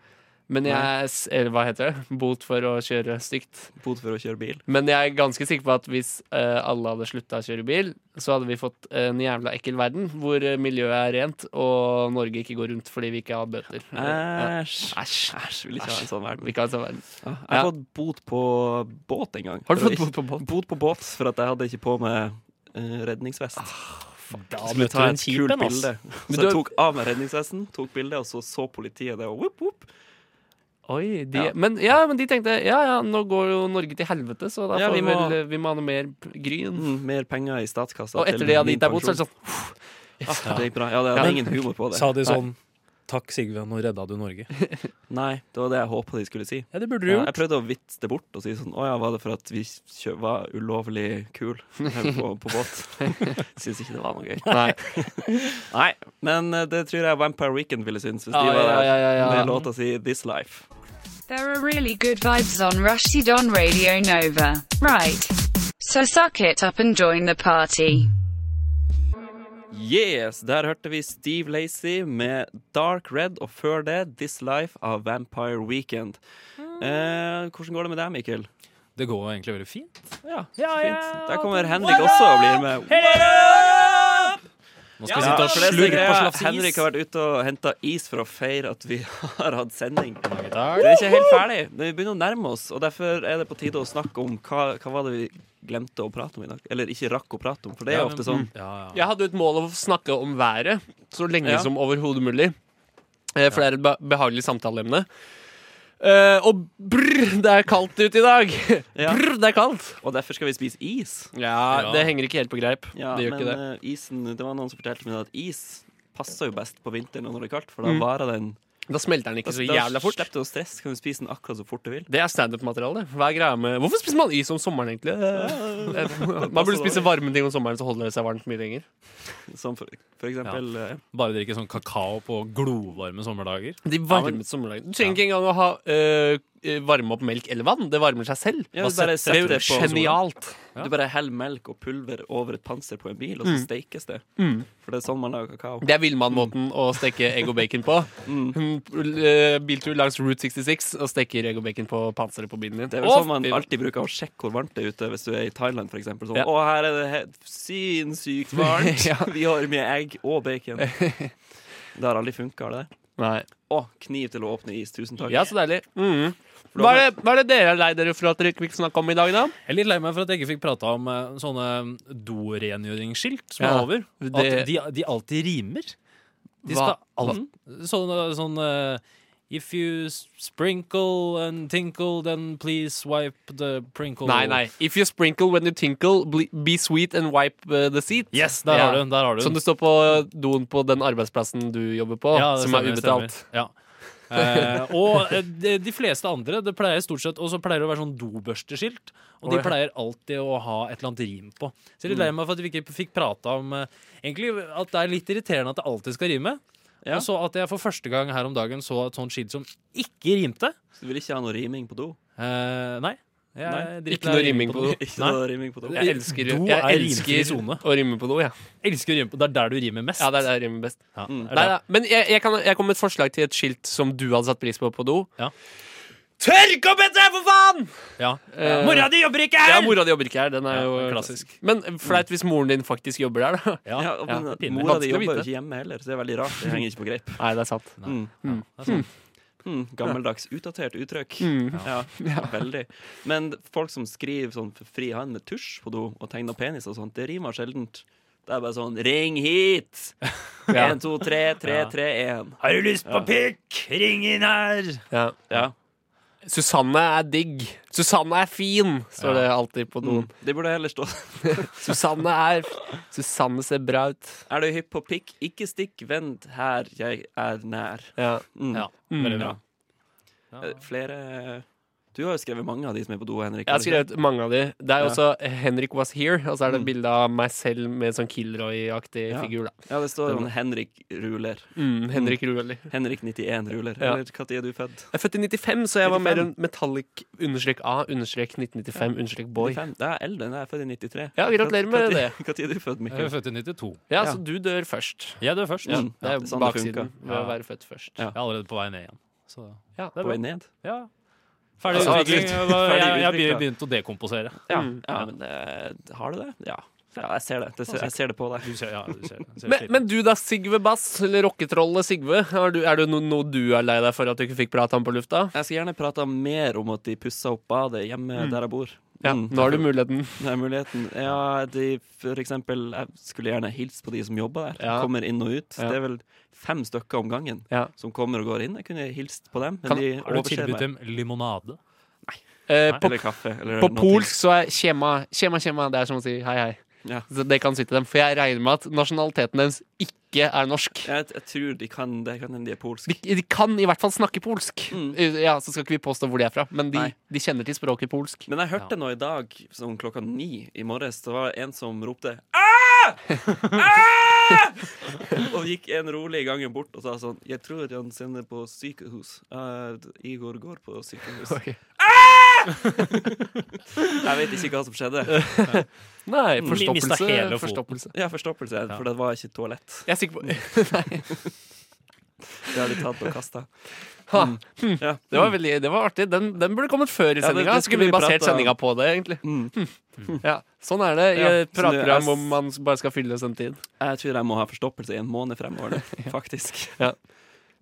Speaker 1: Men jeg s- Eller hva heter det? Bot for å kjøre stygt.
Speaker 2: Bot for å kjøre bil.
Speaker 1: Men jeg er ganske sikker på at hvis eh, alle hadde slutta å kjøre bil, så hadde vi fått en jævla ekkel verden hvor eh, miljøet er rent og Norge ikke går rundt fordi vi ikke har bøter. Ja.
Speaker 2: Æsj.
Speaker 1: Æsj.
Speaker 2: Æsj, vil ikke ha en sånn verden.
Speaker 1: Vi kan altså være-
Speaker 2: Ja, Jeg har
Speaker 1: Ja.
Speaker 2: fått bot på båt en gang.
Speaker 1: Har du
Speaker 2: For
Speaker 1: fått
Speaker 2: å
Speaker 1: bot
Speaker 2: ikke-
Speaker 1: på båt?
Speaker 2: Bot på båt for at jeg hadde ikke på meg eh, redningsvest.
Speaker 1: Ah,
Speaker 6: Da
Speaker 2: Skulle
Speaker 6: møter
Speaker 2: ta
Speaker 6: du
Speaker 2: et
Speaker 6: en kjip
Speaker 2: kult
Speaker 6: en, ass.
Speaker 2: bilde.
Speaker 1: Men
Speaker 2: Så
Speaker 1: du-
Speaker 2: jeg tok av meg redningsvesten, tok bilde, og så så politiet det, og whoop, whoop.
Speaker 1: Oi, de,
Speaker 2: Ja.
Speaker 1: Men, ja, men de tenkte ja, ja, nå går jo Norge til helvete, så da
Speaker 2: Ja,
Speaker 1: får
Speaker 2: vi
Speaker 1: vi,
Speaker 2: må-
Speaker 1: vel, eh, vi må ha noe mer p- gryn.
Speaker 2: Mm, mer penger i statskassa.
Speaker 1: Og etter det hadde gitt deg bot, så er det sånn
Speaker 2: ah, Det gikk bra. Ja, det
Speaker 1: Ja.
Speaker 2: hadde ingen humor på det.
Speaker 6: Sa de sånn Takk, Sigve, nå redda du Norge.
Speaker 2: Nei, det var det jeg håpa de skulle si.
Speaker 6: Ja, det burde du
Speaker 2: Ja, jeg
Speaker 6: gjort.
Speaker 2: prøvde å vitse det bort og si sånn Å ja, var det for at vi kjø var ulovlig kul på, på båt? Syns ikke det var noe gøy.
Speaker 1: sånn, Nei.
Speaker 2: Nei, men eh, det tror jeg Vampire Weekend ville synes hvis
Speaker 1: Ja,
Speaker 2: de var
Speaker 1: ja,
Speaker 2: der
Speaker 1: ja, ja, ja.
Speaker 2: med låta si This Life.
Speaker 8: There are really good vibes on Rushdie on Radio Nova. Right. So suck it up and join the party.
Speaker 2: Yes, der hørte vi Steve Lacey med Dark Red, og før det This Life av Vampire Weekend. Eh, hvordan går det med deg, Mikkel?
Speaker 6: Det går jo egentlig veldig fint.
Speaker 2: Ja,
Speaker 1: ja.
Speaker 2: fint. Der kommer Henrik også og blir med.
Speaker 6: Nå skal
Speaker 2: Ja,
Speaker 6: vi
Speaker 2: for
Speaker 6: sitte
Speaker 2: det
Speaker 6: og
Speaker 2: som er
Speaker 6: slurve på
Speaker 2: greia,
Speaker 6: slaps
Speaker 2: Henrik
Speaker 6: is.
Speaker 2: har vært ute og henta is for å feire at vi har hatt sending. Det
Speaker 6: Dag.
Speaker 2: er ikke helt ferdig. Vi begynner å nærme oss, og derfor er det på tide å snakke om hva, hva var det vi glemte å prate om i dag. Eller ikke rakk å prate om, for det er
Speaker 6: Ja,
Speaker 2: jo ofte sånn.
Speaker 6: Ja, ja.
Speaker 1: Jeg hadde jo et mål om å snakke om været så lenge
Speaker 2: Ja.
Speaker 1: som overhodet mulig. Eh, For det er et be- behagelig samtaleemne. Eh, og brr, det er kaldt ute i dag!
Speaker 2: Ja.
Speaker 1: Brr, det er kaldt!
Speaker 2: Og derfor skal vi spise is.
Speaker 1: Ja, Det henger ikke helt på greip.
Speaker 2: Ja,
Speaker 1: det gjør
Speaker 2: men
Speaker 1: ikke det.
Speaker 2: eh, isen Det var noen som fortalte meg at is passer jo best på vinteren og når det er kaldt, for da varer den
Speaker 1: eh, Da smelter den ikke Mm. så
Speaker 2: da
Speaker 1: jævla fort.
Speaker 2: slipper du å stresse, kan du spise den akkurat så fort du vil.
Speaker 1: Det er standup-materiale. Hva er greia med Hvorfor spiser man is om sommeren, egentlig? Eh, Man burde spise varme ting om sommeren, så holder det seg varmt mye lenger.
Speaker 2: Som for, for eksempel eh,
Speaker 6: Bare drikke sånn kakao på glovarme sommerdager.
Speaker 1: De varmet sommerdagen. Du trenger ikke engang å ha eh, eh, varme opp melk eller vann. Det varmer seg selv.
Speaker 2: Ja, du bare
Speaker 1: Det er
Speaker 2: setter
Speaker 1: jo
Speaker 2: det på
Speaker 1: genialt.
Speaker 2: Du bare heller melk og pulver over et panser på en bil, og så steikes det. For det er sånn man lager kakao.
Speaker 1: Mm. Det er villmann-måten å steke egg og bacon på. Mm, eh, Biltur langs Route 66 og steker egg og bacon på panseret på bilen din.
Speaker 2: Det er vel
Speaker 1: Å,
Speaker 2: sånn man
Speaker 1: fy-
Speaker 2: alltid bruker å sjekke hvor varmt det er ute hvis du er i Thailand, for eksempel. Sånn,
Speaker 1: Ja.
Speaker 2: Å, her er det helt sinnssykt varmt!
Speaker 1: Ja.
Speaker 2: Vi har mye egg og bacon. Det har aldri funka, har det?
Speaker 1: Nei.
Speaker 2: Å, kniv til å åpne is. Tusen takk.
Speaker 1: Ja, så deilig. Mhm. Hva, er det, hva er det dere er lei dere for at dere ikke fikk snakke om i dag, da?
Speaker 6: Jeg er litt lei meg for at jeg ikke fikk prata om eh, sånne dorengjøringsskilt som
Speaker 1: Ja,
Speaker 6: er over. At
Speaker 1: det-
Speaker 6: de, de alltid rimer. De
Speaker 1: Hva-
Speaker 6: skal alt, sånn, eh, sånn eh, If you sprinkle and tinkle, then please wipe the prinkle
Speaker 1: Nei, nei. If you sprinkle when you tinkle, ble- be sweet and wipe uh, the seat.
Speaker 6: Yes, der
Speaker 1: Ja.
Speaker 6: har du den. Der har du den.
Speaker 1: Som det står på doen på den arbeidsplassen du jobber på,
Speaker 6: Ja, det
Speaker 1: som
Speaker 6: stemmer,
Speaker 1: er
Speaker 6: det
Speaker 1: ubetalt.
Speaker 6: stemmer. Ja. Eh, og eh, de, de fleste andre Det pleier stort sett Og så pleier det å være sånn dobørsteskilt. Og de
Speaker 1: Å, ja.
Speaker 6: pleier alltid å ha et eller annet rim på. Så jeg er litt lei
Speaker 1: Mm.
Speaker 6: meg for at vi ikke fikk prata om eh, Egentlig at det er litt irriterende at det alltid skal rime.
Speaker 2: Ja.
Speaker 6: Og så at jeg for første gang her om dagen så et sånt skilt som ikke rimte.
Speaker 2: Så du vil ikke ha noe riming på do?
Speaker 6: Eh, nei. Jeg
Speaker 2: Nei,
Speaker 6: driter
Speaker 1: ikke noe
Speaker 6: i å rime
Speaker 1: riming på do.
Speaker 2: Ikke
Speaker 6: Nei.
Speaker 2: noe riming på do?
Speaker 1: Jeg elsker,
Speaker 6: Do
Speaker 1: jeg
Speaker 6: er rimfri
Speaker 1: elsker
Speaker 6: zone.
Speaker 1: å rime på do, jeg. Ja.
Speaker 6: Jeg elsker å rime på Det er der du rimer mest.
Speaker 1: ja, det er det jeg rimer best.
Speaker 6: Ja, det er
Speaker 1: Nei,
Speaker 6: det.
Speaker 1: da. Men jeg, jeg, kan, jeg kom med et forslag til et skilt som du hadde satt pris på på do.
Speaker 6: Ja.
Speaker 1: Tørk opp etter deg, for faen!
Speaker 6: Ja.
Speaker 1: Eh,
Speaker 6: Mora di jobber ikke
Speaker 1: Ja,
Speaker 6: her!
Speaker 1: mora di jobber ikke her. Den er
Speaker 6: Ja,
Speaker 1: jo
Speaker 6: klassisk.
Speaker 1: Men flaut hvis moren din faktisk jobber der, da.
Speaker 6: Ja,
Speaker 2: Ja, men
Speaker 6: ja, pinlig.
Speaker 2: Mora di
Speaker 1: Vanskelig å
Speaker 2: jobber jo
Speaker 1: vite.
Speaker 2: ikke hjemme heller, så det er veldig rart. Det henger ikke på greip.
Speaker 1: Nei, det er sant.
Speaker 6: det er sant.
Speaker 2: Mm, gammeldags, utdatert uttrykk.
Speaker 6: Mm.
Speaker 2: Ja, veldig. Men veldig. folk som skriver sånn for fri hand med tusj på do og tegner penis og sånt, det rimer sjeldent. Det er bare sånn 'ring hit'!
Speaker 1: Ja.
Speaker 2: 1, 2, 3, 3,
Speaker 6: Ja.
Speaker 2: 3, 1.
Speaker 6: Har du lyst på pikk? Ring inn her!
Speaker 1: Ja.
Speaker 2: Ja.
Speaker 1: Susanne er digg. Susanne er fin, står det alltid på doen.
Speaker 2: Mm. Det burde heller stå
Speaker 1: Susanne er Susanne ser bra ut.
Speaker 2: Er du hypp på pikk? Ikke stikk, vent her, jeg er nær.
Speaker 1: Ja.
Speaker 2: Mm.
Speaker 6: Ja, veldig bra.
Speaker 2: Eh, Flere Du har jo skrevet mange av de som er på do, Henrik.
Speaker 1: Jeg har skrevet mange av de. Det er jo også eh, 'Henrik was here', og så er det et bilde av meg selv med sånn Kilroy-aktig
Speaker 2: Mm. Ja.
Speaker 1: figur. da
Speaker 2: Ja, det står sånn Henrik Ruler.
Speaker 1: mm, Henrik Ruelli.
Speaker 2: Henrik 91 Ruler.
Speaker 1: Ja.
Speaker 2: Eller når er du født?
Speaker 1: Jeg er født i 95, så jeg var
Speaker 2: 95.
Speaker 1: mer en metallic understrek A, understrek 1995, understrek boy.
Speaker 2: 95. Det er eldre, jeg er født i 93.
Speaker 1: Ja, gratulerer med
Speaker 2: Når-
Speaker 1: det.
Speaker 2: Når er du født,
Speaker 6: Jeg er
Speaker 2: Mikkel?
Speaker 6: født i 92.
Speaker 1: Ja,
Speaker 2: Ja.
Speaker 1: så du dør først.
Speaker 6: Jeg dør først.
Speaker 2: Ja.
Speaker 6: Jeg
Speaker 1: Det er
Speaker 2: det er sånn det
Speaker 1: baksiden
Speaker 2: funker.
Speaker 1: ved å
Speaker 6: Ja.
Speaker 1: være født først.
Speaker 2: Ja.
Speaker 6: er allerede på vei ned igjen. Så
Speaker 1: Ja.
Speaker 6: det
Speaker 2: På vei
Speaker 6: er bra.
Speaker 2: ned?
Speaker 6: Ja. Ferdig
Speaker 1: Altså,
Speaker 2: Ja,
Speaker 6: utvikling.
Speaker 2: absolutt.
Speaker 6: Jeg, jeg,
Speaker 2: Ferdig
Speaker 6: jeg
Speaker 2: utviklet.
Speaker 6: begynte å dekomposere.
Speaker 2: Ja.
Speaker 1: Mm.
Speaker 2: ja, men det, har du det? Ja. ja jeg ser det. det ser, jeg ser det på deg.
Speaker 6: Du ser, ja, du ser, ser
Speaker 1: Men,
Speaker 6: slitt.
Speaker 1: men du da, Sigve Bass, eller rocketrollet Sigve. Er, du, er det no, noe du er lei deg for at du ikke fikk prate om på lufta?
Speaker 2: Jeg skal gjerne prate mer om at de pussa opp badet hjemme der jeg bor.
Speaker 1: Ja,
Speaker 2: Mm.
Speaker 1: Nå har du muligheten.
Speaker 2: Det er muligheten. Ja, de, for eksempel, jeg skulle gjerne hilse på de som jobber der.
Speaker 1: Ja.
Speaker 2: Kommer inn og ut.
Speaker 1: Ja.
Speaker 2: Det er vel fem stykker om gangen
Speaker 1: Ja.
Speaker 2: som kommer og går inn. Jeg kunne hilst på dem, men
Speaker 1: Kan-
Speaker 2: de
Speaker 6: Har du
Speaker 2: overser
Speaker 6: tilbudt
Speaker 2: meg.
Speaker 6: dem limonade?
Speaker 1: Eh, på
Speaker 2: Eller kaffe. Eller
Speaker 1: på
Speaker 2: noe
Speaker 1: polsk så er kjema, kjema, kjema. Det er som å si hei, hei.
Speaker 2: Ja.
Speaker 1: Så det kan si til dem. For jeg regner med at nasjonaliteten deres ikke er norsk.
Speaker 2: Jeg, jeg tror de kan det, kan hende de er polsk.
Speaker 1: De, de kan i hvert fall snakke polsk. Eh,
Speaker 2: Mm.
Speaker 1: Ja, Så skal ikke vi påstå hvor de er fra, men de,
Speaker 2: Nei.
Speaker 1: de kjenner til språket polsk.
Speaker 2: Men jeg hørte noe i dag, som klokka ni i morges, det var en som ropte Æ! Æ! Og gikk en rolig i gangen bort og sa sånn Jeg tror han sender på sykehus. Eh, Igor går på sykehus.
Speaker 1: Ok.
Speaker 2: Jeg vet ikke hva som skjedde.
Speaker 1: Nei,
Speaker 6: Mm.
Speaker 1: forstoppelse.
Speaker 6: Mistet hele foten.
Speaker 1: forstoppelse.
Speaker 2: Ja, forstoppelse, for det var ikke toalett.
Speaker 1: Jeg er sikker på
Speaker 2: Mm. Det har de tatt og kasta.
Speaker 1: ha,
Speaker 2: Ja.
Speaker 1: det, var veldig, det var artig. Den, den burde kommet før i
Speaker 2: Mm. det-
Speaker 1: sendinga.
Speaker 2: det
Speaker 1: skulle
Speaker 2: skulle
Speaker 1: vi
Speaker 2: vi
Speaker 1: basert
Speaker 2: prate om.
Speaker 1: sendinga på det, egentlig.
Speaker 2: Mm.
Speaker 1: Ja, Sånn er det i
Speaker 2: Ja,
Speaker 1: et
Speaker 2: så det er
Speaker 1: pratprogram
Speaker 2: s-
Speaker 1: hvor man bare skal fylle sin tid.
Speaker 2: Jeg tror jeg må ha forstoppelse i en måned fremover, faktisk. Mm.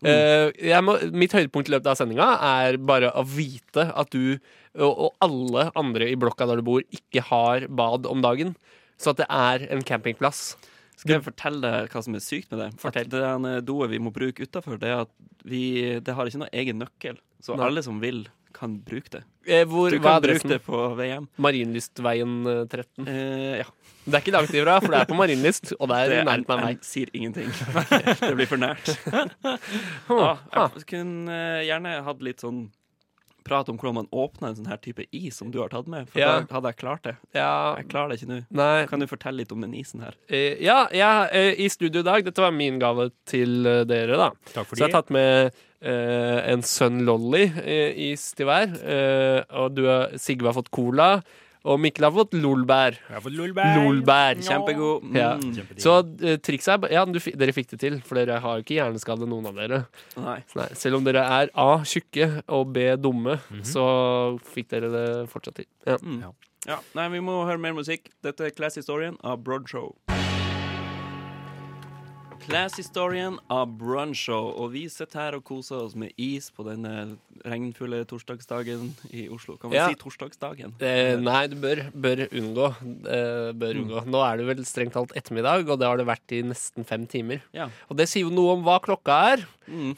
Speaker 1: Eh, jeg må, mitt høydepunkt i løpet av sendinga er bare å vite at du og, og alle andre i blokka der du bor, ikke har bad om dagen. Så at det er en campingplass.
Speaker 2: Skal jeg fortelle deg hva som er sykt med det?
Speaker 1: Fortell.
Speaker 2: At det ene doet vi må bruke utafor, det er at vi, det har ikke noen egen nøkkel. Så
Speaker 1: Nei.
Speaker 2: alle som vil, kan bruke det.
Speaker 1: Eh, hvor,
Speaker 2: Du
Speaker 1: hva
Speaker 2: kan bruke
Speaker 1: er adressen?
Speaker 2: det på VM.
Speaker 1: Marienlystveien eh, 13.
Speaker 2: Eh, ja,
Speaker 1: Det er ikke langt ifra, for det er på Marienlyst, og det er
Speaker 2: det
Speaker 1: i
Speaker 2: er, jeg,
Speaker 1: nærheten av meg.
Speaker 2: sier ingenting. Det blir for nært. Ja,
Speaker 1: Ah,
Speaker 2: jeg kunne eh, gjerne hatt litt sånn prat om hvordan man åpner en sånn her type is som du har tatt med. For
Speaker 1: Ja.
Speaker 2: da hadde jeg klart det.
Speaker 1: ja,
Speaker 2: Jeg klarer det ikke nå.
Speaker 1: nei
Speaker 2: Kan du fortelle litt om den isen her?
Speaker 1: eh, Ja, ja eh, i studio i dag. Dette var min gave til eh, dere, da.
Speaker 6: Takk for
Speaker 1: Så jeg har
Speaker 6: det.
Speaker 1: tatt med eh, en Sun Lolly eh, is til hver. eh, og du, har- Sigve har fått cola, og Mikkel har fått lolbær.
Speaker 6: Jeg har fått
Speaker 1: Lolbær.
Speaker 2: Kjempegod. Mm.
Speaker 1: Ja. Så eh, trikset er ba- Ja, du, fi- dere fikk det til, for dere har jo ikke hjerneskade, noen av dere.
Speaker 2: Nei.
Speaker 1: Så Nei, selv om dere er A tjukke og B dumme,
Speaker 6: Mhm.
Speaker 1: så fikk dere det fortsatt til. Ja.
Speaker 2: Ja. Nei, vi må høre mer musikk. Dette er Class Historien av Broadshow. Class-historien av Brunshow. Og vi sitter her og koser oss med is på denne regnfulle torsdagsdagen i Oslo. Kan man
Speaker 1: Ja.
Speaker 2: si torsdagsdagen?
Speaker 1: Eh, nei, du bør, bør unngå. Eh, bør unngå. Nå er det vel strengt talt ettermiddag, og det har det vært i nesten fem timer.
Speaker 2: Ja. Mm,
Speaker 1: Og det sier jo noe om hva klokka er,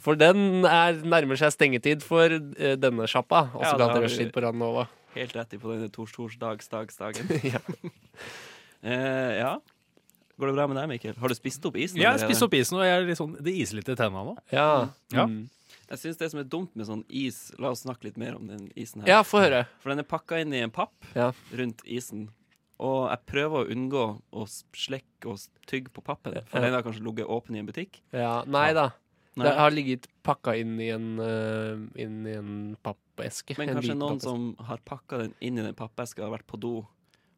Speaker 1: for den er, nærmer seg stengetid for eh, denne sjappa. Også
Speaker 2: Ja,
Speaker 1: kalt
Speaker 2: det har vi-
Speaker 1: rushtid på Randova.
Speaker 2: Helt rett i på denne tors torsdagsdagsdagen. ja. eh, ja. Går det bra med deg, Mikkel? Har du spist opp isen?
Speaker 6: Jeg har spist opp isen, og jeg er litt sånn, det iser litt i tenna nå.
Speaker 1: Ja.
Speaker 6: Ja.
Speaker 1: Mm.
Speaker 2: Jeg synes det som er dumt med sånn is La oss snakke litt mer om den isen her.
Speaker 1: ja, få høre.
Speaker 2: For den er pakka inn i en papp
Speaker 1: Ja.
Speaker 2: rundt isen. Og jeg prøver å unngå å s- slekke og s- tygge på pappen, for
Speaker 1: Ja.
Speaker 2: den har kanskje ligget åpen i en butikk.
Speaker 1: Ja, nei da.
Speaker 2: Nei.
Speaker 1: Det har ligget pakka inn i en, eh, inn i en pappeske.
Speaker 2: Men
Speaker 1: En
Speaker 2: kanskje
Speaker 1: liten
Speaker 2: noen
Speaker 1: pappeske.
Speaker 2: som har pakka den inn i den pappeska og har vært på do,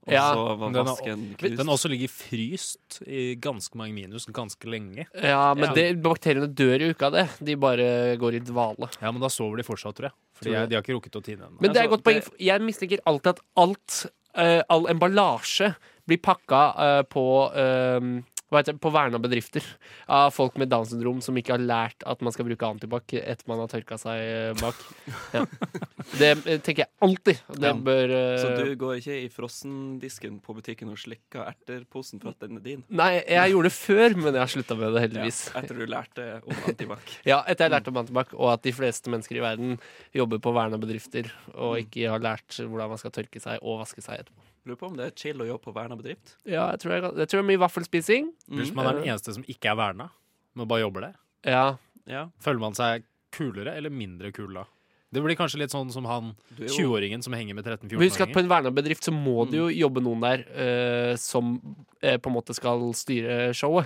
Speaker 2: og
Speaker 1: Ja,
Speaker 2: så var
Speaker 6: den er-
Speaker 2: vasken knust.
Speaker 6: Den også ligger fryst i ganske mange minus ganske lenge.
Speaker 1: Ja, men
Speaker 6: Ja.
Speaker 1: Det, bakteriene dør jo ikke av det. De bare går i dvale.
Speaker 6: Ja, men da sover de fortsatt, tror jeg.
Speaker 1: Tror
Speaker 6: Fordi
Speaker 1: du
Speaker 6: jeg, de har ikke rukket å tine ennå.
Speaker 1: Men det
Speaker 2: Altså,
Speaker 1: er et godt poeng.
Speaker 2: det-
Speaker 1: for Jeg mistenker alltid at alt, eh, all emballasje, blir pakka eh, på eh, hva heter det, på verna bedrifter av folk med Downs syndrom som ikke har lært at man skal bruke antibac etter man har tørka seg eh, bak. Ja. Det eh, tenker jeg alltid. Det
Speaker 2: Ja.
Speaker 1: bør eh,
Speaker 2: Så du går ikke i frossendisken på butikken og slikker erterposen for at den er din?
Speaker 1: Nei, jeg gjorde det før, men jeg har slutta med det,
Speaker 2: Ja,
Speaker 1: heldigvis.
Speaker 2: etter du lærte om antibac.
Speaker 1: Ja, etter jeg lærte om antibac, og at de fleste mennesker i verden jobber på verna bedrifter og ikke har lært hvordan man skal tørke seg og vaske seg etterpå.
Speaker 2: Lurer på om det er chill å jobbe på verna bedrift? Mm.
Speaker 1: Ja, jeg tror, jeg, jeg tror det er mye vaffelspising.
Speaker 6: Hvis man er den
Speaker 1: Mm.
Speaker 6: eneste som ikke er verna, men bare jobber der,
Speaker 1: Ja.
Speaker 2: Ja,
Speaker 6: føler man seg kulere eller mindre kul da? Det blir kanskje litt sånn som han
Speaker 2: du er jo
Speaker 6: 20-åringen som henger med
Speaker 1: Men husk at på
Speaker 6: 13-14-åringer.
Speaker 1: en verna bedrift så må det jo
Speaker 6: Mm.
Speaker 1: jobbe noen der eh, som eh, på en måte skal styre showet.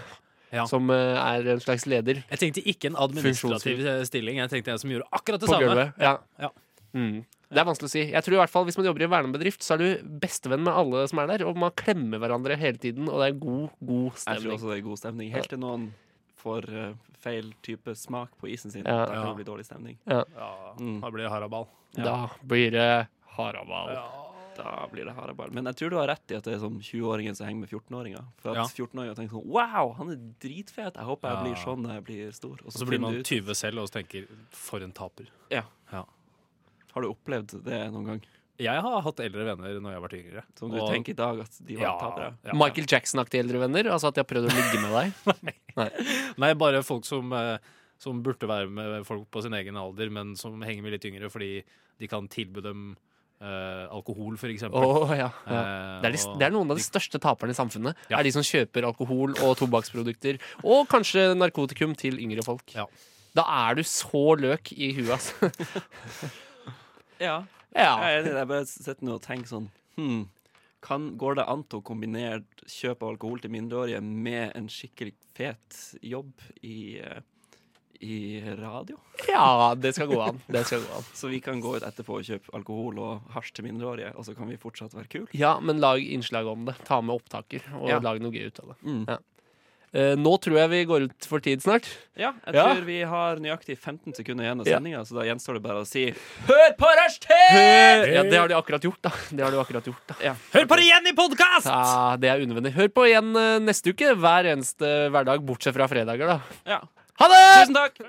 Speaker 6: Ja.
Speaker 1: Som eh, er en slags leder
Speaker 6: Jeg tenkte ikke en administrativ eh, stilling, jeg tenkte en som gjorde akkurat det
Speaker 1: på
Speaker 6: samme.
Speaker 1: gulvet. Ja.
Speaker 6: Ja.
Speaker 1: Mm. Det er vanskelig å si. Jeg tror i hvert fall Hvis man jobber i en vernebedrift, så er du bestevenn med alle som er der, og man klemmer hverandre hele tiden, og det er god, god
Speaker 2: Jeg tror
Speaker 1: stemning.
Speaker 2: også det er god stemning. Helt til noen får eh, feil type smak på isen sin.
Speaker 1: Ja.
Speaker 2: Da kan
Speaker 6: Ja.
Speaker 2: det bli dårlig stemning.
Speaker 6: Ja,
Speaker 2: Mm.
Speaker 6: da blir det haraball.
Speaker 2: Ja.
Speaker 1: Da blir det haraball.
Speaker 2: Da blir det haraball. Men jeg tror du har rett i at det er sånn 20-åringen som henger med 14-åringer. For at
Speaker 6: Ja.
Speaker 2: 14-åringer tenker sånn Wow, han er dritfet! Jeg håper jeg
Speaker 6: Ja.
Speaker 2: blir sånn når jeg blir stor. Og
Speaker 6: Og så blir
Speaker 2: finner
Speaker 6: man
Speaker 2: du ut-
Speaker 6: 20 selv og så tenker for en taper.
Speaker 2: Har du opplevd det noen gang?
Speaker 6: Jeg har hatt eldre venner når jeg har vært yngre.
Speaker 2: Som du
Speaker 6: og-
Speaker 2: tenker i dag at de var
Speaker 6: ja,
Speaker 2: tapere?
Speaker 6: ja.
Speaker 1: Michael Jackson-aktige eldre venner? Altså at de har prøvd å ligge med deg?
Speaker 6: Nei, bare folk som, eh, som burde være med folk på sin egen alder, men som henger med litt yngre fordi de kan tilby dem eh, alkohol, for eksempel.
Speaker 1: Åh, ja, ja.
Speaker 6: Eh,
Speaker 1: Det er, de,
Speaker 6: og
Speaker 1: det er noen av de største taperne i samfunnet.
Speaker 6: Ja.
Speaker 1: Er De som kjøper alkohol og tobakksprodukter. Og kanskje narkotikum til yngre folk.
Speaker 6: Ja.
Speaker 1: Da er du så løk i huet, altså.
Speaker 2: Ja.
Speaker 1: Ja.
Speaker 2: Jeg er enig. i det. Jeg bare sitter nå og tenker sånn hmm, kan, Går det an til å kombinere kjøp av alkohol til mindreårige med en skikkelig fet jobb i, eh, i radio?
Speaker 1: ja, det skal gå an. Det skal gå an.
Speaker 2: Så vi kan gå ut etterpå og kjøpe alkohol og hasj til mindreårige, og så kan vi fortsatt være kule?
Speaker 1: Ja, men lag innslag om det. Ta med opptaker, og
Speaker 2: Ja.
Speaker 1: lag noe gøy ut av det.
Speaker 2: Mm.
Speaker 1: Ja. Eh, nå tror jeg vi går ut for tid snart.
Speaker 2: Ja, jeg
Speaker 1: Ja.
Speaker 2: tror vi har nøyaktig 15 sekunder igjen av
Speaker 1: Ja.
Speaker 2: sendinga, så da gjenstår det bare å si
Speaker 1: Ja, det har de akkurat gjort, da. Det har de akkurat gjort, da.
Speaker 6: Hør på det igjen i podkast!
Speaker 1: Ja, det er unødvendig. Hør på igjen eh, neste uke. Hver eneste hverdag, bortsett fra fredager, da.
Speaker 2: Ja.
Speaker 1: Ha det!
Speaker 2: Tusen takk!